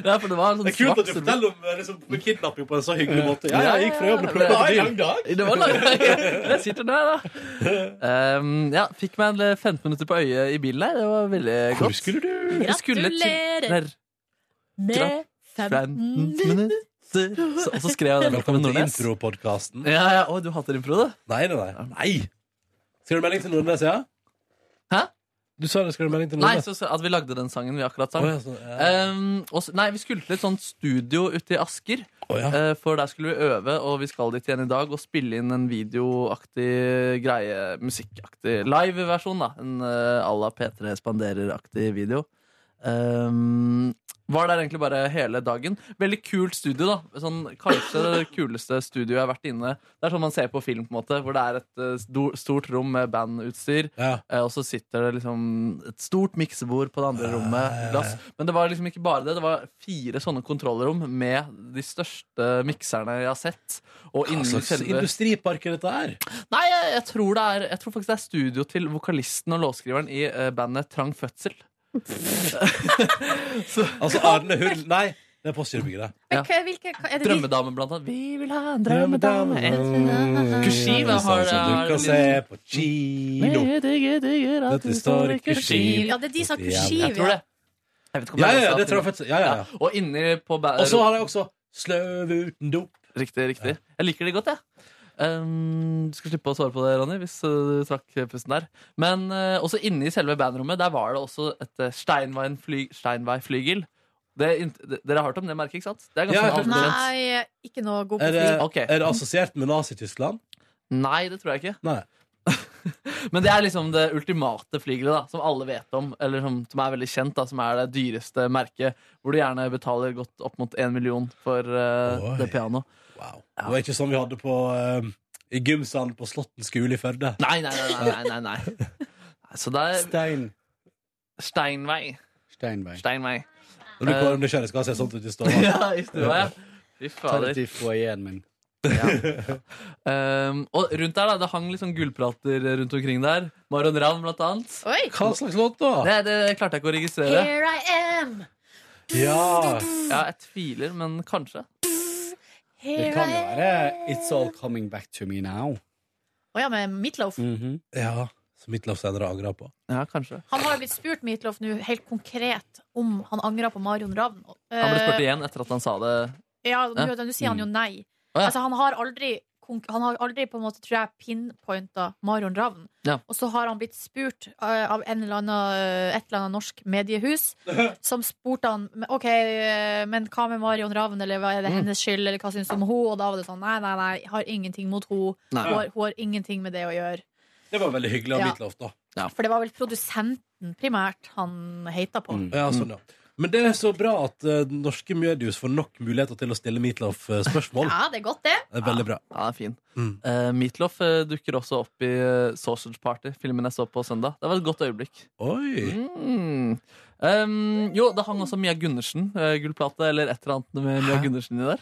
S3: ja, for det var en sånn
S1: Det er kult at du
S3: svart-
S1: forteller om eh, liksom, kidnapping på en så hyggelig måte. Ja, ja, jeg gikk fra jobb og
S3: Det
S1: plukka
S3: var
S1: til
S3: en
S1: bil.
S10: Lang dag.
S3: Det var langt. Jeg sitter der, da. Ehm, ja, fikk meg en 15 minutter på øyet i bilen her. Det var veldig godt. Hvor skulle du?
S2: Gratulerer med
S3: 15
S2: 15
S3: minutter. Så, og så skrev jeg den
S1: Velkommen
S3: med
S1: til
S3: Nordnes.
S1: intropodkasten.
S3: Ja, ja, Å, du hater impro, du?
S1: Nei, nei, nei. nei. Skal du melding til Nordnes, ja?
S3: Hæ?
S1: Du sa det skal du melding til
S3: Nei,
S1: Nordnes.
S3: så, så at vi lagde den sangen vi akkurat sang.
S1: Å, ja, så, ja.
S3: Ehm, og så- nei, vi skulle til et sånt studio ute i Asker.
S1: Å, ja.
S3: Eh, For der skulle vi øve, og vi skal dit igjen i dag og spille inn en videoaktig greie. Musikkaktig liveversjon, da. En eh, à la P3 Spanderer-aktig video. Ehm, var der egentlig bare hele dagen. Veldig kult studio, da. Sånn, kanskje det kuleste studioet jeg har vært inne Det er sånn man ser på film, på en måte, hvor det er et eh, sto- stort rom med bandutstyr.
S1: Ja.
S3: Eh, Og så sitter det liksom et stort miksebord på det andre rommet.
S1: ja,
S3: Glass. Men det var liksom ikke bare det. Det var fire sånne kontrollrom med de største mikserne jeg har sett. Og
S1: Hva
S3: inni
S1: slags
S3: selve
S1: industripark er dette her?
S3: Nei, jeg, jeg, tror det er, jeg tror faktisk det er studio til vokalisten og låtskriveren i eh, bandet Trang Fødsel.
S1: Altså Arne Hull Nei, det er Postgirobygget, det.
S2: Men hva- hvilke, er det de
S3: Drømmedamen, blant annet. Vi vil ha en drømmedame. Kushima har
S1: Sånn som du kan se på kino. Dette står i Kushima.
S2: Ja, det er de som har
S3: Jeg
S2: kursiv.
S3: tror
S2: Ja.
S3: det. Jeg vet ikke om
S1: Ja,
S3: jeg
S1: ja, ja,
S3: sa
S1: det
S3: til-
S1: tror jeg faktisk. Ja, ja, ja.
S3: Og inni på ba-
S1: Og så har jeg også Sløv uten dop.
S3: Riktig, riktig. Jeg liker det godt, jeg. Ehm, du skal slippe å svare på det, Ronny, hvis eh, du trakk pusten der. Men eh, også inne i selve bandrommet Der var det også et uh, Steinway-fly, Steinway-flygel. Det er int- det- Dere har hørt om det merket, ikke sant? Det er ganske
S1: Ja, jeg har hørt om det.
S3: anerkjent.
S2: Nei, ikke noe god på
S1: Er det,
S2: fly.
S3: Ok.
S1: er det assosiert med Nazi-Tyskland?
S3: Nei, det tror jeg ikke.
S1: Nei.
S3: Men det er liksom det ultimate flygelet, da, som alle vet om. Eller som, som er veldig kjent, da, som er det dyreste merket. Hvor du gjerne betaler godt opp mot én million for eh,
S1: Oi.
S3: det pianoet.
S1: Wow. Det var ikke sånn vi hadde på eh, i gymsalen på Slåtten skole i Førde.
S3: Nei, nei, nei. nei, nei, nei, nei. Så det er
S10: Stein.
S3: Steinway.
S10: Steinberg.
S3: Steinway.
S1: Når du går under kjære, skal se sånt ut i stua.
S3: ja, i stua, ja. Fy
S10: Ta det
S3: fader.
S10: til foajeen min.
S3: Um, og rundt der, da, det hang litt sånn gullprater rundt omkring der. Marion Ravn, blant annet.
S2: Oi!
S1: Hva slags låt, da?
S3: Det, det klarte jeg ikke å registrere.
S2: Here I am!
S1: Ja.
S3: Ja, jeg tviler, men kanskje.
S10: Det
S2: Here
S10: kan
S2: I
S10: jo
S2: am.
S10: være It's All Coming Back To Me Now.
S2: Å ja, med Meatloaf.
S10: Mhm.
S1: ja. Som Midtlav senere angra på.
S3: Ja, kanskje.
S2: Han har jo blitt spurt, Meatloaf, nå helt konkret om han angrer på Marion Ravn.
S3: Han ble spurt
S2: Eh,
S3: igjen etter at han sa det.
S2: Ja, nå nå sier han jo nei.
S3: Mm. Å, ja.
S2: Altså, han har aldri konk- han har aldri på en måte, tror jeg, pinpointa Marion Ravn.
S3: Ja.
S2: Og så har han blitt spurt eh, av en eller annen, eh, et eller annet norsk mediehus som spurte han "Men, OK, eh, men hva med Marion Ravn, eller hva er det
S3: Mm.
S2: hennes skyld, eller hva syns du om henne? Og da var det sånn nei, nei, nei, jeg har ingenting mot henne.
S3: Nei.
S2: Hun, har- hun har ingenting med det å gjøre.
S1: Det var veldig hyggelig av
S2: Ja.
S1: Midtlav, da.
S2: For det var vel produsenten primært han heita på.
S10: Mm.
S1: Ja, sånn, ja. Men det er så bra at eh, norske mediehus får nok muligheter til å stille Midtlav-spørsmål.
S2: Ja, det er godt, det.
S1: Det er veldig bra.
S3: Ja, den er fin.
S1: Mm.
S3: Eh, Meatloaf eh, dukker også opp i eh, Sausage Party, filmen jeg så på søndag. Det var et godt øyeblikk.
S1: Oi!
S3: Mm. Ehm, Um, jo, det hang også Mia Gundersen, eh, gullplate eller et eller annet med Mia
S1: Hæ?
S3: Gundersen i der.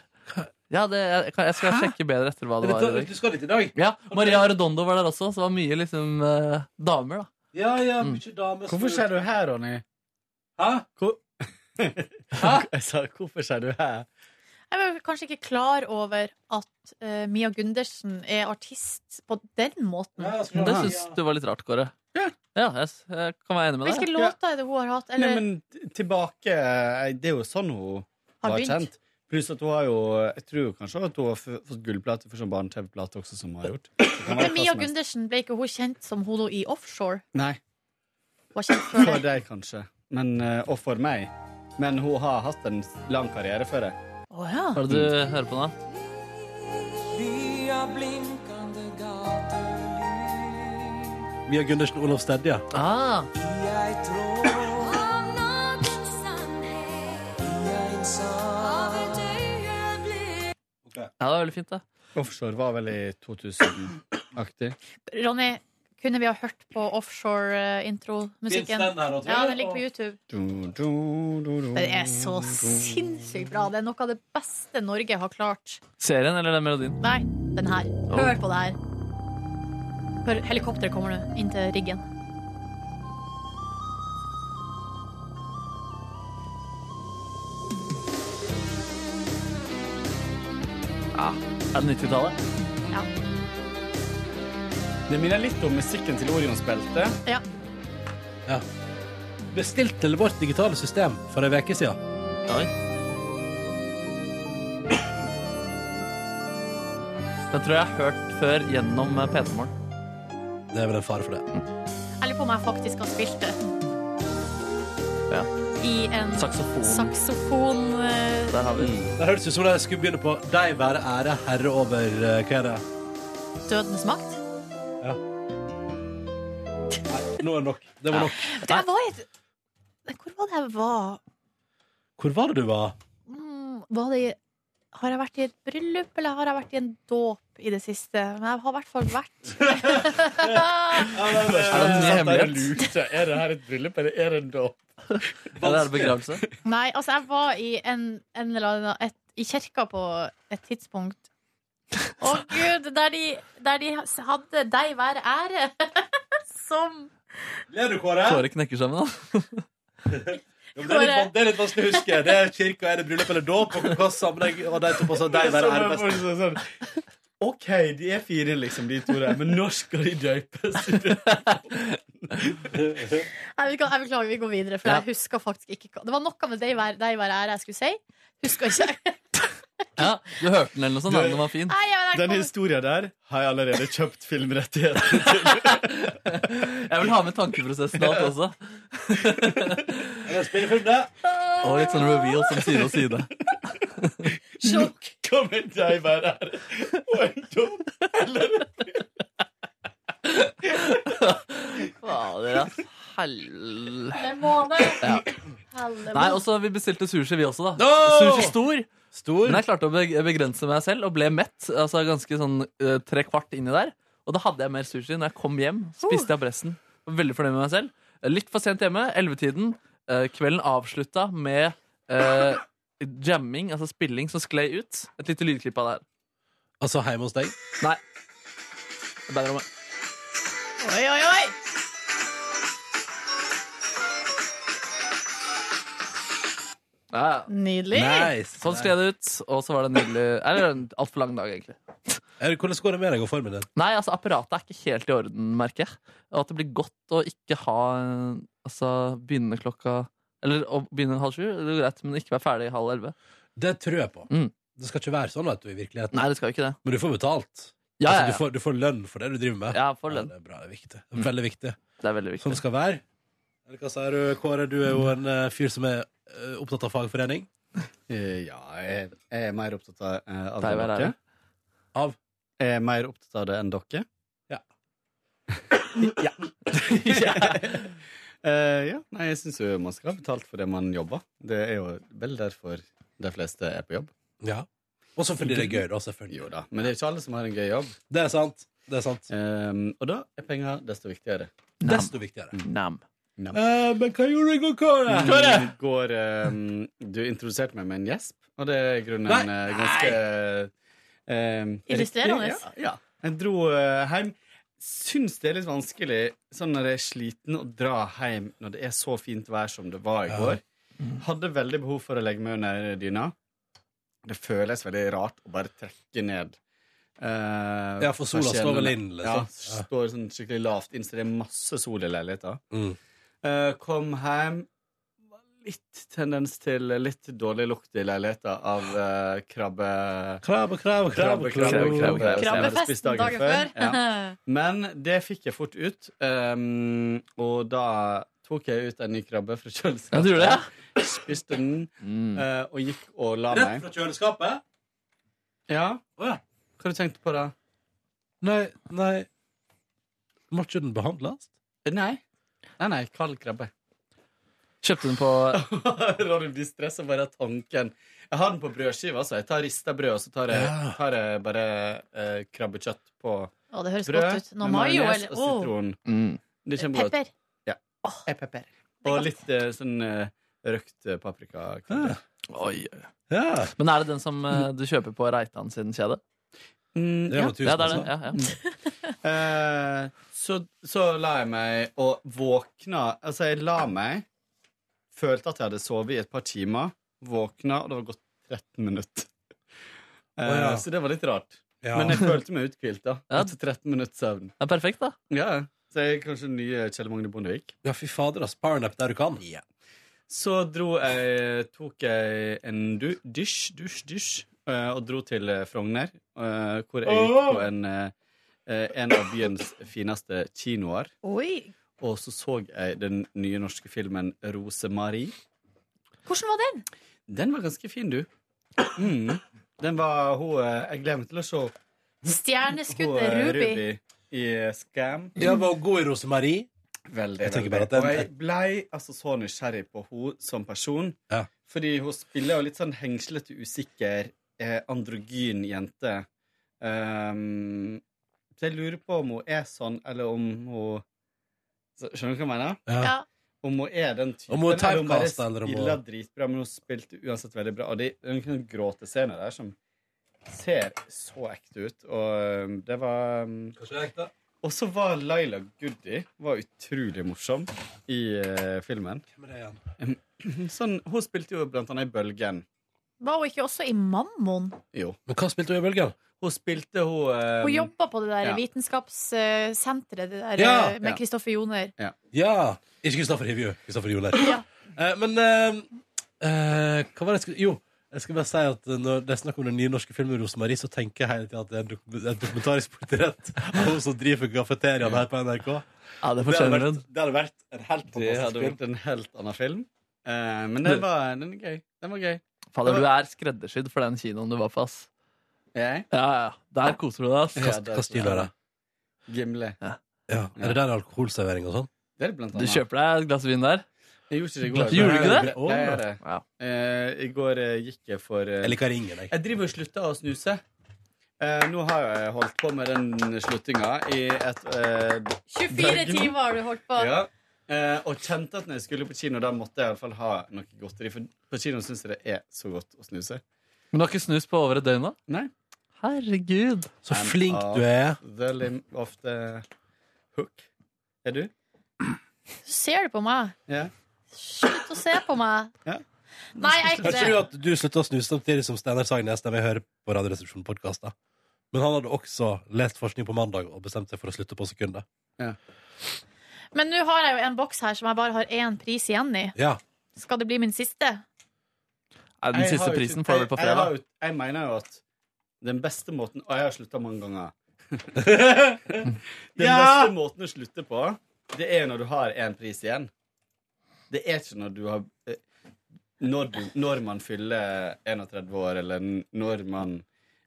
S3: Ja, det, jeg, kan- jeg skal sjekke bedre etter hva det
S1: Dette-
S3: var. i dag.
S1: Du skal dit i dag?
S3: Ja, Maria Redondo var der også, så det var mye liksom eh, damer, da.
S1: Ja, ja,
S3: Mm.
S1: mye damer
S10: Hvorfor skjer du her, Ronny?
S1: Hæ?
S10: Hvor... Jeg sa, hvorfor skjer du her?
S2: Jeg var kanskje ikke klar over at eh, Mia Gundersen er artist på den måten.
S3: Men Det syns du var litt rart, Kåre.
S10: Ja.
S3: jeg, s- jeg kan være enig med
S2: Hvilke
S3: deg.
S2: låter er det hun har hatt?
S10: Nei,
S2: Eller,
S10: men t- tilbake eh, Det er jo sånn hun
S2: Har
S10: var
S2: begynt.
S10: kjent. Pluss at hun har jo Jeg tror kanskje at hun har f- fått gullplate for sånn barne-TV-plate også, som hun har gjort. Det kan være
S2: men
S10: hva
S2: Mia
S10: som helst.
S2: Gundersen, ble ikke hun kjent som hun nå i offshore?
S10: Nei.
S2: Hun var kjent før
S10: For
S2: det.
S10: deg, kanskje. Men, eh, og for meg. Men hun har hatt en s- lang karriere før det.
S2: Å ja.
S3: Hva er det du hører på nå?
S1: Mia Gundersen, Olav Stedje.
S3: Ah, ja, det var veldig fint, det.
S10: Offshore var vel i 2000-aktig.
S2: Ronny, kunne vi ha hørt på offshore-intro-musikken? Ja, den ligger på YouTube. Den er så sinnssykt bra. Det er noe av det beste Norge har klart.
S3: Serien eller den melodien?
S2: Nei, den her. Hør på det her. Hør, helikopteret kommer nå inn til riggen.
S3: Er det 90-tallet?
S2: Ja.
S10: Det minner litt om musikken til Orionsbeltet.
S2: ja.
S1: Bestilt til vårt digitale system for ei uke siden.
S3: Oi. Den tror jeg jeg har hørt før gjennom eh, P3 Morgen.
S1: Det er vel en fare for det.
S2: Jeg lurer på om jeg faktisk har spilt det.
S3: Ja.
S2: I en
S3: Saksofon.
S2: saksofon... eh,
S3: Der har vi den.
S1: Det høres ut som de skulle begynne på De være ære herre over eh, Hva er det?
S2: Dødens makt?
S1: Nei, nå er det nok. Det var nok.
S2: Vet du, jeg var i et Nei, Hvor var det jeg var?
S1: Hvor var det du var?
S2: Mm, var det i Har jeg vært i et bryllup, eller har jeg vært i en dåp i det siste? Men jeg har i hvert fall vært
S3: Er Eh, det en ny hemmelighet?
S10: lurte. Er det her et bryllup, eller er det en dåp?
S3: Eller er det begravelse?
S2: Nei, altså, jeg var i en, en eller annen et, I kirka på et tidspunkt. Å gud, der de, der de hadde deg hver ære som
S1: Ler du, Kåre?
S3: Kåre knekker sammen, da.
S1: Ja, men Det er, litt, van- det er litt vanskelig å huske. Det er kirka, er det bryllup eller dåp? Og hva sammenheng Og de to på sånn De være ære best.
S10: Sånn, OK, de er fire, liksom, de to der, men når skal de døpes?
S2: Nei, vi kan, jeg beklager, vi går videre, for
S3: Ja.
S2: jeg husker faktisk ikke hva- Det var noe med deg hver, deg hver ære jeg skulle si. Husker ikke.
S3: Ja, Du hørte den eller noe sånt? da, Den var fin.
S2: Nei, jeg,
S10: Den
S2: jeg,
S10: historia der har jeg allerede kjøpt filmrettigheter.
S3: Jeg vil ha med tankeprosessen alt også.
S1: Jeg spiller film, det.
S3: Og litt sånn reveal som side om side.
S2: sjokk.
S10: Kommer deg hver ære og en dåp?
S3: Fader, ass. Hell...
S2: Det må det.
S3: Ja.
S2: Helle
S3: Nei,
S2: må-
S3: og så vi bestilte sushi, vi også, da.
S1: No!
S3: Sushi stor.
S1: Stor.
S3: Men jeg klarte å beg- begrense meg selv og ble mett. Altså ganske sånn eh, tre kvart inni der. Og da hadde jeg mer sushi. Når jeg kom hjem, spiste jeg opp resten. Var Veldig fornøyd med meg selv. Litt for sent hjemme. Ellevetiden. Eh, Kvelden avslutta med eh, jamming, altså spilling, som sklei ut. Et lite lydklipp av det her.
S1: Altså hjemme hos deg.
S3: Nei. Baderommet.
S2: Oi, oi, oi!
S3: Ja, ja.
S2: Nydelig.
S1: Nice.
S3: Sånn skled det ut, og så var det en nydelig Eller en altfor lang dag, egentlig.
S1: Eh, Er det- Hvordan går det med deg og formen din?
S3: Nei, altså apparatet er ikke helt i orden, merker jeg. Og at det blir godt å ikke ha eh, Altså begynne klokka Eller å begynne halv sju, det er greit, men ikke være ferdig halv elleve.
S1: Det tror jeg på.
S3: Mm.
S1: Det skal ikke være sånn vet du, i virkeligheten.
S3: Nei, det skal jo ikke det.
S1: Men du får betalt.
S3: Ja,
S1: altså,
S3: ja,
S1: du, får, du får lønn for det du driver med.
S3: ja. ja for lønn.
S1: det er bra. Det er viktig. Det er veldig viktig.
S3: Det er veldig
S1: Sånn
S3: viktig.
S1: det skal være. Eller hva sier du, Kåre? Du er jo en eh, fyr som er eh, opptatt av fagforening.
S10: Eh, Ja, jeg jeg er mer opptatt av, eh, av
S3: Deg
S10: det enn
S3: hver ære.
S10: dere.
S1: Av?
S10: Jeg er mer opptatt av det enn dere.
S3: ja.
S10: Eh, ja, nei, jeg syns jo man skal ha betalt for det man jobber. Det er jo vel derfor de fleste er på jobb.
S1: Ja. Også fordi det er gøy, da, selvfølgelig.
S10: Jo da, Men det er ikke alle som har en gøy jobb.
S1: Det er sant. Det er sant.
S10: Ehm, Eh, og da er penger desto viktigere.
S3: Nam.
S1: Desto viktigere.
S3: Nam.
S10: Nam.
S1: Eh, men hva gjorde du i går, Kåre?
S10: I går ehm, Du introduserte meg med en gjesp, og det er i grunnen
S1: Nei.
S10: eh, ganske ehm,
S2: Illustrerende.
S10: riktig. Ja, ja. Jeg dro eh, hjem. Syns det er litt vanskelig sånn når jeg er sliten, å dra hjem når det er så fint vær som det var i
S1: Ja. Mm.
S10: går. Hadde veldig behov for å legge meg under dyna. Det føles veldig rart å bare trekke ned. eh,
S1: Ja, for sola
S10: persiennene.
S1: står vel inn, liksom.
S10: Ja,
S1: Ja.
S10: står sånn skikkelig lavt inn, så det er masse sol i leiligheten.
S1: Mm.
S10: Eh, kom hjem Var Litt tendens til litt dårlig lukt i leiligheten av eh, krabbe...
S1: Krabbe, krabbe, krabbe, krabbe, krabbe.
S10: som altså, jeg hadde
S2: Krabbefesten
S10: spist dagen før. Ja. Men det fikk jeg fort ut, ehm, og da tok jeg ut en ny krabbe fra kjøleskapet.
S3: Ja, du gjorde det,
S10: Spiste den,
S3: Mm.
S10: eh, og gikk og la
S1: Rett
S10: meg.
S1: fra kjøleskapet?
S10: Ja,
S1: Å ja.
S10: hva har du tenkt på da?
S1: Nei, nei Må ikke den behandles?
S10: Eh, Nei. Nei, nei, kald krabbe.
S3: Kjøpte den på
S10: Når du blir stressa bare av tanken. Jeg har den på brødskiva, så jeg tar rista brød, og så tar jeg,
S1: Ja.
S10: tar jeg bare eh, krabbekjøtt på
S2: Å, det høres godt
S10: brød.
S2: ut. Nå må jo
S10: majones
S2: eller
S10: og
S2: Å,
S10: sitron.
S3: mm.
S10: Det er kjempegodt.
S2: Pepper.
S10: Eh, pepper. Og litt eh, sånn eh, røkt eh, paprika.
S1: Ja.
S3: Oi.
S1: Ja.
S3: Men er det den som eh, du kjøper på Reitan sin kjede?
S10: Mm,
S1: Det
S10: ja.
S1: var tusen,
S3: Ja, det er
S1: altså.
S3: den. Ja, ja.
S10: Eh, så, så la jeg meg og våkna Altså, jeg la meg, følte at jeg hadde sovet i et par timer, våkna, og det var gått 13 minutter. Eh,
S1: Å, ja.
S10: Så det var litt rart.
S1: Ja.
S10: Men jeg følte meg uthvilt, da.
S3: Ja.
S10: Etter 13 minutters søvn.
S3: Det er perfekt, da.
S10: Ja, så jeg er kanskje den nye Kjell Magne Bondevik.
S1: ja, fy fader, ass. Powernap der du kan.
S10: Så dro jeg, tok jeg en du, dusj, dusj, dusj, eh, og dro til eh, Frogner, eh, hvor jeg gikk på en, eh, eh, en av byens fineste kinoer.
S2: Oi.
S10: Og så så jeg den nye norske filmen Rosemarie.
S2: Hvordan var den?
S10: Den var ganske fin, du. Mm. Den var hun eh, Jeg gleder meg til å se hun,
S2: Stjerneskuddet
S10: eh,
S2: Ruby.
S10: Hm? Ruby i eh, Scam.
S1: Ja, var god i rosemarie.
S10: Veldig,
S1: Jeg tenker
S10: veldig
S1: bare
S10: bra.
S1: at den-
S10: Og jeg ble altså så nysgjerrig på hun som person.
S1: Ja.
S10: Fordi hun spiller jo litt sånn hengslete, usikker, eh, androgyn jente. Ehm, så jeg lurer på om hun er sånn, eller om hun så, Skjønner du hva jeg mener?
S2: Ja.
S10: Om hun er den typen,
S1: Om hun er
S10: eller om hun bare
S1: typecast, eller om hun-
S10: spiller dritbra, men hun spilte uansett veldig bra. Og det er noen gråtescener der som ser så ekte ut, og um, det var um, og så var Laila Goody var utrolig morsom i eh, filmen.
S1: Hvem er det igjen?
S10: Sånn, hun spilte jo blant annet i Bølgen.
S2: Var hun ikke også i Mammon?
S10: Jo.
S1: Men hva spilte hun i bølgen?
S10: Hun spilte hun eh,
S2: Hun jobba på det der
S10: ja.
S2: vitenskapssenteret det der,
S1: Ja,
S2: eh, med
S10: ja.
S2: Kristoffer Joner.
S1: Ja. Ikke Kristoffer Hivju. Kristoffer Joner.
S2: Ja.
S1: Eh, men eh, eh, hva var det jeg skulle Jo, jeg skal bare si at eh, når det er snakk om den nye norske filmen Rosemarie, så tenker jeg hele tiden at det er en dokum- et dokumentarisk portrett av hun som driver kafeteriaen her på NRK.
S3: Ja, det
S1: Det hadde
S3: fortjener
S1: vært,
S3: den.
S1: det hadde vært en helt
S10: Det
S1: fantastisk
S10: hadde
S1: film.
S10: vært en helt annen film. Eh, men den var, den er gøy. Den var gøy.
S3: Fader, du er skreddersydd for den kinoen du var på, ass.
S10: Jeg?
S3: Ja, ja. Der koser du deg, ass.
S10: Ja,
S1: Hva- Hva stil er det?
S10: Gimle.
S1: Ja. Er det der alkoholservering og sånn?
S10: Det er det blant
S3: Du
S10: annet.
S3: kjøper deg et glass vin der.
S10: Jeg gjorde ikke det i går.
S3: Gjorde du ikke
S1: det?
S10: Jeg, jeg, gjør det.
S3: Ja.
S10: Eh, I går eh, gikk jeg for eh,
S1: Jeg liker ringen, jeg.
S10: Jeg driver og slutter å snuse. Eh, nå har jeg holdt på med den sluttinga i et eh,
S2: 24
S10: Døgn.
S2: timer har du holdt på.
S10: Ja. Eh, og kjente at når jeg skulle på kino, da måtte jeg i alle fall ha noe godteri. For på kino syns jeg det er så godt å snuse.
S3: Men du har ikke snust på over et døgn, da?
S10: Nei.
S3: Herregud.
S1: Så
S10: I'm
S1: flink
S10: off
S1: du er.
S10: The lim of the hook. Er du?
S2: Så Ser du på meg?
S10: Ja.
S2: Slutt å se på meg.
S10: Ja.
S2: Nei, jeg er ikke
S1: Kanskje du
S2: det.
S1: at du slutta å snuse samtidig som Steinar Sagnes når vi hører på Radioresepsjonen-podkast. Men han hadde også lest forskning på mandag og bestemt seg for å slutte på sekundet.
S2: Men nå har jeg jo en boks her som jeg bare har én pris igjen i.
S1: Ja,
S2: Skal det bli min siste?
S3: Nei, den
S10: Jeg har
S3: siste
S10: jo
S3: prisen
S10: ikke-
S3: får du på
S10: jeg- Jeg, har
S3: fredag.
S10: jo- jeg mener jo at den beste måten Og jeg har slutta mange ganger. den
S1: Ja!
S10: beste måten å slutte på, det er når du har én pris igjen. Det er ikke når du har eh, Når, du, når man fyller 31 år, eller n- når man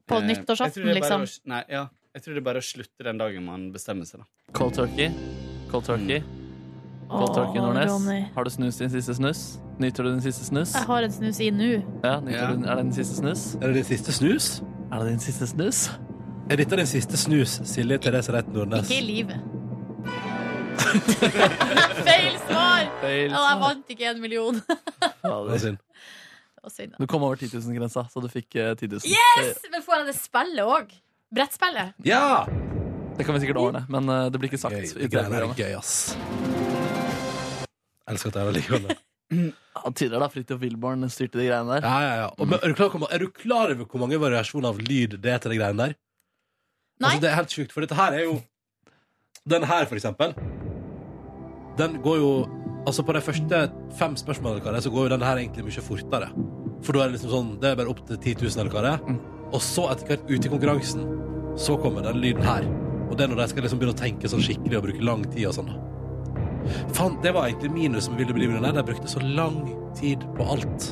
S2: På
S10: eh, jeg tror
S2: nyttårsaften,
S10: det er bare
S2: liksom.
S10: å s- nei, ja. Jeg tror det er bare å slutte den dagen man bestemmer seg, da.
S3: Cold turkey. Cold turkey. Cold turkey,
S2: Åh, Ronny.
S3: Nordnes. Har du snust din siste snus? Nyter du din siste snus?
S2: Jeg har en snus i nå.
S3: Ja, nyter
S10: Ja.
S3: Du, din- er det din siste snus?
S1: Er det din siste snus?
S3: Er det din siste snus?
S1: Er dette din siste snus, Silje Therese Reit Nordnes?
S2: Ikke i livet. Feil svar!
S3: Feil
S2: Ja, jeg vant ikke en million. Det var synd, da.
S3: Du kom over 10 000-grensa, så du fikk eh, 10 000.
S2: Yes! Men får jeg det spillet òg? Brettspillet?
S1: Ja!
S3: Det kan vi sikkert ordne, men eh, det blir ikke sagt. i
S1: Det
S3: det
S1: greiene her
S3: programmet.
S1: er gøy, ass. Jeg elsker at det er likevel.
S3: Ja, tidligere da, Fridtjof Wilborn styrte de greiene der.
S1: Ja, ja, ja. Og, men er, du klar, over- er du klar over hvor mange variasjoner av lyd det er til de greiene der?
S2: Nei.
S1: Altså, det er helt sjukt, for dette her er jo Den her, for eksempel. Den går jo Altså, på de første fem spørsmålene eller hva det er, så går jo den her egentlig mye fortere. For da er det liksom sånn Det er bare opp til 10 000 eller hva det er. Og så, etter hvert ute i konkurransen, så kommer den lyden her. Og det er når de skal liksom begynne å tenke sånn skikkelig og bruke lang tid og sånn. Faen, det var egentlig minus med Ville bli millionær. De brukte så lang tid på alt.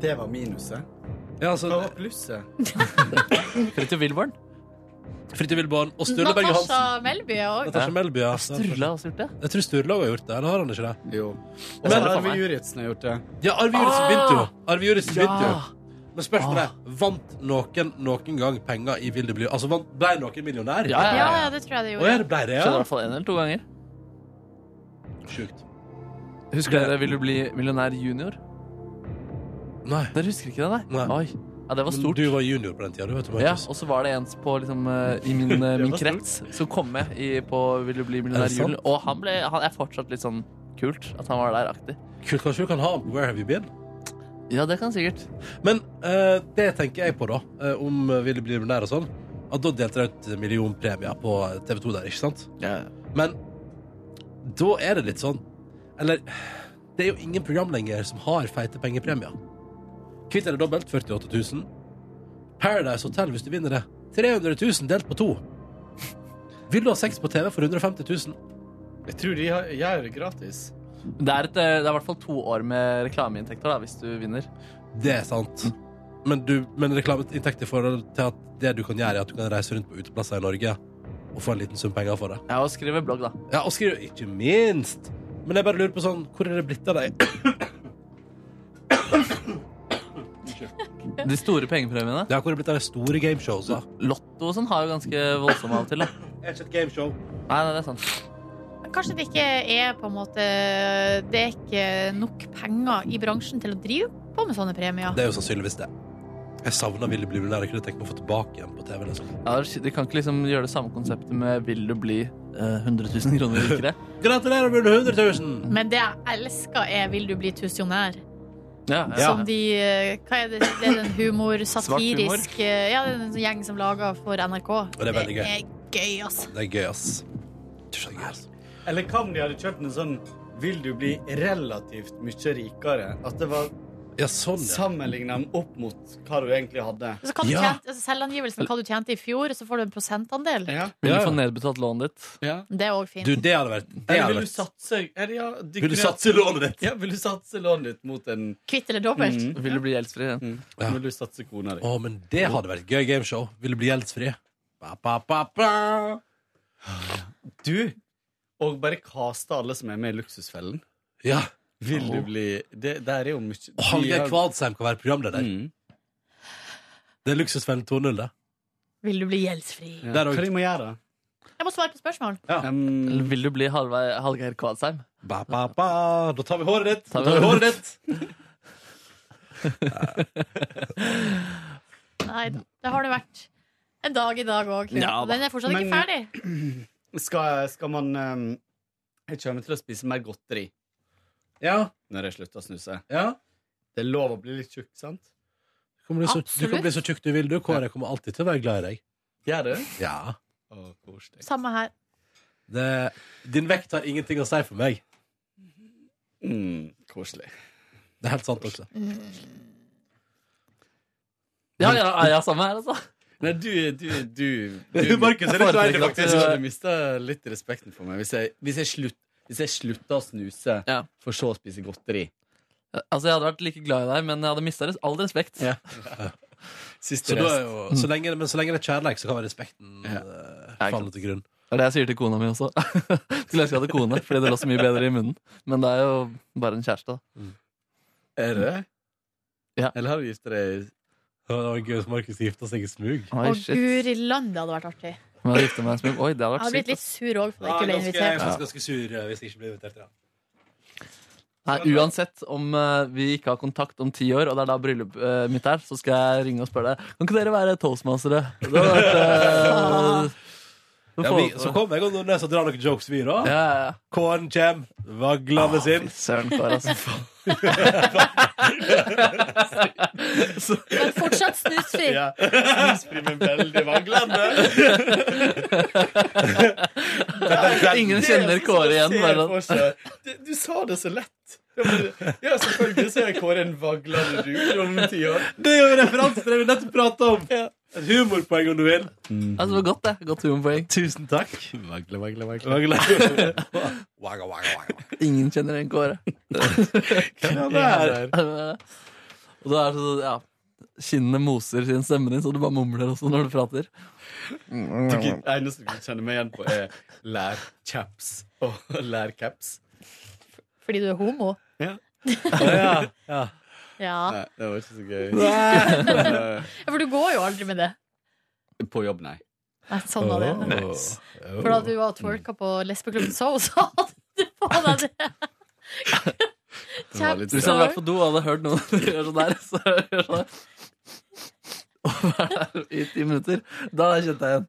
S10: Det var minuset.
S1: Ja, altså,
S10: Hva var plusset?
S3: Fridtjof Wilborn.
S1: Fridtjof Wilborn og Sturle Berge
S2: Natasha
S1: Hansen.
S2: Melby òg.
S1: Natasha Melby, ja.
S3: Sturla har også gjort det.
S1: Jeg tror Sturle også har gjort det. Eller har han ikke det?
S10: Jo. Og
S1: Men-
S10: så Arve Juritzen har gjort det.
S1: Ja, Arve Juritzen
S3: Ah!
S1: begynte jo. Arve Juritzen begynte
S3: Ja. Ah.
S1: jo. Men spørsmålet er vant noen noen gang penger i Vil det bli Altså, vant- ble noen millionær?
S3: Ja,
S2: Ja, ja, det tror jeg det
S1: Å ja,
S2: gjorde.
S1: det ble det,
S3: Skjedde i
S1: ja.
S3: hvert fall en eller to ganger.
S1: Sjukt.
S3: Husker dere Vil du bli millionær junior?
S1: Nei.
S3: Dere husker ikke det, nei?
S1: Nei.
S3: Oi. Ja, det var
S1: Men
S3: stort.
S1: du var junior på den tida, du, vet du,
S3: Ja,
S1: Markus.
S3: og så var det en på, liksom, eh, i min, eh, min krets som kom med i, på Vil du bli millionær
S1: Er det sant?
S3: jul. Og han, ble, han er fortsatt litt sånn kult at han var der aktig.
S1: Kult, kanskje du kan ha han på Where Have You Been?
S3: Ja, det kan sikkert.
S1: Men eh, det tenker jeg på, da. eh, om eh, Vil det bli millionær og sånn. At da delte de ut millionpremier på TV2 der, ikke sant? Men da er det litt sånn Eller det er jo ingen program lenger som har feite pengepremier. Kvitt eller dobbelt 48 000. Paradise Hotel, hvis du vinner det, 300 000 delt på to. Vil du ha sex på TV for 150 000?
S10: Jeg tror de har, gjør det gratis.
S3: Det er, et, eh, det er i hvert fall to år med reklameinntekter da, hvis du vinner.
S1: Det er sant. Men, du, men reklameinntekter i forhold til at det du kan gjøre, er at du kan reise rundt på uteplasser i Norge og få en liten sum penger for det.
S3: Ja, og skrive blogg, da.
S1: Ja, og skriver ikke minst. Men jeg bare lurer på sånn, hvor er det blitt av deg?
S3: De store pengepremiene.
S1: Ja, hvor er det blitt av de store gameshowsa?
S3: Lotto og sånn har jo ganske voldsomme av og til. da.
S1: Er ikke et gameshow.
S3: Nei, nei, det er sant.
S2: Kanskje det ikke er på en måte Det er ikke nok penger i bransjen til å drive på med sånne premier.
S1: Det er jo sannsynligvis det. Jeg savna Ville bli millionær. Jeg kunne tenkt meg å få tilbake igjen på TV. Liksom.
S3: Ja, de kan ikke liksom gjøre det samme konseptet med 'Vil du bli eh, 100 000 kroner rikere'?
S1: Gratulerer med 100 000!
S2: Men det jeg elsker, er 'Vil du bli tusionær'?
S3: Ja, ja.
S2: Som de eh, Hva er det? Det er den humor, satirisk eh, Ja, det er en gjeng som lager for NRK.
S1: det er veldig gøy.
S2: Det er gøy, altså.
S1: Det er gøy, ass. Jeg tror det er gøy, ass.
S10: Eller hva om de hadde kjørt en sånn Vil du bli relativt mye rikere? At det var
S1: Ja, sånn, ja.
S10: sammenligna opp mot hva du egentlig hadde.
S2: Så kan du
S1: Ja.
S2: tjent- altså selvangivelsen, hva du tjente i fjor, så får du en prosentandel.
S10: Ja.
S3: Vil
S1: Ja,
S3: du
S1: ja.
S3: få nedbetalt lånet ditt?
S2: Det er òg fint.
S1: Du, det hadde vært det
S10: Eller
S1: hadde
S10: vil du
S1: vært.
S10: satse eller ja, de
S1: Vil du
S10: kunne-
S1: satse lånet ditt?
S10: Ja, vil du satse lånet ditt mot en
S2: Kvitt eller dobbelt.
S10: Mhm.
S3: Vil du bli gjeldsfri? Ja.
S1: Ja.
S10: Vil du satse kona di?
S1: Å, men det hadde vært gøy gameshow. Ville bli gjeldsfri. Ba, ba, ba, ba.
S10: Du! Og bare kaste alle som er med i Luksusfellen.
S1: Ja.
S10: Vil du bli det, Der er jo mye
S1: Og Hallgeir
S10: de har-
S1: Kvadsheim kan være programleder.
S10: Mm.
S1: Det er Luksusfellen 2.0, det.
S2: Vil du bli gjeldsfri?
S10: Ja.
S1: Der
S10: Hva
S1: også.
S10: de må gjøre?
S2: Jeg må svare på spørsmål.
S10: Um,
S3: Eller vil du bli Halvei- Hallgeir Kvadsheim?
S1: Ba, ba, ba. Da tar vi håret ditt! Da
S3: Tar vi
S1: tar vi
S3: håret
S1: håret ditt.
S2: Nei da. Det har det vært en dag i dag òg.
S3: Ja,
S2: og den er fortsatt
S10: Men-
S2: ikke ferdig.
S10: skal, skal man um, Jeg kommer til å spise mer godteri
S1: Ja,
S10: når jeg slutter å snuse.
S1: ja.
S10: Det er lov å bli litt tjukk, sant?
S1: Du kommer bli så- du
S2: Absolutt.
S1: kan bli så tjukk du vil, du. Kåre kommer alltid til å være glad i deg.
S10: Gjør du?
S1: Ja.
S10: Å, koselig.
S2: Samme her.
S1: Det, din vekt har ingenting å si for meg.
S10: Mm, koselig.
S1: Det er helt sant også.
S3: Ja, ja, ja, samme her, altså.
S10: Nei, du, du, du, du
S1: Markus er litt
S10: Jeg foretrekker
S1: uheldig,
S10: at
S1: faktisk.
S10: du hadde mista litt respekten for meg hvis jeg, hvis jeg, slutt, hvis jeg slutta å snuse
S3: Ja.
S10: for så å spise godteri.
S3: Altså, Jeg hadde vært like glad i deg, men jeg hadde mista all respekt.
S10: Ja.
S1: Så,
S10: Siste
S1: da
S10: rest.
S1: er jo, Mm. så lenge, men så lenge det er kjærleik, så kan respekten
S10: Ja.
S1: eh, falle til grunn.
S3: Det er det jeg sier til kona mi også. Skulle ønske jeg hadde kone, fordi det lå så mye bedre i munnen. Men det er jo bare en kjæreste. da.
S10: Er det det?
S3: Ja.
S10: Eller har du gifta deg
S1: Det var gøy hvis Markus gifta seg i smug.
S3: Oi,
S2: Og
S3: shit.
S2: guri land, det hadde vært artig.
S3: Men jeg gifter meg som Oi, det hadde
S2: Jeg
S3: vært
S2: har blitt
S3: sykt.
S2: litt sur òg for at jeg ikke ble
S1: ganske, jeg er
S2: invitert.
S1: faktisk ganske sur eh, hvis jeg ikke blir invitert. Ja.
S3: Nei, uansett om eh, vi ikke har kontakt om ti år, og det er da bryllupet mitt er, så skal jeg ringe og spørre deg Kan ikke dere være toastmastere? Det hadde vært, eh,
S1: Ja, vi, så kom jeg og Nordnes og drar noen jokes, vi, da.
S3: Ja, ja, ja.
S1: Kåren kjem, vaglende sin.
S3: Søren, kar, altså.
S2: Men fortsatt snusfri.
S10: Ja. Snusfri, men veldig vaglende.
S3: Ingen kjenner Kåre igjen, bare
S10: bare Du sa det så lett. Ja, men- ja, selvfølgelig så er Kåre en vaglende dude om ti år.
S1: Det er jo en referanse til det vi nettopp prata om! Et humorpoeng, om du vil.
S3: Altså, det var godt, det. Godt humorpoeng.
S1: Tusen takk.
S10: Vagle, vagle, vagle.
S1: Vagle.
S3: Ingen kjenner en Kåre.
S1: Ja, det er-
S3: Og da er det sånn, ja Kinnene moser sin stemme din, så du bare mumler også når du prater.
S10: Det eneste du kan kjenne meg igjen på, eh, er lærchaps og lærcaps.
S2: Fordi du er homo?
S10: Ja.
S1: ja, ja.
S2: Ja.
S10: Nei, det var ikke så gøy. Eh,
S2: For du går jo aldri med det.
S10: På jobb, nei.
S2: Nei, sånn var det. For da du var og twerka på lesbeklubben So, så hadde du på deg det.
S10: Det var litt
S3: Hvis jeg hadde vært på do og hadde hørt noen gjøre sånn der, så gjør jeg sånn der. Og være der i ti minutter, da kjente jeg igjen.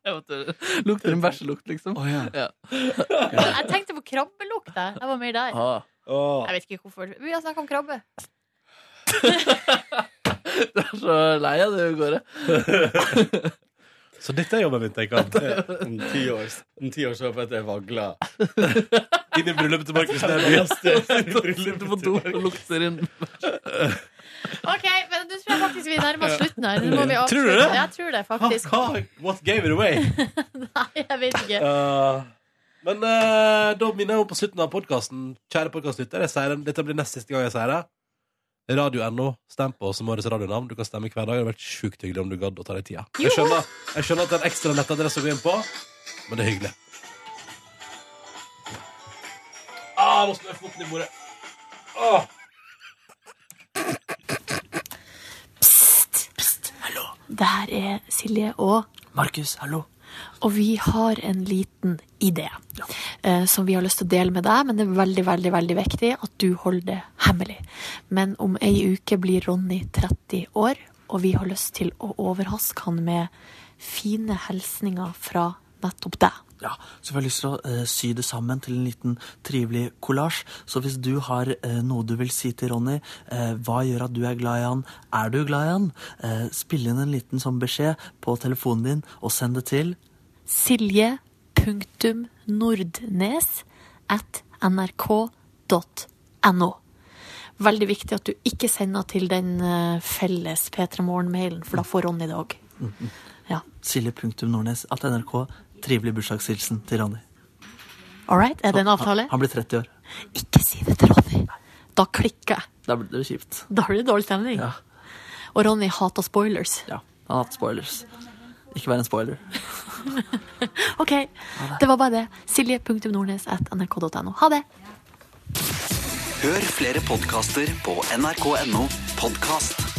S3: Jeg måtte- Lukter en bæsjelukt, liksom.
S10: Å, ja.
S2: Jeg tenkte på krabbelukt. Jeg Jeg var mer der.
S3: Ah,
S1: Åh.
S2: Jeg vet ikke hvorfor. Vi har snakka om krabbe.
S3: du er så lei av det, Kåre.
S1: Så dette er jobben min, tenker han.
S10: Eh, Om ti år, om ti år så håper jeg at jeg vagler.
S1: Inn i bryllupet til Markus Neby.
S10: Sitter
S3: Sitter på do og lukter inn.
S2: Ok, men nå tror jeg faktisk vi nærmer oss slutten her. Nå må vi
S1: Tror du
S2: avslutte.
S1: det?
S2: Ja, Jeg tror det,
S1: Hva,
S2: faktisk.
S1: hva, what gave it away?
S2: Nei, jeg vet ikke.
S1: Eh, men eh, da minner jeg om på slutten av podkasten, kjære podkastlytter, jeg sier den- dette blir nest siste gang jeg sier det. Radio.no, stem på som årets radionavn. Du kan stemme hver dag. Det hadde vært sjukt hyggelig om du gadd å ta deg tida. Jeg skjønner, jeg skjønner at det er en ekstra nettadresse å gå inn på, men det er hyggelig. Ah, nå slår jeg foten i bordet. Ah.
S2: Det her er Silje og
S3: Markus, hallo.
S2: Og vi har en liten idé eh, som vi har lyst til å dele med deg, men det er veldig, veldig veldig viktig at du holder det hemmelig. Men om ei uke blir Ronny 30 år, og vi har lyst til å overraske han med fine hilsninger fra nettopp deg.
S11: Ja, så vi har lyst til å eh, sy det sammen til en liten trivelig kollasj. Så hvis du har eh, noe du vil si til Ronny, eh, hva gjør at du er glad i han, er du glad i han, eh, spill inn en liten sånn beskjed på telefonen din og send det til
S2: silje.nordnes at nrk.no. Veldig viktig at du ikke sender til den eh, felles P3 Morgen-mailen, for da får Ronny det òg.
S11: silje.nordnes at nrk. Trivelig bursdagshilsen til Ronny.
S2: All right, er det en avtale?
S11: Han blir 30 år.
S2: Ikke si det til Ronny. Da klikker jeg.
S11: Da blir det kjipt.
S2: Da blir det dårlig stemning.
S11: Ja.
S2: Og Ronny hater spoilers.
S11: Ja, han har hatt spoilers. Ikke vær en spoiler.
S2: OK, det var bare det. Silje.nordnes at nrk.no. Ha det.
S7: Hør flere podkaster på nrk.no podkast.